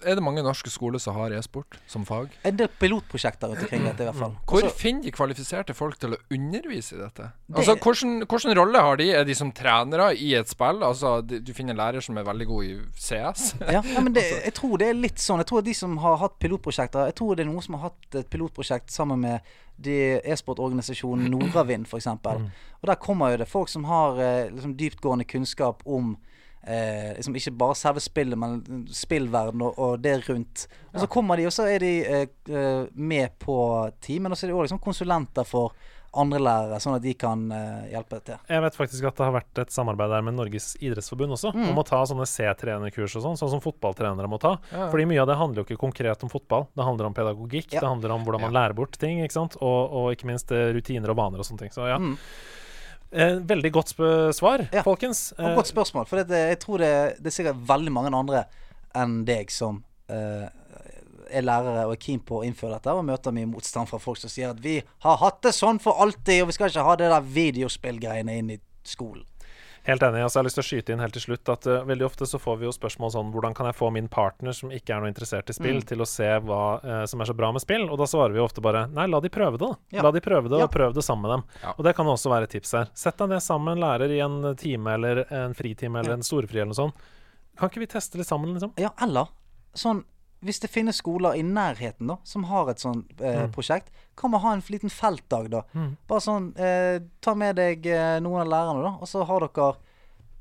er det mange norske skoler som har e-sport som fag? En del pilotprosjekter rundt omkring dette, i hvert fall. Hvor Altså- Også- finner de kvalifiserte folk til å undervise i dette? Altså, hvordan, hvordan rolle har de? Er de som trenere i et spill? Altså, de, du finner en lærer som er veldig god i CS? ja, ja, men det, jeg tror det er litt sånn. Jeg tror at de som har hatt pilotprosjekter Jeg tror det er noen som har hatt et pilotprosjekt sammen med de e-sportorganisasjonen Noravind, f.eks. eksempel Og der kommer jo det folk som har eh, liksom, dyptgående kunnskap om Eh, liksom ikke bare selve spillet, men spillverden og, og det rundt. Og så kommer de, og så er de eh, eh, med på teamen. Og så er de òg liksom konsulenter for andre lærere, sånn at de kan eh, hjelpe til. Jeg vet faktisk at det har vært et samarbeid der med Norges idrettsforbund også, Mm. om å ta sånne C-trenerkurs og sånn, sånn som fotballtrenere må ta. Fordi mye av det handler jo ikke konkret om fotball. Det handler om pedagogikk, Ja. det handler om hvordan man lærer bort ting, ikke sant? Og, og ikke minst eh, rutiner og vaner og sånne ting. Så ja. Eh, veldig godt sp- svar, Mm. Ja. folkens. Og Eh, godt spørsmål, for det, jeg tror det, det er sikkert veldig mange andre enn deg som eh, er lærere og er keen på å innføre dette, og møter mye motstand fra folk som sier at vi har hatt det sånn for alltid, og vi skal ikke ha det der videospillgreiene inn i skolen. Helt enig. Altså, jeg har lyst til å skyte inn helt til slutt at eh, veldig ofte så får vi jo spørsmål sånn Hvordan kan jeg få min partner, som ikke er noe interessert i spill, til å se hva eh, som er så bra med spill? Og da svarer vi jo ofte bare Nei, la de prøve det, da. Ja. La de prøve det, Ja. og prøv det sammen med dem. Og det kan også være et tips her. Sett deg ned sammen med en lærer i en time eller en fritime eller en storfri eller noe sånt. Kan ikke vi teste litt sammen, liksom? Ja, eller sånn Hvis det finnes skoler i nærheten da som har et sånt eh, prosjekt, kan man ha en liten feltdag, da. Bare sånn eh, Ta med deg eh, noen av lærerne, da, og så har dere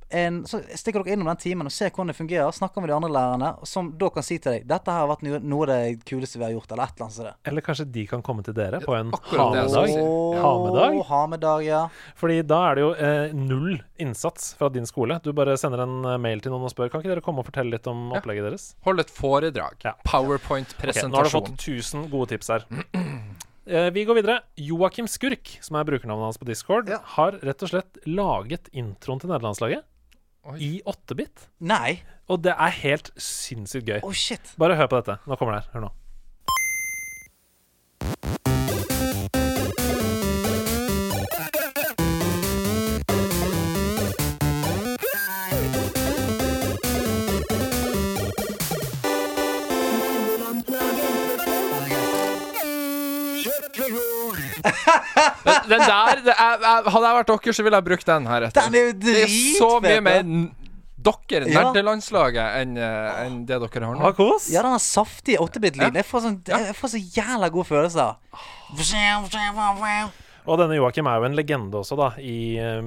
en, så stikker dere innom den timen og ser hvordan det fungerer. Snakker med de andre lærerne, og som da kan si til deg 'Dette her har vært noe noe av det kuleste vi har gjort', eller et eller annet sånt. Eller kanskje de kan komme til dere på en akkurat det jeg skulle hamedag? si. Hamedag? Ha med dag, ja. Fordi da er det jo eh, null innsats fra din skole. Du bare sender en eh, mail til noen og spør Kan ikke dere komme og fortelle litt om opplegget deres? Hold et foredrag. Ja. Ok, nå har du fått 1000 Powerpoint-presentasjon. gode tips her. Eh, Vi går videre. Joakim Skurk, som er brukernavnet hans på Discord, har rett og slett laget introen til nederlandslaget Oi. i 8-bit. Nei? Og det er helt sinnssykt gøy. Å, shit. Bare hør på dette. Nå kommer det her. Hør nå. Men Den der det er, er, Hadde jeg vært dere, så ville jeg brukt den her etter. Den er jo det er så dritfet, mye da. mer n- dere, Ja. nerdelandslaget, enn eh, enn det dere har Ha nå. kos. Ja, den har saftig 8-bit-lyden. Jeg, får sånn, jeg får så jævla gode følelser. Og denne Joakim er jo en legende også, da, i, eh,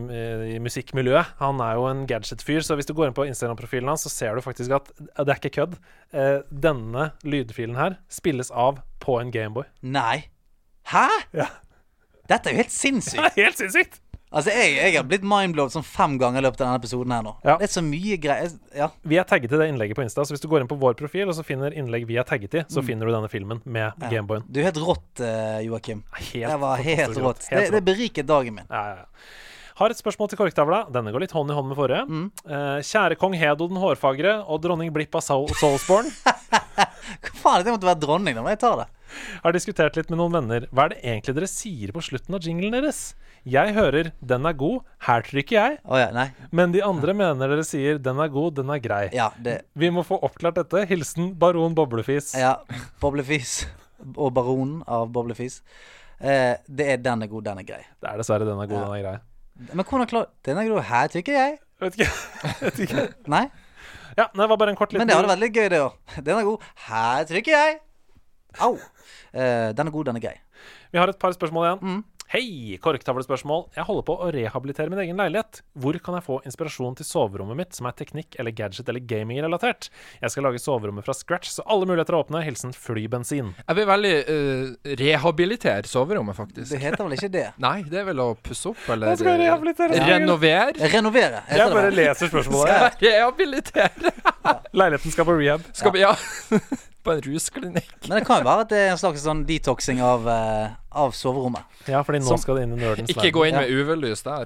i musikkmiljøet. Han er jo en gadget-fyr, så hvis du går inn på Instagram-profilen hans, så ser du faktisk at eh, det er ikke kødd. Eh, denne lydfilen her spilles av på en Gameboy. Nei. Hæ? Ja. Dette er jo helt sinnssykt. Helt sinnssykt! Altså, jeg, jeg har blitt mindblowed sånn fem ganger i løpet av denne episoden her nå. Ja. Det er så mye greier. Ja. Vi er tagget i det innlegget på Insta, så hvis du går inn på vår profil og så finner innlegg vi er tagget i, Mm. så finner du denne filmen med Gameboyen. Du er helt rått, eh, Joakim. Helt Det var helt fantastisk rått. Det, Helt det beriket dagen min. Ja, ja, ja. Har et spørsmål til korktavla. Denne går litt hånd i hånd med forrige. Mm. Eh, kjære kong Hedo den hårfagre og dronning Blipp av Soul Soulsborne Hva faen, jeg måtte være dronning nå, men jeg tar det. har diskutert litt med noen venner. Hva er det egentlig dere sier på slutten av jinglen deres? Jeg hører 'den er god', her trykker jeg, Å ja, nei. men de andre mener dere sier 'den er god, den er grei'. Ja, det Vi må få oppklart dette. Hilsen baron Boblefis. Ja, Boblefis og Baronen av Boblefis. Eh, det er den er god, den er grei. Det er dessverre 'den er god, den er grei'. Men hvordan klar Den er god her, tykker jeg. Vet ikke. Vet ikke. Nei, Ja, nei, det var bare en kort liten men det hadde vært litt gøy, det òg. Den er god. Her trykker jeg. Au. Eh, den er god, den er grei. Vi har et par spørsmål igjen. Mm. Hei, korktavlespørsmål. Jeg holder på å rehabilitere min egen leilighet. Hvor kan jeg få inspirasjon til soverommet mitt, som er teknikk eller gadget eller gaming-relatert? Jeg skal lage soverommet fra scratch, så alle muligheter er åpne. Hilsen flybensin. Jeg vil veldig eh, rehabilitere soverommet, faktisk. Det heter vel ikke det. Nei, det er vel å pusse opp, eller Jeg skal eh, rehabilitere soverommet. Renovere. Renovere. heter Jeg det bare vel. leser spørsmålet. Rehabilitere. Leiligheten skal på rehab. Skal vi Ja. På en rusklinikk. Men det kan jo være at det er en slags sånn detoxing av, eh, av soverommet. Ja, fordi nå Som- skal det inn i nerdens Ikke gå inn med UV-lys der.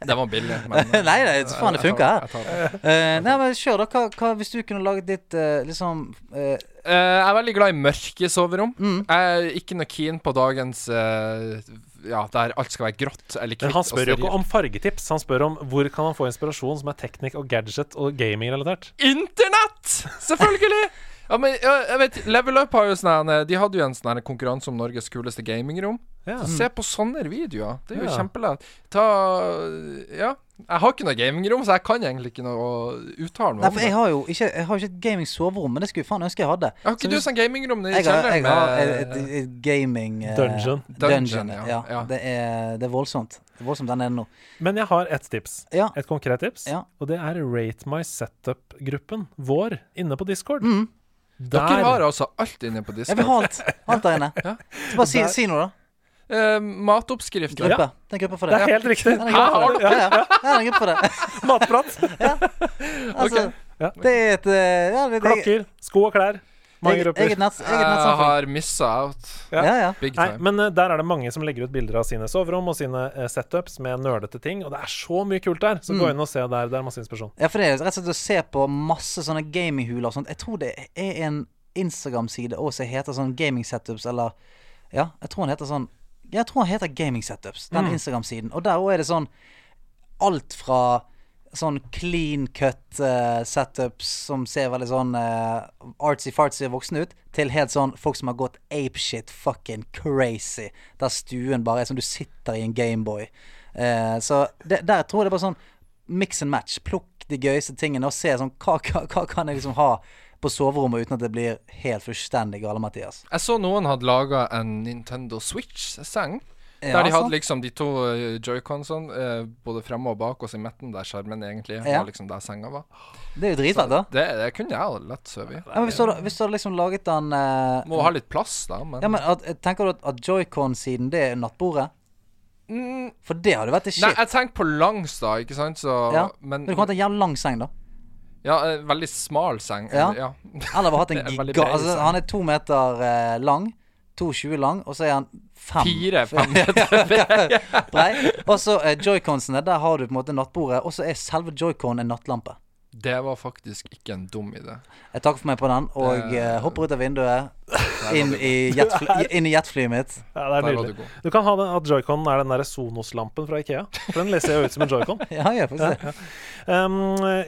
Det var billig, men eh, Nei, nei, så faen, det funker her. Jeg, tar det. Eh, nei, men kjør, da. Hva, hva hvis du kunne laget ditt eh, liksom eh, Eh, jeg er veldig glad i mørke soverom. Mm. Jeg er ikke noe keen på dagens eh, Ja, der alt skal være grått eller Men hvitt. han spør jo og ikke om fargetips, han spør om hvor kan han få inspirasjon som er teknikk og gadget og gaming-relatert. Internett! Selvfølgelig! Ja, men ja, jeg vet, Level Up har jo sånn her, eh, De hadde jo en sånn her konkurranse om Norges kuleste gamingrom. Ja. Så Se på sånne videoer. Det er jo Ja. kjempelett. Ta Ja. Jeg har ikke noe gamingrom, så jeg kan egentlig ikke noe å uttale Nei, meg om for det. jeg har jo ikke, jeg har jo ikke et gaming soverom, men det skulle jeg faen ønske jeg hadde. Har ikke Så du hvis- sånn gamingrom nede i Jeg har, kjelleren? jeg har med- et, et, et gaming eh, Dungeon. Dungeon, Dungeon, ja, ja. ja. Det, er, det er voldsomt. Det er voldsomt den er det nå. Men jeg har ett tips. Ja. Et konkret tips. Ja. Og det er Rate My Setup-gruppen vår inne på Discord. Mm. Der Dere har altså alt inne på Jeg vil Discord. ha alt. Alt der inne. Så bare si, si noe, da. Eh, matoppskrifter. Gruppe. Det er en gruppe for Det det. er helt riktig. Ja, det er en gruppe for det. Ja, ja. Ja, det er en gruppe for det. Matprat. Altså, Ja. det er et eh, ja, det, det, Klokker, sko og klær. Mange eget, grupper. eget, nett, eget Jeg nettsamfunn. har missa out. Ja, ja. Big Nei, time. men eh, der er det mange som legger ut bilder av sine soverom og sine eh, setups med nerdete ting, og det er så mye kult der. Så Mm. gå inn og se der. Det er masse inspirasjon. Ja, for det er rett og slett å se på masse sånne gaminghuler og sånt. Jeg tror det er en Instagram-side også som heter sånn Gaming Setups, eller Ja, jeg tror han heter sånn Jeg tror han heter Gaming Setups, den Instagram-siden. Og der òg er det sånn alt fra sånn clean cut eh, setups som ser veldig sånn eh, artsy-fartsy voksne ut, til helt sånn folk som har gått apeshit fucking crazy, der stuen bare er som du sitter i en Gameboy. Eh, så det, der tror jeg det er bare sånn mix and match. Plukk de gøyeste tingene og se sånn hva, hva, hva kan jeg liksom ha på soverommet uten at det blir helt fullstendig gale, Mathias. Jeg så noen hadde laga en Nintendo Switch-seng. Ja, der de hadde sant. liksom de to eh, joyconsene eh, både fremme og bak oss i midten, der skjermen egentlig Ja. var liksom der senga var. Det er jo dritfett, da. Det, det kunne jeg ha lett sovet i. Ja, men hvis, du hadde, hvis du hadde liksom laget den eh, Må ha litt plass, da, men, Ja, men at, Tenker du at, at joycon-siden, det er nattbordet? mm, For det hadde vært det shit. Nei, jeg tenker på langs, da, ikke sant, så ja. Men, men du kan hatt en jævla lang seng, da. Ja, en veldig smal seng. Ja. Ja. Eller bare hatt en Det er en veldig giga... bred Altså, seng. han er to meter eh, lang. 2,20 lang, og så er han fem Fire-fem meter. brei. Og så eh, joyconsene, der har du på en måte nattbordet, og så er selve joycon en nattlampe. Det var faktisk ikke en dum idé. Jeg takker for meg på den, og Det- eh, hopper ut av vinduet, inn i jetfly- inn i jetflyet mitt. Ja, det er Der var du nydelig. god. Du kan ha den, at joyconen er den der Sonos-lampen fra Ikea. For den leser jeg jo ut som en joycon. Ja, jeg gjør faktisk det. Um,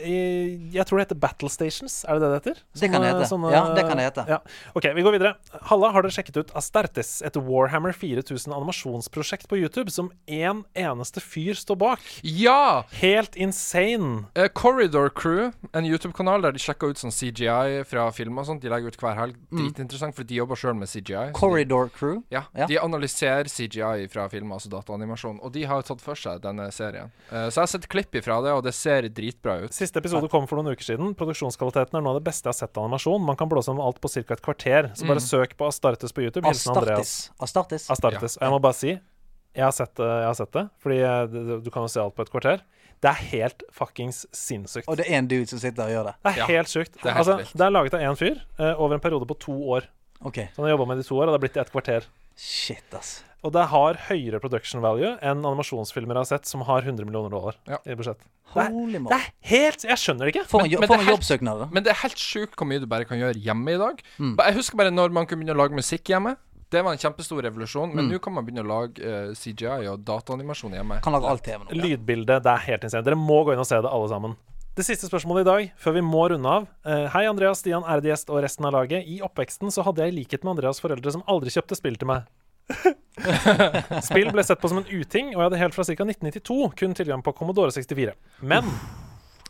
i- jeg tror det heter Battle Stations. Er det det det heter? Det kan det Sånne- hete. sånne- Ja, det kan det hete. Ja. Ok, vi går videre. Halla, har dere sjekket ut Astertes, et Warhammer 4000 animasjonsprosjekt på YouTube som én eneste fyr står bak? Ja! Helt insane! Eh, Corridor Crew, en YouTube-kanal der de sjekker ut sånn CGI fra film og sånt. De legger ut hver helg. Dritinteressant, for de jobber sjøl med CGI. så de- Corridor Crew. Ja, Mm. Ja. De analyserer CGI fra film, altså dataanimasjon, og de har jo tatt for seg denne serien. Eh, så jeg har sett klipp ifra det, og det ser dritbra ut. Siste episode kom for noen uker siden. Produksjonskvaliteten er noe av det beste jeg har sett av animasjon. Man kan blåse om alt på ca. et kvarter. Så Mm. bare søk på Astartes på YouTube. Hilsen Andreas. Astartes. Astartes. Astartes. Og jeg må bare si, jeg har sett det, jeg har sett det fordi eh, du- du kan jo se alt på et kvarter. Det er helt fuckings sinnssykt. Og det er en dude som sitter og gjør det. Det er Ja, helt sjukt. er Det er, helt altså, vilt. det er laget av én fyr eh, over en periode på to år. OK. Så han har jobba med det i to år, og det har blitt i et kvarter. Shit, ass. Og det har høyere production value enn animasjonsfilmer jeg har sett, som har 100 millioner dollar Ja. i budsjett. Det er, Holy det moly. er helt Jeg skjønner det ikke. For en, Men- jo- men for det en her- jobbsøknad. da. Men det er helt sjukt hvor mye du bare kan gjøre hjemme i dag. Mm. Ba- Jeg husker bare når man kunne begynne å lage musikk hjemme. Det var en kjempestor revolusjon, men nå kan man begynne å lage eh, CGI og dataanimasjon hjemme. Mm. Kan lage alt TV nå. Lydbildet, det er helt insane. Dere må gå inn og se det, alle sammen. Det siste spørsmålet i dag, før vi må runde av. Eh, Hei, Andreas, Stian, ærede gjest og resten av laget. I oppveksten så hadde jeg i likhet med Andreas foreldre som aldri kjøpte spill til meg. spill ble sett på som en uting, og jeg hadde helt fra ca. 1992 kun tilgang på Commodore 64. Men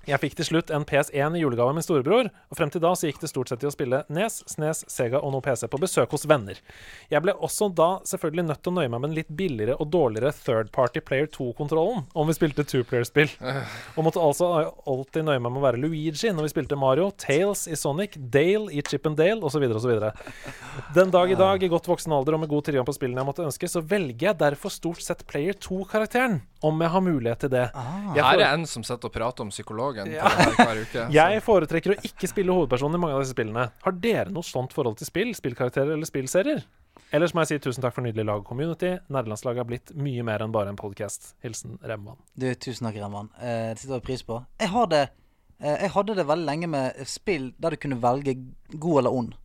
jeg fikk til slutt en PS1 i julegave av min storebror, og frem til da så gikk det stort sett i å spille E Nes, Snes, Sega og noe PC på besøk hos venner. Jeg ble også da selvfølgelig nødt til å nøye meg med den litt billigere og dårligere third party player 2-kontrollen om vi spilte two-player-spill, og måtte altså alltid nøye meg med å være Luigi når vi spilte Mario, Tails i Sonic, Dale i Chip and Dale osv. osv. Den dag i dag, i godt voksen alder og med god tilgang på spillene jeg måtte ønske, så velger jeg derfor stort sett Player 2-karakteren, om jeg har mulighet til det. Jeg, Her fore er en som sitter og prater om psykologen på det her hver uke. Altså. jeg foretrekker å ikke spille hovedpersonen i mange av disse spillene. Har dere noe sånt forhold til spill, spillkarakterer eller spillserier? Ellers må jeg si tusen takk for nydelig lag og community. Nerdelandslaget har blitt mye mer enn bare en podkast. Hilsen Remvan. Du, tusen takk, Remman. Eh, Det setter jeg pris på. Jeg, har det, eh, jeg hadde det veldig lenge med spill der du kunne velge god eller ond.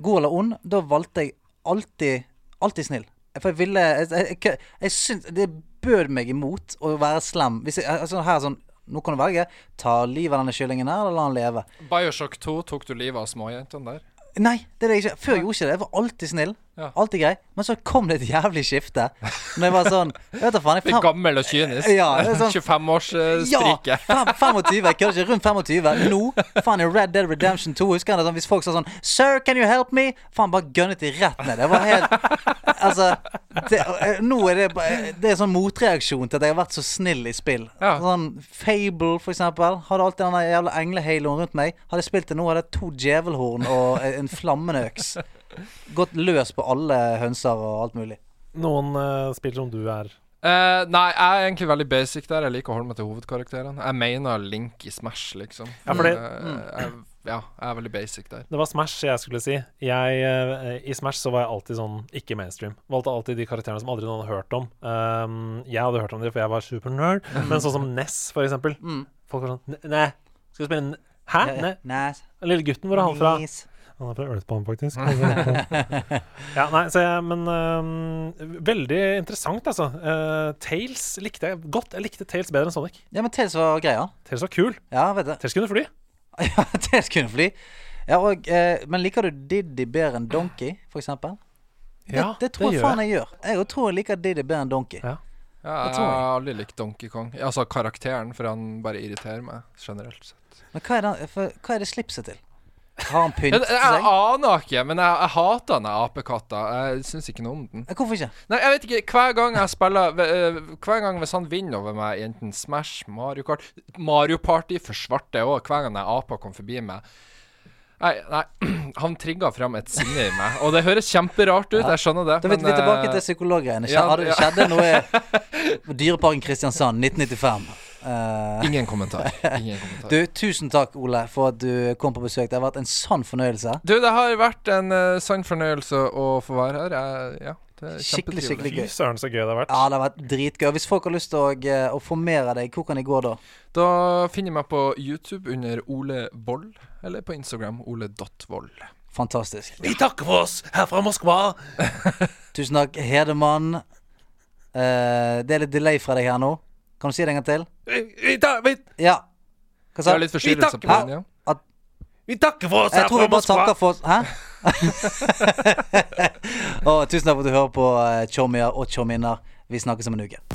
God eller ond, da valgte jeg alltid Alltid snill. For jeg ville Jeg, jeg, jeg, jeg syns Det bød meg imot å være slem. Hvis jeg, altså her sånn Nå kan du velge. Ta livet av denne kyllingen her, eller la han leve. Bioshock 2 tok du livet av småjentene der. Nei, det er det jeg ikke. Før jeg gjorde ikke det. Jeg var alltid snill. Ja. Alltid grei. Men så kom det et jævlig skifte. Når jeg var sånn Jeg vet da faen. Jeg Litt gammel og kynisk. eh, Ja, det er sånn- 25-årsstriket. fem, 25. Jeg kødder ikke. Rundt 25. Nå. Faen, i Red Dead Redemption 2 husker jeg det sånn hvis folk sa sånn Sir, can you help me? Faen, bare gønnet de rett ned. Det var helt Altså det, eh, Nå er det bare- Det er sånn motreaksjon til at jeg har vært så snill i spill. Ja. Sånn Fable, for eksempel. Hadde alltid den der jævla englehaloen rundt meg. Hadde jeg spilt det nå, hadde jeg to djevelhorn og eh, en flammende øks. Gått løs på alle hønser og alt mulig. Noen eh, spill som du er Eh, nei, jeg er egentlig veldig basic der. Jeg liker å holde meg til hovedkarakterene. Jeg mener Link i Smash, liksom. Ja, for det- mm. Eh, jeg, ja, jeg er veldig basic der. Det var Smash jeg skulle si. Jeg, eh, I Smash så var jeg alltid sånn ikke mainstream. Valgte alltid de karakterene som aldri noen hadde hørt om. Um, jeg hadde hørt om dem, for jeg var supernerd. Men sånn som Ness, for eksempel. Folk var sånn "Ne- Nei, skal vi spille N- Hæ? Mm. Ja, ja. Nei. Nice. Den lille gutten, hvor er han fra? Nice. Han er fra Earthbound, faktisk. ja, nei, så jeg, men um, Veldig interessant, altså. Eh, Tails likte jeg godt. Jeg likte Tails bedre enn Sonic. Ja, men Tales var greia. Tails var kul. Ja, vet det. Tails kunne fly. Ja, det skulle fly. Ja, og, eh, men liker du Diddy bedre enn Donkey, for eksempel? Ja, det, det tror det jeg gjør faen jeg gjør. Jeg også tror jeg liker Diddy bedre enn Donkey. Ja. Jeg Ja, jeg tror det. har aldri likt Donkey Kong. Altså karakteren, for han bare irriterer meg generelt sett. Men hva er, den, for, hva er det slipset til? Har han Jeg, pyntet jeg, seg? aner ikke, men jeg, jeg hater den apekatta. Jeg syns ikke noe om den. Eh, Hvorfor ikke? Nei, jeg vet ikke. Hver gang jeg spiller ve- eh, Hver gang hvis han vinner over meg, i enten Smash, Mario Kart Mario Party forsvarte jeg òg, hver gang den apa kom forbi meg. Nei, nei, han trigga fram et sinne i meg, og det høres kjemperart ut, jeg skjønner det, Da vet vi men, tilbake eh, til psykologgreiene. ja, Skjedde, ja. skjedde noe i Dyreparken Kristiansand 1995. Eh, Ingen kommentar. Ingen kommentar. du, tusen takk, Ole, for at du kom på besøk. Det har vært en sann fornøyelse. Du, det har vært en eh, sann fornøyelse å få være her. Jeg, ja, det er Skikkelig, kjempetrivelig. skikkelig Fy gøy. søren, så gøy det har vært. Ja, det har vært dritgøy. Hvis folk har lyst til å, eh, å formere deg, hvor kan de gå da? Da finner jeg meg på YouTube under Ole Vold, eller på Instagram ole.vold. Fantastisk. Vi takker for oss her fra Moskva! Tusen takk, Hedemann. Eh, det er litt delay fra deg her nå. Kan du si det en gang til? Vi, vi, ta, vi, Ja. Hva Det sa er litt du? Eh, forstyrrelse på den, ja. vi takker for oss her Jeg tror fra vi bare Moskva! takker for oss. Hæ? og tusen takk for at du hører på eh, Tjommier og tjomminner. Vi snakkes om en uke.